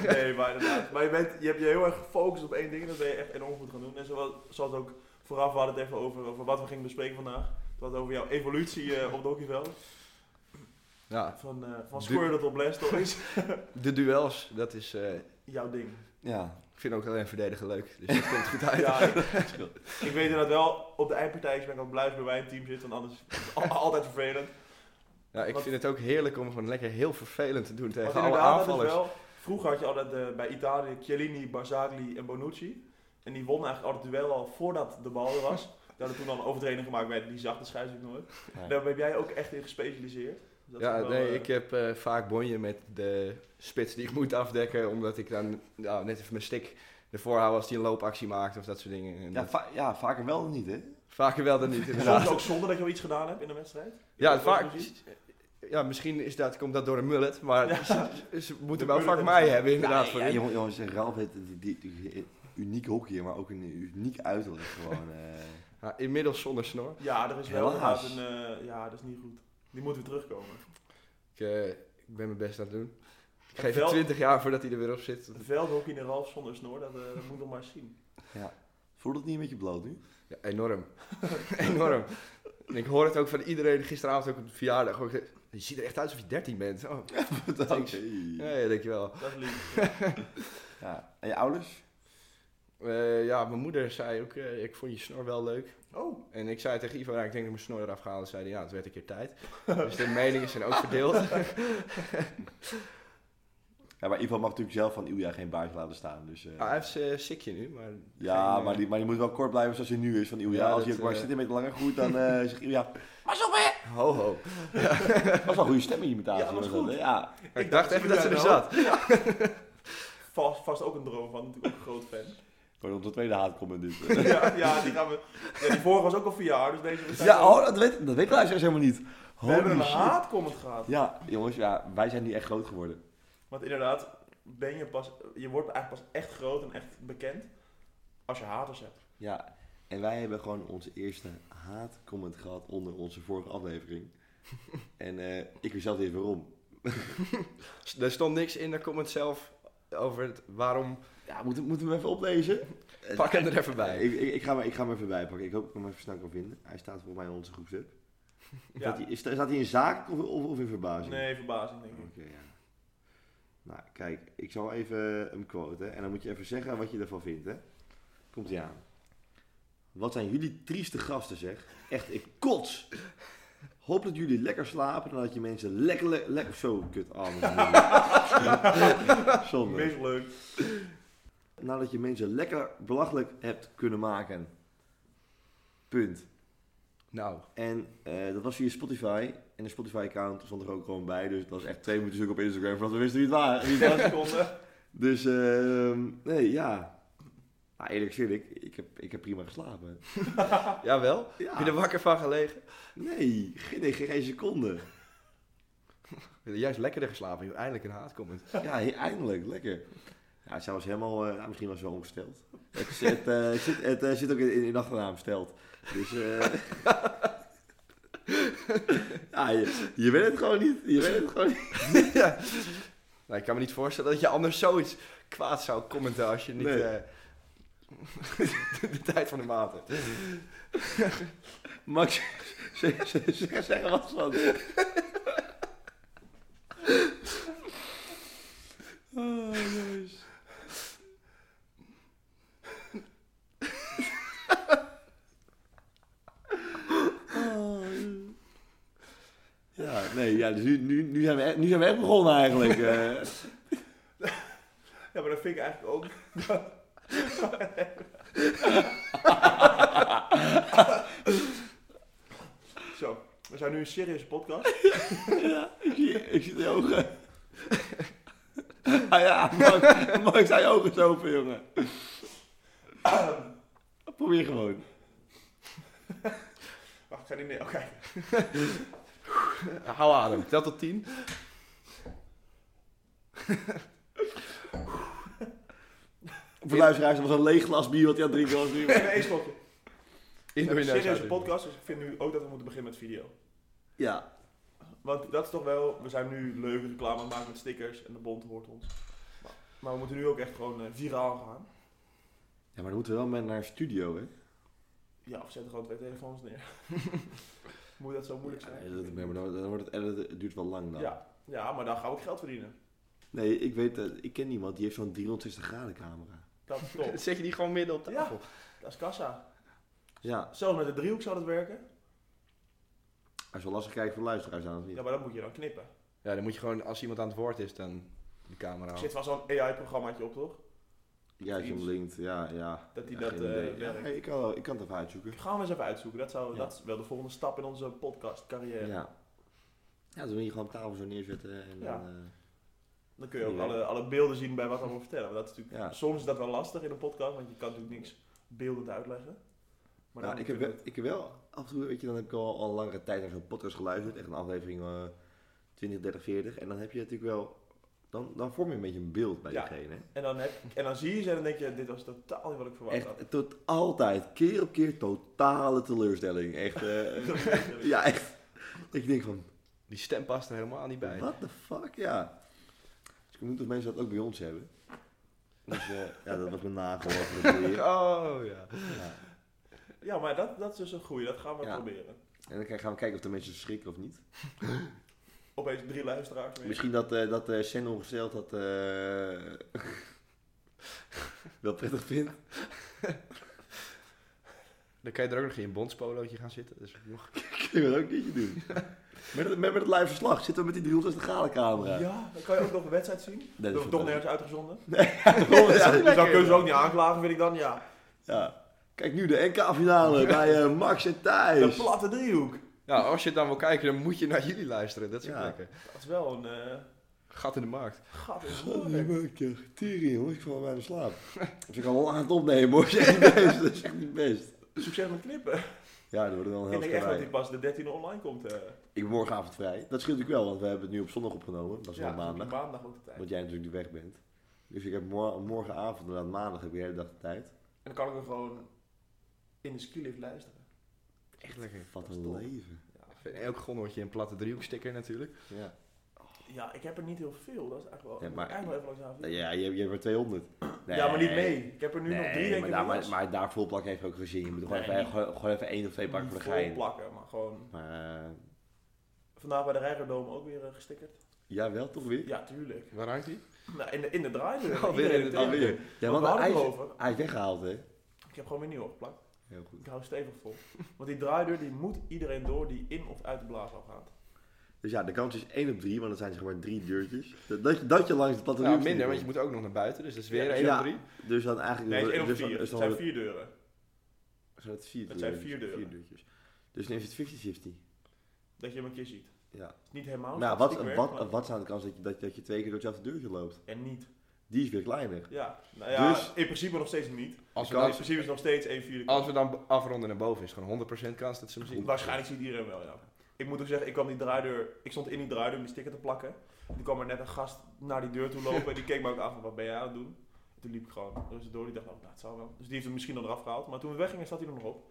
Speaker 4: nee, maar inderdaad. Maar je, bent, je hebt je heel erg gefocust op één ding en dat ben je echt enorm goed gaan doen. En zoals, zoals ook vooraf, we hadden het even over, over wat we gingen bespreken vandaag. We hadden het over jouw evolutie eh, op het hockeyveld.
Speaker 5: Ja,
Speaker 4: Van, eh van
Speaker 5: Du-
Speaker 4: Squirtle tot Blastoise is
Speaker 5: de duels, dat is... eh,
Speaker 4: jouw ding.
Speaker 3: ja.
Speaker 5: ik vind ook alleen verdedigen leuk, dus dat komt goed uit.
Speaker 4: Ja, ik, ik weet inderdaad wel, op de eindpartijtjes ben ik al blij dat ik bij mijn team zit, want anders is het al- altijd vervelend.
Speaker 5: Ja, ik
Speaker 4: Want-
Speaker 5: vind het ook heerlijk om gewoon lekker heel vervelend te doen tegen
Speaker 4: Want
Speaker 5: alle
Speaker 4: inderdaad, dat is
Speaker 5: aanvallers.
Speaker 4: wel, vroeger had je altijd eh, bij Italië Chiellini, Barzagli en Bonucci. En die wonnen eigenlijk altijd duel al voordat de bal er was. Daar hadden toen al een overtreding gemaakt werd, die zag de scheidsrechter nooit.
Speaker 3: Nee.
Speaker 4: Daar ben jij ook echt in gespecialiseerd. Dus dat is
Speaker 5: Ja,
Speaker 4: wel,
Speaker 5: nee,
Speaker 4: eh,
Speaker 5: ik heb eh, vaak bonje met de spits die ik moet afdekken, omdat ik dan nou, net even mijn stick ervoor hou als die een loopactie maakt of dat soort dingen. En
Speaker 3: Ja,
Speaker 5: dat-
Speaker 3: va- ja, vaker wel dan niet, hè?
Speaker 5: vaker wel dan niet,
Speaker 4: Soms
Speaker 5: inderdaad.
Speaker 4: ook zonder dat je wel iets gedaan hebt in de wedstrijd.
Speaker 5: Ja,
Speaker 4: Dat was
Speaker 5: vaak.
Speaker 4: precies.
Speaker 5: ja, misschien is dat, komt dat door een mullet, maar
Speaker 4: Ja.
Speaker 5: ze, ze moeten
Speaker 4: De
Speaker 5: wel
Speaker 4: mullet
Speaker 5: vak
Speaker 4: is-
Speaker 5: mij hebben inderdaad.
Speaker 3: Inderdaad,
Speaker 5: voor
Speaker 3: ja,
Speaker 5: hun.
Speaker 3: jongen- jongens, Ralf heeft die, die, die unieke hockey, maar ook een uniek uiterlijk gewoon. eh.
Speaker 5: Maar inmiddels zonder snor.
Speaker 4: Ja, er is wel
Speaker 3: Helaas.
Speaker 4: inderdaad een... eh, ja, dat is niet goed. Die moeten we terugkomen.
Speaker 5: Ik, eh, ik ben mijn best aan het doen. Ik geef
Speaker 4: Wel-
Speaker 5: 20 jaar voordat hij er weer op zit.
Speaker 4: Het veldhockey in de Ralf zonder snor, dat, eh, dat moet nog maar eens zien.
Speaker 3: Voelt het niet een beetje bloot nu?
Speaker 5: Ja, enorm. enorm. En ik hoor het ook van iedereen gisteravond ook op de verjaardag. Hoor ik, je ziet er echt uit alsof je 13 bent. Oh,
Speaker 3: Bedankt.
Speaker 5: ja, ja, dankjewel.
Speaker 4: Dat is lief.
Speaker 3: Ja. En je ouders?
Speaker 5: Eh, ja, mijn moeder zei ook, eh, ik vond je snor wel leuk.
Speaker 4: Oh,
Speaker 5: En ik zei tegen Ivan, ja, ik denk dat ik mijn snor eraf ga halen. Zei hij, ja, het werd een keer tijd. Dus de meningen zijn ook verdeeld. Ah,
Speaker 3: Ja, maar Ivan mag natuurlijk zelf van Ilja geen baardje laten staan. Dus, eh,
Speaker 5: Ah, hij heeft een sikje nu, maar...
Speaker 3: ja,
Speaker 5: geen, eh,
Speaker 3: maar, die, maar die moet wel kort blijven zoals hij nu is van Ilja.
Speaker 5: Ja,
Speaker 3: Als
Speaker 5: dat,
Speaker 3: hij ook maar
Speaker 5: eh,
Speaker 3: zit een beetje langer goed, dan eh, zegt Ilja...
Speaker 5: Ho, ho.
Speaker 3: Dat was wel een goede stemimitatie.
Speaker 4: Ja, dat was
Speaker 3: hoor,
Speaker 4: goed.
Speaker 3: hè? Ja.
Speaker 5: Ik, dacht even dat ze er zat.
Speaker 4: vast, vast ook een droom van, natuurlijk ook een groot fan.
Speaker 3: Gewoon onze tweede haatcomment dit. eh.
Speaker 4: ja, ja, die gaan we... Ja, die vorige was ook al vier jaar, dus deze... we zijn
Speaker 3: ja,
Speaker 4: al-
Speaker 3: oh, dat weet, dat weet de luisteraars helemaal niet.
Speaker 4: We hebben een
Speaker 3: Holy shit.
Speaker 4: haatcomment gehad.
Speaker 3: Ja, jongens, ja, wij zijn nu echt groot geworden.
Speaker 4: Want inderdaad, ben je, pas, je wordt eigenlijk pas echt groot en echt bekend als je haters hebt.
Speaker 3: Ja, en wij hebben gewoon onze eerste haatcomment gehad onder onze vorige aflevering. en eh, ik weet zelf niet eens waarom.
Speaker 5: Er stond niks in de comment zelf over het waarom.
Speaker 3: Ja, moeten, moeten we hem even oplezen? Eh,
Speaker 5: Pak hem er even bij.
Speaker 3: Ik, ik, ik, ga hem, ik ga hem even bijpakken. Ik hoop dat ik hem even snel kan vinden. Hij staat volgens mij in onze groepsapp. Staat, hij, is- staat hij in zaak of, of, of in verbazing?
Speaker 4: Nee, verbazing denk
Speaker 3: Oké,
Speaker 4: ik.
Speaker 3: ja. Nou, kijk, ik zal even eh, hem quoten en dan moet je even zeggen wat je ervan vindt, hè. Komt ie aan. Wat zijn jullie trieste gasten, zeg. Echt, ik kots. Hoop dat jullie lekker slapen en dat je mensen lekker... le- lekker zo, kut. Oh, mijn-
Speaker 5: Mm.
Speaker 3: Zonde.
Speaker 4: Mislukt.
Speaker 3: Nadat je mensen lekker belachelijk hebt kunnen maken. Punt.
Speaker 5: Nou,
Speaker 3: En eh, dat was via Spotify. En de Spotify-account stond er ook gewoon bij. Dus het was echt twee minuten zoek op Instagram voordat we wisten wie het waren. Wie het was.
Speaker 4: 30 seconden.
Speaker 3: Dus, ehm, nee, ja. Nou, eerlijk gezegd, ik, ik, heb, ik heb prima geslapen.
Speaker 5: jawel. Heb je er
Speaker 3: Ja.
Speaker 5: wakker van gelegen?
Speaker 3: Nee, geen, nee, geen, geen seconde.
Speaker 5: Juist lekkerder geslapen, joh. eindelijk een haatcomment.
Speaker 3: Ja, he- eindelijk, lekker. Ja, zij was helemaal, eh, nou, misschien was ze wel ongesteld. Het, is- het, eh, zit, het eh, zit ook in, in de achternaam, stelt. Dus, eh, ja, je, je weet het gewoon niet. Je weet het gewoon niet.
Speaker 5: ja. Nou, ik kan me niet voorstellen dat je anders zoiets kwaad zou commenten als je niet
Speaker 3: Nee.
Speaker 5: eh, de tijd van de maat hebt.
Speaker 3: Max, zeg, zeg, zeg, zeg er wat van. Oh, jongens. Ja, nee, ja, dus nu, nu, nu, zijn we echt, nu zijn we echt begonnen eigenlijk. eh.
Speaker 4: Ja, maar dat vind ik eigenlijk ook... Zo, we zijn nu een serieuze podcast.
Speaker 3: Ja, ik zie, ik zie de ogen. Ah ja, Max, Max, zijn ogen is open, jongen. Probeer gewoon.
Speaker 4: Wacht, ik ga niet meer... Oké.
Speaker 5: Hou adem, tel tot tien.
Speaker 3: Voor de luisteraars, dat was een leeg glas bier wat hij aan het drinken was nu.
Speaker 4: Even één slokje.
Speaker 5: In
Speaker 4: We
Speaker 5: door
Speaker 4: hebben
Speaker 5: je
Speaker 4: een
Speaker 5: neus
Speaker 4: serieuze
Speaker 5: uit.
Speaker 4: podcast, dus ik vind nu ook dat we moeten beginnen met video.
Speaker 3: Ja,
Speaker 4: Want dat is toch wel, we zijn nu leuke reclame aan het maken met stickers en de bond hoort ons. Maar, maar we moeten nu ook echt gewoon eh, viraal gaan.
Speaker 3: ja maar dan moeten we wel met naar een studio, hè?
Speaker 4: Ja, of zetten gewoon twee telefoons neer. Moet dat zo moeilijk zijn?
Speaker 3: Ja, dat, nee, maar dan dan wordt het editen, het duurt wel lang dan.
Speaker 4: Ja, ja, maar dan gaan we ook geld verdienen.
Speaker 3: Nee, ik weet, eh, ik ken iemand die heeft zo'n 360 graden camera.
Speaker 4: Dat is top.
Speaker 5: Zet je die gewoon midden op tafel?
Speaker 4: Dat is kassa.
Speaker 3: Ja,
Speaker 4: Zelfs met de driehoek zou dat werken.
Speaker 3: hij is wel lastig kijken voor de luisteraars aan. of niet?
Speaker 4: Ja, maar dat moet je dan knippen.
Speaker 3: Oh.
Speaker 5: Ja. dan moet je gewoon, als iemand aan het woord is, dan de camera
Speaker 4: Er
Speaker 5: aan.
Speaker 4: zit wel zo'n AI-programmaatje op, toch?
Speaker 3: Ja, als je hem
Speaker 4: iets.
Speaker 3: linkt, ja, ja.
Speaker 4: Dat die
Speaker 3: Ja,
Speaker 4: dat
Speaker 3: geen idee.
Speaker 4: eh,
Speaker 3: Ja,
Speaker 4: werkt.
Speaker 3: ik, kan, wel- ik kan het even uitzoeken.
Speaker 4: Gaan we eens even uitzoeken. Dat, zou,
Speaker 3: Ja.
Speaker 4: dat is wel de volgende stap in onze podcastcarrière.
Speaker 3: Ja. Ja, dan wil je gewoon op tafel zo neerzetten en
Speaker 4: Ja.
Speaker 3: dan... eh,
Speaker 4: Dan kun je ook
Speaker 3: Ja.
Speaker 4: alle, alle beelden zien bij wat we allemaal vertellen. Want dat is natuurlijk,
Speaker 3: Ja.
Speaker 4: Soms is dat wel lastig in een podcast, want je kan natuurlijk niks beeldend uitleggen. Maar
Speaker 3: nou,
Speaker 4: dan
Speaker 3: ik, heb
Speaker 4: kunnen
Speaker 3: wel, ik heb wel af en toe, weet je, dan heb ik al, al langere tijd naar zo'n podcast geluisterd. Echt een aflevering eh, 20, 30, 40. En dan heb je natuurlijk wel... Dan, dan vorm je een beetje een beeld bij
Speaker 4: Ja.
Speaker 3: diegene.
Speaker 4: En dan, heb, en dan zie je ze en dan denk je, dit was totaal niet wat ik verwacht had.
Speaker 3: Echt tot altijd, keer op keer, totale teleurstelling. Echt, eh, ja, echt. Ik denk van,
Speaker 5: Die stem past er helemaal niet bij.
Speaker 3: what the fuck, ja. Dus ik moet dat mensen dat ook bij ons hebben. Dus eh, ja, dat was mijn nagel. afgelopen keer.
Speaker 5: Oh ja.
Speaker 4: Ja, maar dat, dat is dus een goeie, dat gaan we
Speaker 3: Ja.
Speaker 4: proberen.
Speaker 3: En dan gaan we kijken of de mensen schrikken of niet.
Speaker 4: Opeens drie luisteraars meer.
Speaker 3: Misschien dat, eh dat eh Shannon gesteld dat eh, wel prettig vindt.
Speaker 5: Dan kan je er ook nog in een bondspolootje gaan zitten. Dus nog...
Speaker 3: Kunnen we dat ook een keertje doen. Met het, met, met het live verslag zitten we met die 360 graden camera.
Speaker 4: Ja, dan kan je ook nog een wedstrijd zien.
Speaker 3: Nee, dat
Speaker 4: Dat is
Speaker 3: is
Speaker 4: toch
Speaker 3: goed.
Speaker 4: nergens uitgezonden.
Speaker 3: Oh, ja.
Speaker 4: Dus dan kunnen ze ook niet aanklagen, vind ik dan, ja.
Speaker 3: Ja. Kijk nu de NK-finale bij eh, Max en
Speaker 4: De
Speaker 3: Thijs.
Speaker 4: platte driehoek.
Speaker 5: Ja, Nou, als je het dan wil kijken, dan moet je naar jullie luisteren. Dat is ook
Speaker 3: Ja.
Speaker 5: lekker.
Speaker 4: Dat is wel een eh,
Speaker 5: Gat in de markt.
Speaker 4: gat in de
Speaker 3: Oh,
Speaker 4: oren.
Speaker 3: Tering, jongens, ik val bijna in slaap. Dus ik kan wel aan het opnemen, hoor. Dat is echt niet best. Dat is echt niet best.
Speaker 4: Succes met knippen.
Speaker 3: Ja, dat wordt wel een
Speaker 4: Ik
Speaker 3: helft
Speaker 4: denk echt dat
Speaker 3: vrij.
Speaker 4: die pas de 13e online komt. eh.
Speaker 3: Ik ben morgenavond vrij. Dat scheelt natuurlijk wel, want we hebben het nu op zondag opgenomen. Dat is
Speaker 4: ja,
Speaker 3: wel maandag.
Speaker 4: maandag ook de tijd. En
Speaker 3: Want jij natuurlijk de weg bent. Dus ik heb mor- morgenavond en aan maandag heb ik de hele dag de tijd.
Speaker 4: dan kan ik hem gewoon in de skilift luisteren.
Speaker 5: Echt lekker.
Speaker 3: Wat
Speaker 4: is
Speaker 3: een
Speaker 4: top.
Speaker 3: leven.
Speaker 5: In elk gondeltje een platte driehoeksticker natuurlijk.
Speaker 3: Ja,
Speaker 4: Ja, ik heb er niet heel veel. Dat is eigenlijk wel...
Speaker 3: Ja, maar-
Speaker 4: ik moet eigenlijk wel even
Speaker 3: Nou
Speaker 4: langs
Speaker 3: ja je, hebt- je hebt er 200.
Speaker 4: aan. Ja, maar niet
Speaker 3: Nee.
Speaker 4: mee. Ik heb er nu nog drie,
Speaker 3: Nee,
Speaker 4: denk
Speaker 3: maar,
Speaker 4: ik.
Speaker 3: daar,
Speaker 4: in de
Speaker 3: maar,
Speaker 4: tas.
Speaker 3: maar daar vol plakken heeft ook gezien. Je moet er gewoon,
Speaker 4: Nee,
Speaker 3: even, gewoon, gewoon even één of twee pakken
Speaker 4: Niet
Speaker 3: voor de gein.
Speaker 4: volplakken, maar gewoon...
Speaker 3: Maar eh,
Speaker 4: Vandaag bij de Rijgerdome ook weer eh, gestickerd.
Speaker 3: ja, wel toch weer?
Speaker 4: Ja, tuurlijk.
Speaker 5: Waar hangt die?
Speaker 4: Nou, in de, in de draaideur.
Speaker 5: Alweer in de
Speaker 4: Iedereen-
Speaker 5: draaideur.
Speaker 3: Oh, Ja,
Speaker 4: Want
Speaker 3: want
Speaker 4: we hadden
Speaker 3: hij
Speaker 4: het
Speaker 3: is,
Speaker 4: erover.
Speaker 3: hij is weggehaald, hè?
Speaker 4: Ik heb gewoon weer nieuw opgeplakt.
Speaker 3: Heel goed.
Speaker 4: Ik hou stevig vol. Want die draaideur die moet iedereen door die in of uit de blaashal gaat.
Speaker 3: Dus ja, de kans is 1 op 3, want dat zijn zeg maar drie deurtjes. Dat, dat, je- dat je langs de platte
Speaker 5: Ja,
Speaker 3: driehoek
Speaker 5: minder, want
Speaker 3: komt.
Speaker 5: je moet ook nog naar buiten. Dus dat is
Speaker 4: Ja,
Speaker 5: weer
Speaker 4: dus
Speaker 5: één
Speaker 3: ja.
Speaker 5: op drie.
Speaker 3: Dus dan eigenlijk...
Speaker 4: Nee, het is één of
Speaker 3: dus dan-
Speaker 4: vier.
Speaker 3: dus
Speaker 4: Het
Speaker 3: dan
Speaker 4: zijn
Speaker 3: wordt
Speaker 4: vier deuren.
Speaker 3: het- zijn het vier
Speaker 4: Het zijn
Speaker 3: deurtjes,
Speaker 4: vier deuren.
Speaker 3: deurtjes. Dus dan is het 50-50.
Speaker 4: Dat je hem een keer ziet.
Speaker 3: Ja.
Speaker 4: Het is niet helemaal.
Speaker 3: Maar ja, Nou, wat,
Speaker 4: statistiek werk,
Speaker 3: wat,
Speaker 4: maar-
Speaker 3: wat is aan de kans dat je, dat, dat je twee keer door hetzelfde deurtje loopt?
Speaker 4: En niet.
Speaker 3: Die is weer kleiner.
Speaker 4: Ja. Nou ja,
Speaker 3: Dus-
Speaker 4: in principe nog steeds niet.
Speaker 5: Als we,
Speaker 4: In
Speaker 5: dan,
Speaker 4: principe is het nog steeds één vierde
Speaker 5: als
Speaker 4: kans. Dus
Speaker 5: we dan afronden naar boven is het gewoon 100% kans dat ze hem zien.
Speaker 4: Waarschijnlijk ziet iedereen wel, ja. Ik moet ook zeggen, ik kwam die draaideur... Ik stond in die draaideur om die sticker te plakken. Toen kwam er net een gast naar die deur toe lopen. en die keek me ook aan van, wat ben jij aan het doen? En toen liep ik gewoon rustig door. Die dacht, oh, nou, het zal wel. Dus die heeft hem misschien dan eraf gehaald. Maar toen we weggingen, zat hij er nog op.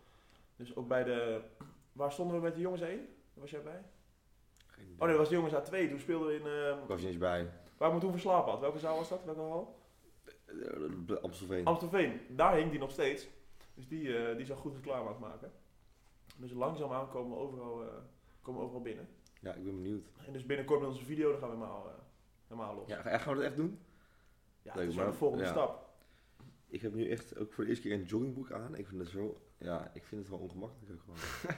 Speaker 4: Dus ook bij de... Waar stonden we met de jongens heen? Was jij bij? Oh nee, dat was de jongens A2. Toen speelden we in...
Speaker 3: Ik
Speaker 4: eh
Speaker 3: was niet eens bij.
Speaker 4: waar we toen verslapen had. Welke zaal was dat? Welke hal?
Speaker 3: Eh, Amstelveen.
Speaker 4: Amstelveen, daar hing die nog steeds. Dus die, eh, die zou goed reclame aan het maken. Dus langzaamaan komen we overal, eh, komen we overal binnen.
Speaker 3: Ja, ik ben benieuwd.
Speaker 4: En dus binnenkort met onze video, dan gaan we helemaal, eh, helemaal los. Ja,
Speaker 3: Ja, ga- gaan we dat echt doen?
Speaker 4: dat
Speaker 3: leuk,
Speaker 4: is wel
Speaker 3: maar-
Speaker 4: de volgende
Speaker 3: ja.
Speaker 4: stap.
Speaker 3: Ik heb nu echt ook voor de eerste keer een joggingbroek aan. Ik vind dat zo... Ja, ik vind het wel ongemakkelijk ook gewoon.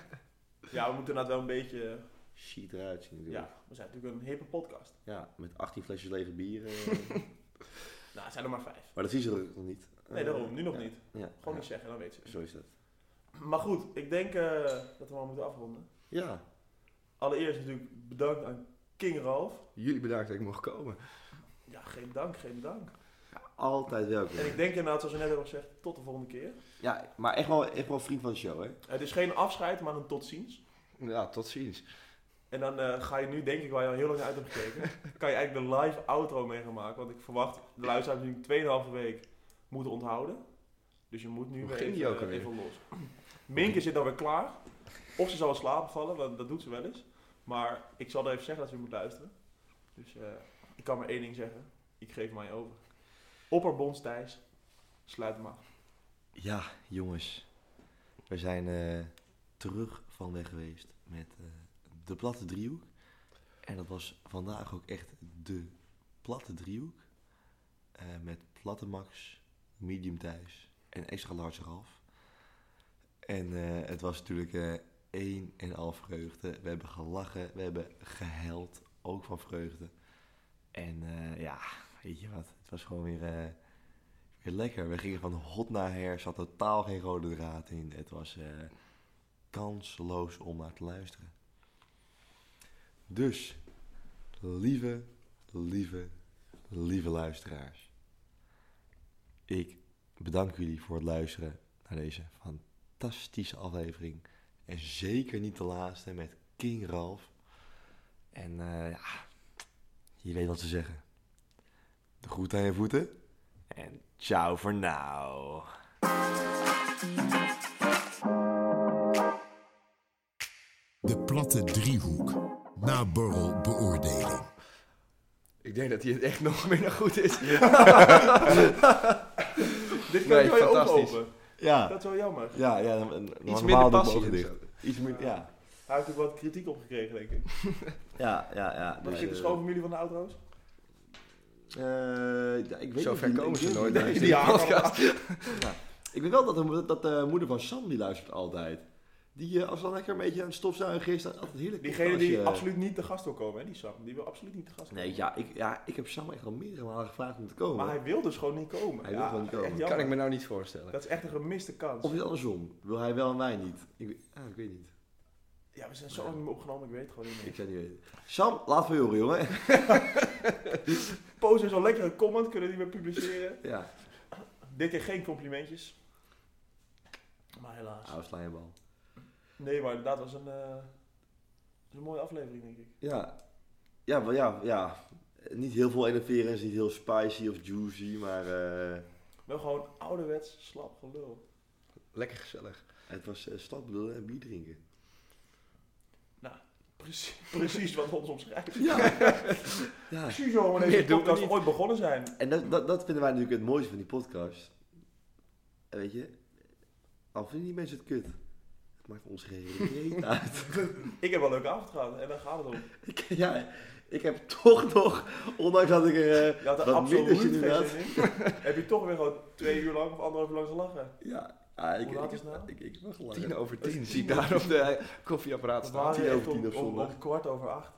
Speaker 4: Ja, we moeten inderdaad wel een beetje... eh,
Speaker 3: Shit eruit zien natuurlijk.
Speaker 4: ja, we zijn natuurlijk een hippe podcast.
Speaker 3: Ja. met 18 flesjes lege bier. eh.
Speaker 4: Nou, het zijn er maar vijf.
Speaker 3: maar dat zien ze er nog niet.
Speaker 4: Nee,
Speaker 3: Eh,
Speaker 4: daarom. Nu nog
Speaker 3: ja.
Speaker 4: niet.
Speaker 3: Ja.
Speaker 4: Gewoon
Speaker 3: ja.
Speaker 4: niet zeggen, dan weet ze. het.
Speaker 3: Zo is dat.
Speaker 4: Maar goed, ik denk eh, dat we maar moeten afronden.
Speaker 3: Ja.
Speaker 4: Allereerst natuurlijk bedankt aan King Ralf.
Speaker 5: Jullie bedankt dat ik mocht komen.
Speaker 4: Ja, geen dank, geen dank.
Speaker 3: Altijd welkom.
Speaker 4: En ik denk inderdaad, zoals we net hebben gezegd, tot de volgende keer.
Speaker 3: Ja, maar echt wel, echt wel vriend van de show, hè?
Speaker 4: Het is geen afscheid, maar een tot ziens.
Speaker 5: Ja, tot ziens.
Speaker 4: En dan eh, ga je nu, denk ik, waar je al heel lang naar uit hebt gekeken, kan je eigenlijk de live outro mee gaan maken. Want ik verwacht de luisteraars natuurlijk 2,5 week moeten onthouden. Dus je moet nu
Speaker 5: Hoe
Speaker 4: weer
Speaker 5: ging
Speaker 4: even,
Speaker 5: die ook alweer?
Speaker 4: even los. Minke zit alweer klaar. Of ze zal wel slapen vallen, want dat doet ze wel eens. Maar ik zal er even zeggen dat ze moet luisteren. Dus eh, ik kan maar één ding zeggen. Ik geef mij over. Opperbonds Thijs, sluit hem af.
Speaker 3: Ja, jongens. We zijn eh, terug van weg geweest met eh, de platte driehoek. En dat was vandaag ook echt de platte driehoek. Eh, met platte max, medium thuis en extra large half. En eh, het was natuurlijk eh één en al vreugde. We hebben gelachen, we hebben gehuild, ook van vreugde. En eh, ja, weet je wat, het was gewoon weer... eh, Weer lekker. We gingen van hot naar her. Er zat totaal geen rode draad in. Het was eh, kansloos om naar te luisteren. Dus, lieve, lieve, lieve luisteraars. Ik bedank jullie voor het luisteren naar deze fantastische aflevering. En zeker niet de laatste met King Ralph. En eh, ja, je weet wat ze zeggen. De groet aan je voeten. En ciao voor nou.
Speaker 1: De platte driehoek. Na borrel beoordeling.
Speaker 5: Ik denk dat hij het echt nog minder goed is.
Speaker 4: Dit kan
Speaker 5: Nee,
Speaker 4: ik wel je ogen
Speaker 5: fantastisch.
Speaker 4: open.
Speaker 3: Ja,
Speaker 4: Dat is wel jammer.
Speaker 3: ja, ja. Dan, dan-
Speaker 5: Iets
Speaker 3: normaal doe
Speaker 5: minder
Speaker 3: ik mijn
Speaker 5: passie.
Speaker 3: ogen
Speaker 5: en
Speaker 3: dicht.
Speaker 5: zo.
Speaker 3: Iets meer, ja.
Speaker 4: Hij heeft ook wat kritiek opgekregen, denk ik.
Speaker 3: Ja, ja, ja.
Speaker 4: Wat
Speaker 3: Dus,
Speaker 4: zit de
Speaker 3: eh,
Speaker 4: schoonfamilie van de outro's?
Speaker 3: eh, ja, ik weet
Speaker 5: Zo
Speaker 3: niet,
Speaker 5: ver
Speaker 3: ik
Speaker 5: komen ze
Speaker 3: weet
Speaker 5: nooit.
Speaker 3: niet.
Speaker 5: hè,
Speaker 3: Nee,
Speaker 5: in die
Speaker 4: ja.
Speaker 5: podcast.
Speaker 3: Ik weet wel dat de, dat de moeder van Sam die luistert altijd. Die eh, als ze dan lekker een beetje aan het stofzuigen is, dan altijd heerlijk.
Speaker 4: Diegene
Speaker 3: als
Speaker 4: die
Speaker 3: je-
Speaker 4: absoluut niet te gast wil komen, hè, die Sam. Die wil absoluut niet te gast komen.
Speaker 3: Nee, ja ik, ja, ik heb Sam echt al meerdere malen gevraagd om te komen.
Speaker 4: Maar hij wil dus gewoon niet komen.
Speaker 3: Hij wil gewoon niet
Speaker 4: echt
Speaker 3: komen.
Speaker 4: jammer.
Speaker 5: Kan ik me nou niet voorstellen.
Speaker 4: Dat is echt een gemiste kans.
Speaker 3: Of is het andersom? Wil hij wel en wij niet? Ik, ah, ik weet niet.
Speaker 4: Ja, we zijn zo lang niet meer opgenomen, ik weet het gewoon niet
Speaker 3: Ik
Speaker 4: meer.
Speaker 3: zou het niet weten. Sam, laat van je horen, jongen.
Speaker 4: Pozen zo'n lekkere comment, kunnen die we publiceren.
Speaker 3: ja,
Speaker 4: Dit keer geen complimentjes. Maar helaas.
Speaker 3: oude slijmbal.
Speaker 4: Nee, maar inderdaad, was een, eh, was een mooie aflevering, denk ik.
Speaker 3: Ja. Ja, wel ja, ja. Niet heel veel enerverends, niet heel spicy of juicy, maar eh,
Speaker 4: Wel gewoon ouderwets slap gelul.
Speaker 5: Lekker gezellig.
Speaker 3: het was eh stap lullen en bier drinken.
Speaker 4: Precies, precies wat ons omschrijft.
Speaker 3: Ja.
Speaker 4: Precies zo wanneer
Speaker 5: Meer
Speaker 4: deze
Speaker 5: doen we
Speaker 4: podcast
Speaker 5: niet.
Speaker 4: ooit begonnen zijn.
Speaker 3: En dat, dat, dat vinden wij natuurlijk het mooiste van die podcast. En weet je, al vinden die mensen het kut, het maakt ons geen reet uit.
Speaker 4: Ik heb wel een leuke avond gehad en daar gaat het om.
Speaker 3: Ik- ja, ik heb toch nog, ondanks dat ik er
Speaker 4: Je
Speaker 3: eh
Speaker 4: had er
Speaker 3: wat
Speaker 4: absoluut
Speaker 3: minder
Speaker 4: geen
Speaker 3: zin in had.
Speaker 4: zin in. Heb je toch weer gewoon twee uur lang of anderhalf uur lang gelachen.
Speaker 3: Ja, ah, ik,
Speaker 4: Hoe laat
Speaker 3: ik,
Speaker 4: is het nou?
Speaker 3: ik, ik was al
Speaker 5: Tien over tien zie ik daar op de koffieapparaat
Speaker 4: We
Speaker 5: staan.
Speaker 4: waren
Speaker 3: over
Speaker 4: echt om-
Speaker 3: tien op
Speaker 4: om,
Speaker 3: zondag.
Speaker 4: om kwart over acht.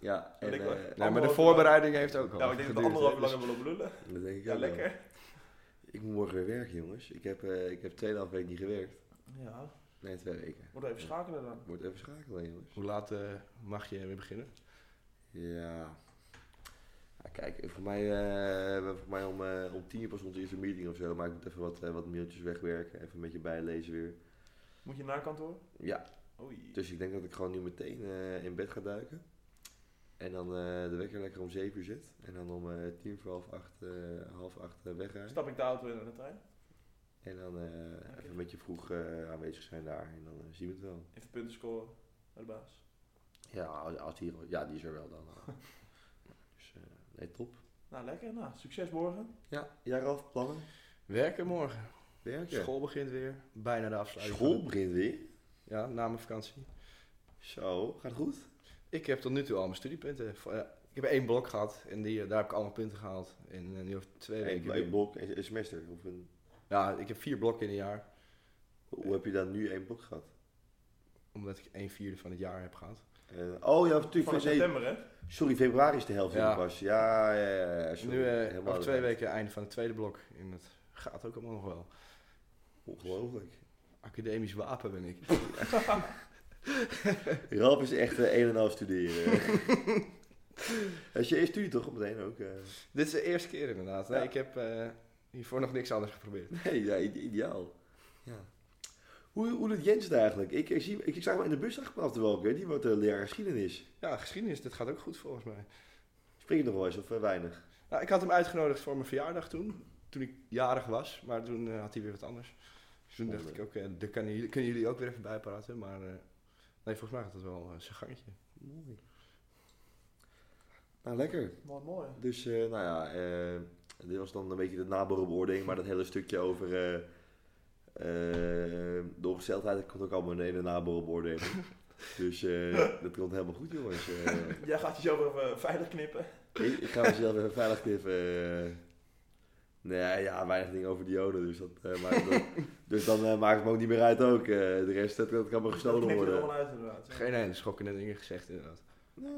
Speaker 3: Ja, en,
Speaker 4: En ik wel.
Speaker 3: eh,
Speaker 5: Nee, maar de
Speaker 4: Anderhalf
Speaker 5: voorbereiding heeft ook al
Speaker 4: Nou, ik denk dat we
Speaker 5: geduurd,
Speaker 4: anderhalf uur
Speaker 5: hè,
Speaker 4: lang hebben lopen
Speaker 3: dat
Speaker 4: lullen.
Speaker 3: denk ik
Speaker 4: Ja,
Speaker 3: ook wel.
Speaker 4: lekker.
Speaker 3: Ik moet morgen weer werken, jongens. Ik heb, eh ik heb 2,5 weken niet gewerkt.
Speaker 4: Ja,
Speaker 3: Nee, twee weken.
Speaker 4: moeten we even schakelen dan.
Speaker 3: Ik moet even schakelen, jongens.
Speaker 5: dus- Hoe laat eh, mag je weer beginnen?
Speaker 3: Ja. Ja, kijk, voor mij, eh, voor mij om, eh, om tien uur pas onze eerste meeting of zo. Maar ik moet even wat, eh, wat mailtjes wegwerken. Even een beetje bijlezen weer.
Speaker 4: Moet je naar kantoor?
Speaker 3: Ja,
Speaker 4: Oei.
Speaker 3: dus ik denk dat ik gewoon nu meteen eh, in bed ga duiken. En dan eh, de wekker lekker om 7 uur zit. En dan om eh tien voor half acht, eh, half acht eh, wegrijden.
Speaker 4: Stap ik de auto in naar de trein?
Speaker 3: En dan eh, even een beetje vroeg eh, aanwezig zijn daar. En dan eh, zien we het wel.
Speaker 4: Even punten scoren naar de baas.
Speaker 3: Ja, als, als die, ja, die is er wel dan. dus eh, nee, top.
Speaker 4: Nou, lekker. Nou, succes morgen.
Speaker 3: Ja, jij Ralf, plannen?
Speaker 5: Werken morgen.
Speaker 3: Werken?
Speaker 5: School begint weer. Bijna de afsluiting.
Speaker 3: School begint weer.
Speaker 5: Ja, na mijn vakantie.
Speaker 3: Zo, gaat goed.
Speaker 5: Ik heb tot nu toe al mijn studiepunten. Voor- ja, ik heb één blok gehad en die, eh, daar heb ik allemaal punten gehaald. En eh, nu over twee
Speaker 3: Een
Speaker 5: weken.
Speaker 3: een
Speaker 5: weer.
Speaker 3: blok, een een semester. Of een,
Speaker 5: Ja, ik heb vier blokken in een jaar.
Speaker 3: hoe heb je dan nu één blok gehad?
Speaker 5: Omdat ik een vierde van het jaar heb gehad.
Speaker 3: Eh, oh ja, natuurlijk.
Speaker 4: Van
Speaker 3: van zeven-
Speaker 4: september, hè?
Speaker 3: sorry, februari is de helft
Speaker 5: Ja.
Speaker 3: ja. pas. Ja, ja, ja. ja, sorry.
Speaker 5: nu eh,
Speaker 3: Helemaal
Speaker 5: over twee
Speaker 3: eruit.
Speaker 5: weken einde van het tweede blok. En dat gaat ook allemaal nog wel.
Speaker 3: Ongelooflijk.
Speaker 5: Academisch wapen ben ik.
Speaker 3: Ralf is echt eh, een en al studeren. Eh, Dat is je eerste studie toch meteen ook? eh?
Speaker 5: Dit is de eerste keer inderdaad. Nee,
Speaker 3: Ja.
Speaker 5: ik heb eh, hiervoor nog niks anders geprobeerd.
Speaker 3: Nee, ja, ide- ideaal. Ja. Hoe, hoe doet Jens het eigenlijk? Ik, ik, zie, ik, ik zag hem in de bus afgelopen welke. Die wordt eh, leraar geschiedenis.
Speaker 5: Ja, geschiedenis, dat gaat ook goed volgens mij.
Speaker 3: Spreek je nog wel eens of eh, weinig?
Speaker 5: Nou, ik had hem uitgenodigd voor mijn verjaardag toen. Toen ik jarig was, maar toen eh, had hij weer wat anders. Dus toen dacht ik ook, eh, daar kunnen jullie, kunnen jullie ook weer even bijpraten. Maar eh, nee, volgens mij gaat dat wel eh, zijn gangetje.
Speaker 3: Mooi. Nou, lekker.
Speaker 4: Mooi, mooi.
Speaker 3: Dus, eh, nou ja, eh, dit was dan een beetje de naborenbeoordeling, maar dat hele stukje over eh, eh, de ongesteldheid, dat komt ook allemaal in de naborenbeoordeling. dus eh, dat komt helemaal goed, jongens. Eh,
Speaker 4: Jij gaat jezelf even eh, veilig knippen.
Speaker 3: ik, ik ga mezelf even veilig even. eh, nee, ja, weinig dingen over dioden, dus, dat, eh, maar dat- dus dan eh, maakt het me ook niet meer uit ook. eh, de rest, dat, dat kan me
Speaker 4: Dat knip
Speaker 3: gestolen
Speaker 4: je er
Speaker 3: worden.
Speaker 4: gewoon uit, inderdaad. Ja.
Speaker 5: Geen hele schokkende dingen gezegd inderdaad.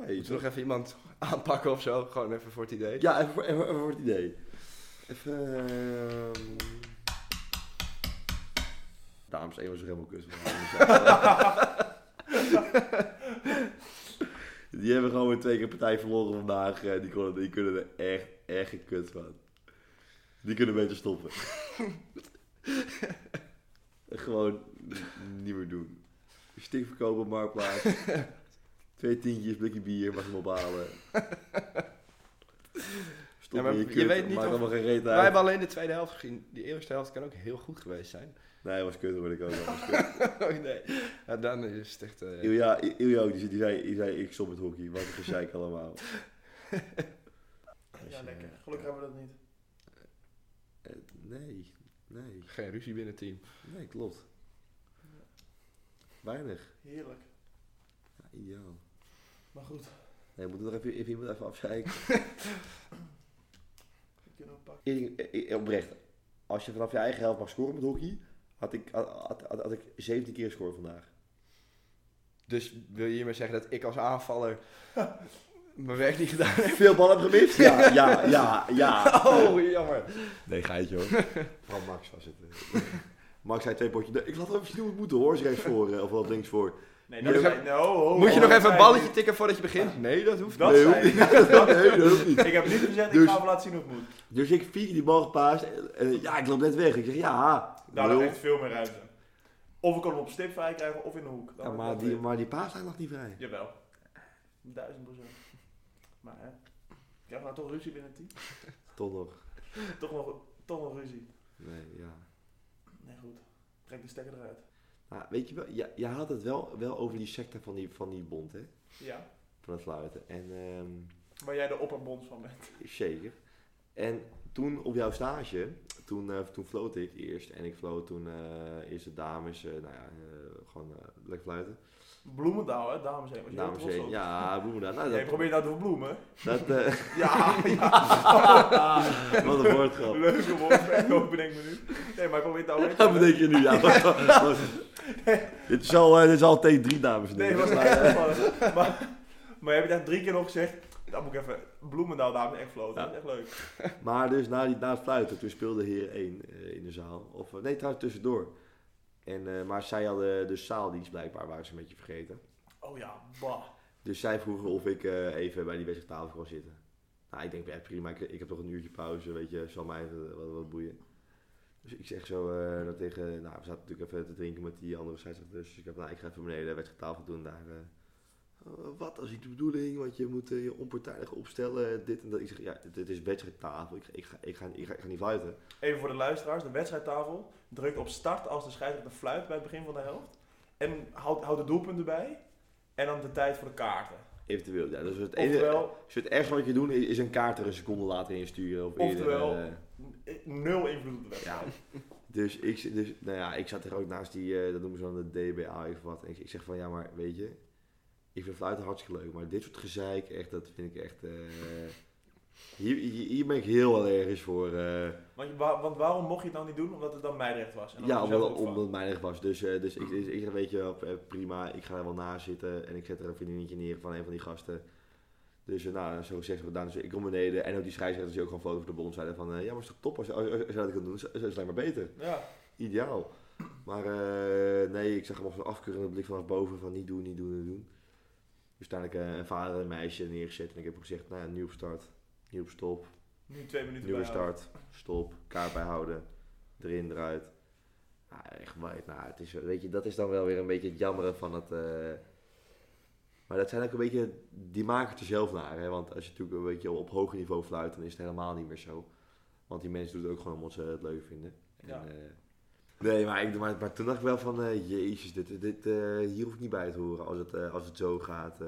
Speaker 3: Nee,
Speaker 5: Moet je nog even iemand aanpakken of zo? Gewoon even voor het idee.
Speaker 3: Ja, even voor, even, even voor het idee. Even. ehm Dames, één was er helemaal kus. Die hebben gewoon weer twee keer partij verloren vandaag. eh, Die, konden, die kunnen er echt, echt geen kut van. Die kunnen beter stoppen. gewoon n- niet meer doen. Stik verkopen, marktplaats. Twee tientjes, blikje bier, mag je hem ophalen. Stop
Speaker 5: Ja, maar
Speaker 3: in je
Speaker 5: je
Speaker 3: kut,
Speaker 5: weet niet
Speaker 3: maakt
Speaker 5: of-
Speaker 3: allemaal geen reet
Speaker 5: Wij
Speaker 3: uit.
Speaker 5: hebben alleen de tweede helft gezien. Die eerste helft kan ook heel goed geweest zijn.
Speaker 3: Nee, was kut hoor ik ook. was kut.
Speaker 5: Oh, nee. Ja, dan is het echt... eh,
Speaker 3: Ilja, I- Ilja ook, die, zit- die, zei, die zei ik stop met hockey. Wat een gezeik allemaal.
Speaker 4: Ja, lekker. Gelukkig hebben we dat niet.
Speaker 3: Eh, Nee, nee,
Speaker 5: Geen ruzie binnen het team.
Speaker 3: nee, klopt. Weinig.
Speaker 4: Heerlijk.
Speaker 3: Ja, ideaal.
Speaker 4: Maar goed,
Speaker 3: Nee, we moeten nog even, even iemand even afzeiken.
Speaker 4: dat kunnen we pakken.
Speaker 3: Ik- ik- Oprecht, als je vanaf je eigen helft mag scoren met hockey, had ik, had, had, had- had ik 17 keer scoren vandaag.
Speaker 5: Dus wil je hiermee zeggen dat ik als aanvaller mijn werk niet gedaan heb?
Speaker 3: Veel ballen heb gemist? Ja, ja, ja, ja.
Speaker 5: Oh, jammer.
Speaker 3: Nee, geitje hoor. Vooral Max was het. eh. Max zei twee potjes. Nee, ik laat even zien hoe het moet hoor. Is rechts voor eh, of wel links voor.
Speaker 4: Nee,
Speaker 5: Moet
Speaker 4: dat
Speaker 5: je
Speaker 4: zei-
Speaker 5: nog-
Speaker 4: nee, ho, ho,
Speaker 5: Moet je
Speaker 4: ho,
Speaker 5: nog
Speaker 4: dat
Speaker 5: even
Speaker 4: zei
Speaker 5: een balletje
Speaker 4: ik
Speaker 5: tikken voordat je begint? Nee, Oh, dat
Speaker 4: niet.
Speaker 5: hoeft
Speaker 4: Dat
Speaker 5: niet.
Speaker 3: Nee, hoeft
Speaker 4: zei ik.
Speaker 3: nee, dat hoeft niet.
Speaker 4: Ik heb niet gezegd, ik
Speaker 3: Dus-
Speaker 4: ga hem laten zien hoe het moet.
Speaker 3: Dus ik vier keer die bal gepaast. En, en ja, ik loop net weg. Ik zeg ja.
Speaker 4: Nou,
Speaker 3: nul.
Speaker 4: dat heeft veel meer ruimte. Of ik kan hem op stip vrij krijgen of in de hoek. Dan
Speaker 3: ja, maar,
Speaker 4: wordt
Speaker 3: die,
Speaker 4: dat
Speaker 3: maar die paaslijn lag niet vrij.
Speaker 4: weer- Jawel. Duizend procent. Maar hè. Ja, maar toch ruzie binnen het team.
Speaker 3: Toch nog.
Speaker 4: Toch nog, toch nog ruzie.
Speaker 3: Nee, ja.
Speaker 4: Nee, goed. Trek de stekker eruit.
Speaker 3: Maar weet je wel, jij jij had het wel, wel over die secte van die, van die bond, hè?
Speaker 4: Ja.
Speaker 3: Van het fluiten. En ehm,
Speaker 4: Waar jij de opperbond van bent.
Speaker 3: Zeker. En toen op jouw stage, toen, eh, toen floot ik eerst. En ik floot toen eh, eerst de dames, eh, nou ja, eh, gewoon eh, lekker fluiten.
Speaker 4: Bloemendaal, hè, dames en heren. Was je
Speaker 3: Dames
Speaker 4: heel trots
Speaker 3: heen.
Speaker 4: op?
Speaker 3: Ja, bloemen Nou,
Speaker 4: Jij
Speaker 3: dat,
Speaker 4: probeert nou te verbloemen.
Speaker 3: dat eh,
Speaker 4: Ja,
Speaker 3: wat een woordgrap.
Speaker 4: leuke woord. ook bedenk me nu. Nee, maar probeer nou weer
Speaker 3: Dat bedenk je nu, ja. wat- wat- dit, is al, eh, dit is al tegen drie dames en
Speaker 4: Nee,
Speaker 3: heren.
Speaker 4: was
Speaker 3: Maar,
Speaker 4: maar,
Speaker 3: eh,
Speaker 4: maar, maar, maar je hebt het echt drie keer nog gezegd. Dan moet ik even Bloemendaal dames echt floten.
Speaker 3: Ja.
Speaker 4: Dat is echt leuk.
Speaker 3: Maar dus na, die, na het fluiten, toen speelde Heren 1 eh, in de zaal. Of, eh, nee, trouwens tussendoor. En, eh, maar zij hadden dus zaaldienst blijkbaar, waren ze een beetje vergeten.
Speaker 4: Oh ja, bah.
Speaker 3: Dus zij vroegen of ik eh, even bij die wedstrijd tafel kon zitten. Nou, ik denk, ja, prima, ik, ik heb toch een uurtje pauze, weet je, zal mij even wat, wat boeien. Dus ik zeg zo eh, dat tegen, nou, we zaten natuurlijk even te drinken met die andere scheidsrechter. Dus ik heb, nou, ik ga even beneden de wedstrijd tafel doen daar. eh. "Oh, wat als ik de bedoeling, want je moet eh, je onpartijdig opstellen, dit en dat. Ik zeg, ja, dit is wedstrijdtafel, ik, ga- ik, ga, ik, ga, ik, ga, ik ga niet fluiten.
Speaker 4: Even voor de luisteraars. De wedstrijdtafel drukt op start als de scheidsrechter fluit bij het begin van de helft. En houdt houd de doelpunten bij. En dan de tijd voor de kaarten.
Speaker 3: Eventueel, ja, dat is het enige.
Speaker 4: Oftewel,
Speaker 3: Dus het ergste wat je doen is een kaart er een seconde later insturen. Of eerder,
Speaker 4: Oftewel,
Speaker 3: eh,
Speaker 4: n- nul invloed op de wedstrijd.
Speaker 3: Dus ik, zit- dus, nou ja, ik zat er ook naast die, eh, dat noemen ze dan de DBA of wat. En ik, ik zeg van, ja, maar weet je, ik vind fluiten hartstikke leuk. Maar dit soort gezeik, echt, dat vind ik echt... eh, hier, hier, hier ben ik heel allergisch voor. eh.
Speaker 4: Want, je- wa- want waarom mocht je het dan niet doen? Omdat het dan mijrecht was. En dan
Speaker 3: ja,
Speaker 4: was je zelf
Speaker 3: omdat,
Speaker 4: ook van.
Speaker 3: omdat het mijn eigen was. Dus, eh, dus ik, dus ik zeg, weet je, wel, eh, prima, ik ga er wel naast zitten. En ik zet er een vriendinnetje neer van een van die gasten. Dus eh, nou, zo gezegd, gedaan. Dus ik kom beneden. En ook die scheidsrechters die ook gewoon foto voor de bond zeiden van... eh, ja, maar is toch top als, als, als, als je dat kan doen? Dat is- dat is alleen maar beter.
Speaker 4: Ja,
Speaker 3: ideaal. Maar eh, nee, ik zag hem als een afkeurende blik vanaf boven van niet doen, niet doen, niet doen. Dus uiteindelijk eh, een vader en een meisje neergezet en ik heb hem gezegd, nou ja, nieuw op start, nieuw op stop,
Speaker 4: nu twee minuten
Speaker 3: nieuwe
Speaker 4: bijhouden.
Speaker 3: start, stop, kaart bijhouden, erin, eruit. Nou, echt wijd. Nou, het is, weet je, dat is dan wel weer een beetje het jammeren van het... eh, maar dat zijn ook een beetje, die maken het er zelf naar. Hè? Want als je natuurlijk een beetje op hoger niveau fluit, dan is het helemaal niet meer zo. Want die mensen doen het ook gewoon omdat ze het leuk vinden. En,
Speaker 4: Ja.
Speaker 3: eh, nee, maar, ik, maar, maar toen dacht ik wel van, eh, jezus, dit, dit, eh, hier hoef ik niet bij te horen als het, eh, als het zo gaat. eh.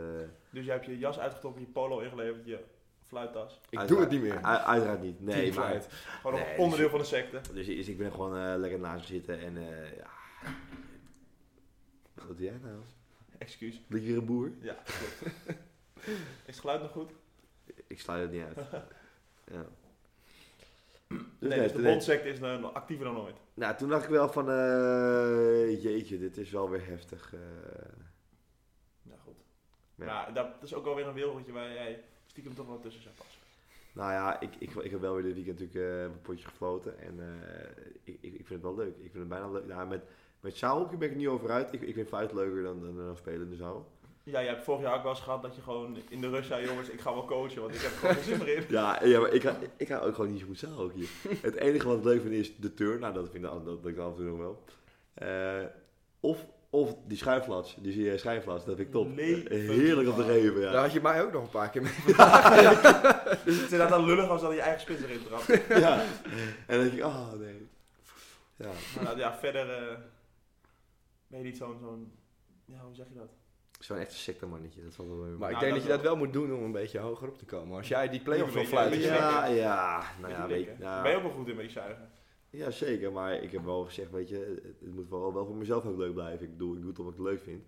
Speaker 4: Dus jij hebt je jas uitgetrokken, je polo ingeleverd, je fluittas.
Speaker 5: Ik doe
Speaker 3: Uiteraard-
Speaker 5: het niet meer.
Speaker 3: u- uiteraard niet. Nee, maar...
Speaker 5: Teamfluit.
Speaker 4: Gewoon
Speaker 3: Nee,
Speaker 4: een
Speaker 3: dus
Speaker 4: onderdeel
Speaker 3: je-
Speaker 4: van de secte.
Speaker 3: Dus, dus ik ben gewoon eh, lekker naast hem zitten en eh, ja. Wat doe jij nou?
Speaker 4: Excuus.
Speaker 3: Ben je weer een boer?
Speaker 4: Ja, klopt. Is het geluid nog goed?
Speaker 3: Ik sluit het niet uit. Ja. Dus
Speaker 4: Nee,
Speaker 3: nee,
Speaker 4: dus
Speaker 3: toen,
Speaker 4: de bondsecte is eh, nog actiever dan ooit.
Speaker 3: nou, toen dacht ik wel van, eh, jeetje, dit is wel weer heftig. eh.
Speaker 4: Ja, goed.
Speaker 3: Ja.
Speaker 4: Maar dat is ook alweer een wereldje waar jij stiekem toch wel tussen zou passen.
Speaker 3: nou ja, ik, ik, ik heb wel weer dit weekend natuurlijk eh, mijn potje gefloten en eh, ik, ik, ik vind het wel leuk. Ik vind het bijna leuk. Nou, met, met zaalhockey ben ik er niet over uit. Ik, ik vind fluit leuker dan, dan, dan spelen in de zaal.
Speaker 4: Ja, jij hebt vorig jaar ook wel eens gehad dat je gewoon in de rust zei, jongens, ik ga wel coachen, want ik heb er gewoon geen zin meer in.
Speaker 3: Ja, ja maar ik, hou- ik hou ook gewoon niet zo goed zelf ook hier. Het enige wat ik leuk vind is de turn. Nou, dat vind ik, dat, dat lukt af en toe nog wel. Eh, of Of die schuiflats, die zie je eh, schuiflats, dat vind ik top.
Speaker 4: Levenslang.
Speaker 3: Heerlijk om te geven, ja.
Speaker 5: Daar had je mij ook nog een paar keer mee.
Speaker 4: Dus het is inderdaad wel lullig als dan je eigen spits erin trapt. Maar
Speaker 3: ja. En dan denk ik, ah nee. Ja.
Speaker 4: nou, ja, verder eh, ben je niet zo'n, zo'n... Ja, hoe zeg je dat?
Speaker 3: Zo'n echt secte mannetje, dat valt wel weer
Speaker 5: Maar ik
Speaker 4: Nou,
Speaker 5: denk
Speaker 4: dat
Speaker 5: dat je dat
Speaker 4: wel.
Speaker 5: wel moet doen om een beetje hoger op te komen. Als jij die play-off
Speaker 4: Een
Speaker 5: wil
Speaker 4: beetje-
Speaker 5: fluiten.
Speaker 4: een beetje-
Speaker 3: ja, ja, nou
Speaker 4: Beetje
Speaker 3: ja,
Speaker 4: dik,
Speaker 3: weet
Speaker 4: hè?
Speaker 3: nou,
Speaker 4: Ben je ook wel goed in met die zuigen?
Speaker 3: Ja, zeker. Maar ik heb wel gezegd, weet je, het- het moet wel, wel voor mezelf ook leuk blijven. Ik bedoel, ik doe het omdat ik het leuk vind.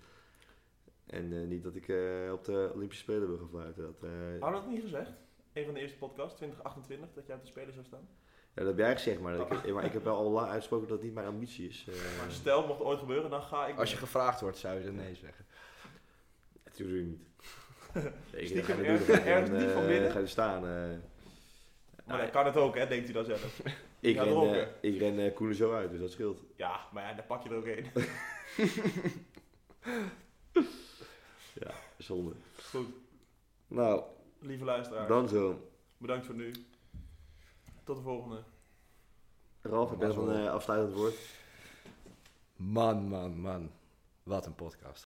Speaker 3: En eh, niet dat ik eh, op de Olympische Spelen wil gaan fluiten. Dat, eh,
Speaker 4: Hadden we dat niet gezegd? Een van de eerste podcasts, 2028, dat jij op de Spelen zou staan.
Speaker 3: ja, dat heb jij gezegd, maar, dat ik, maar ik heb wel al lang uitgesproken dat het niet mijn ambitie is. eh.
Speaker 4: Oh. Maar stel, mocht het ooit gebeuren, dan ga ik...
Speaker 5: Als je gevraagd wordt, zou je dan nee zeggen.
Speaker 3: Natuurlijk niet. Ik
Speaker 4: Stiekem
Speaker 3: ga je
Speaker 4: ergens-
Speaker 3: doen, dan
Speaker 4: ergens diep
Speaker 3: eh,
Speaker 4: van binnen.
Speaker 3: Ga je er staan. eh.
Speaker 4: Maar dat kan het ook, hè, denkt u dan zelf.
Speaker 3: ik,
Speaker 4: Ja,
Speaker 3: ren,
Speaker 4: daarom,
Speaker 3: eh,
Speaker 4: hè.
Speaker 3: ik ren eh, Koen er zo uit, dus dat scheelt.
Speaker 4: Ja, maar ja, daar pak je er ook een.
Speaker 3: Zonde.
Speaker 4: Goed,
Speaker 3: Nou,
Speaker 4: lieve luisteraars,
Speaker 3: dan zo.
Speaker 4: bedankt voor nu. Tot de volgende.
Speaker 3: Ralf, ik ben van eh afsluitend woord.
Speaker 5: Man, man, man. Wat een podcast.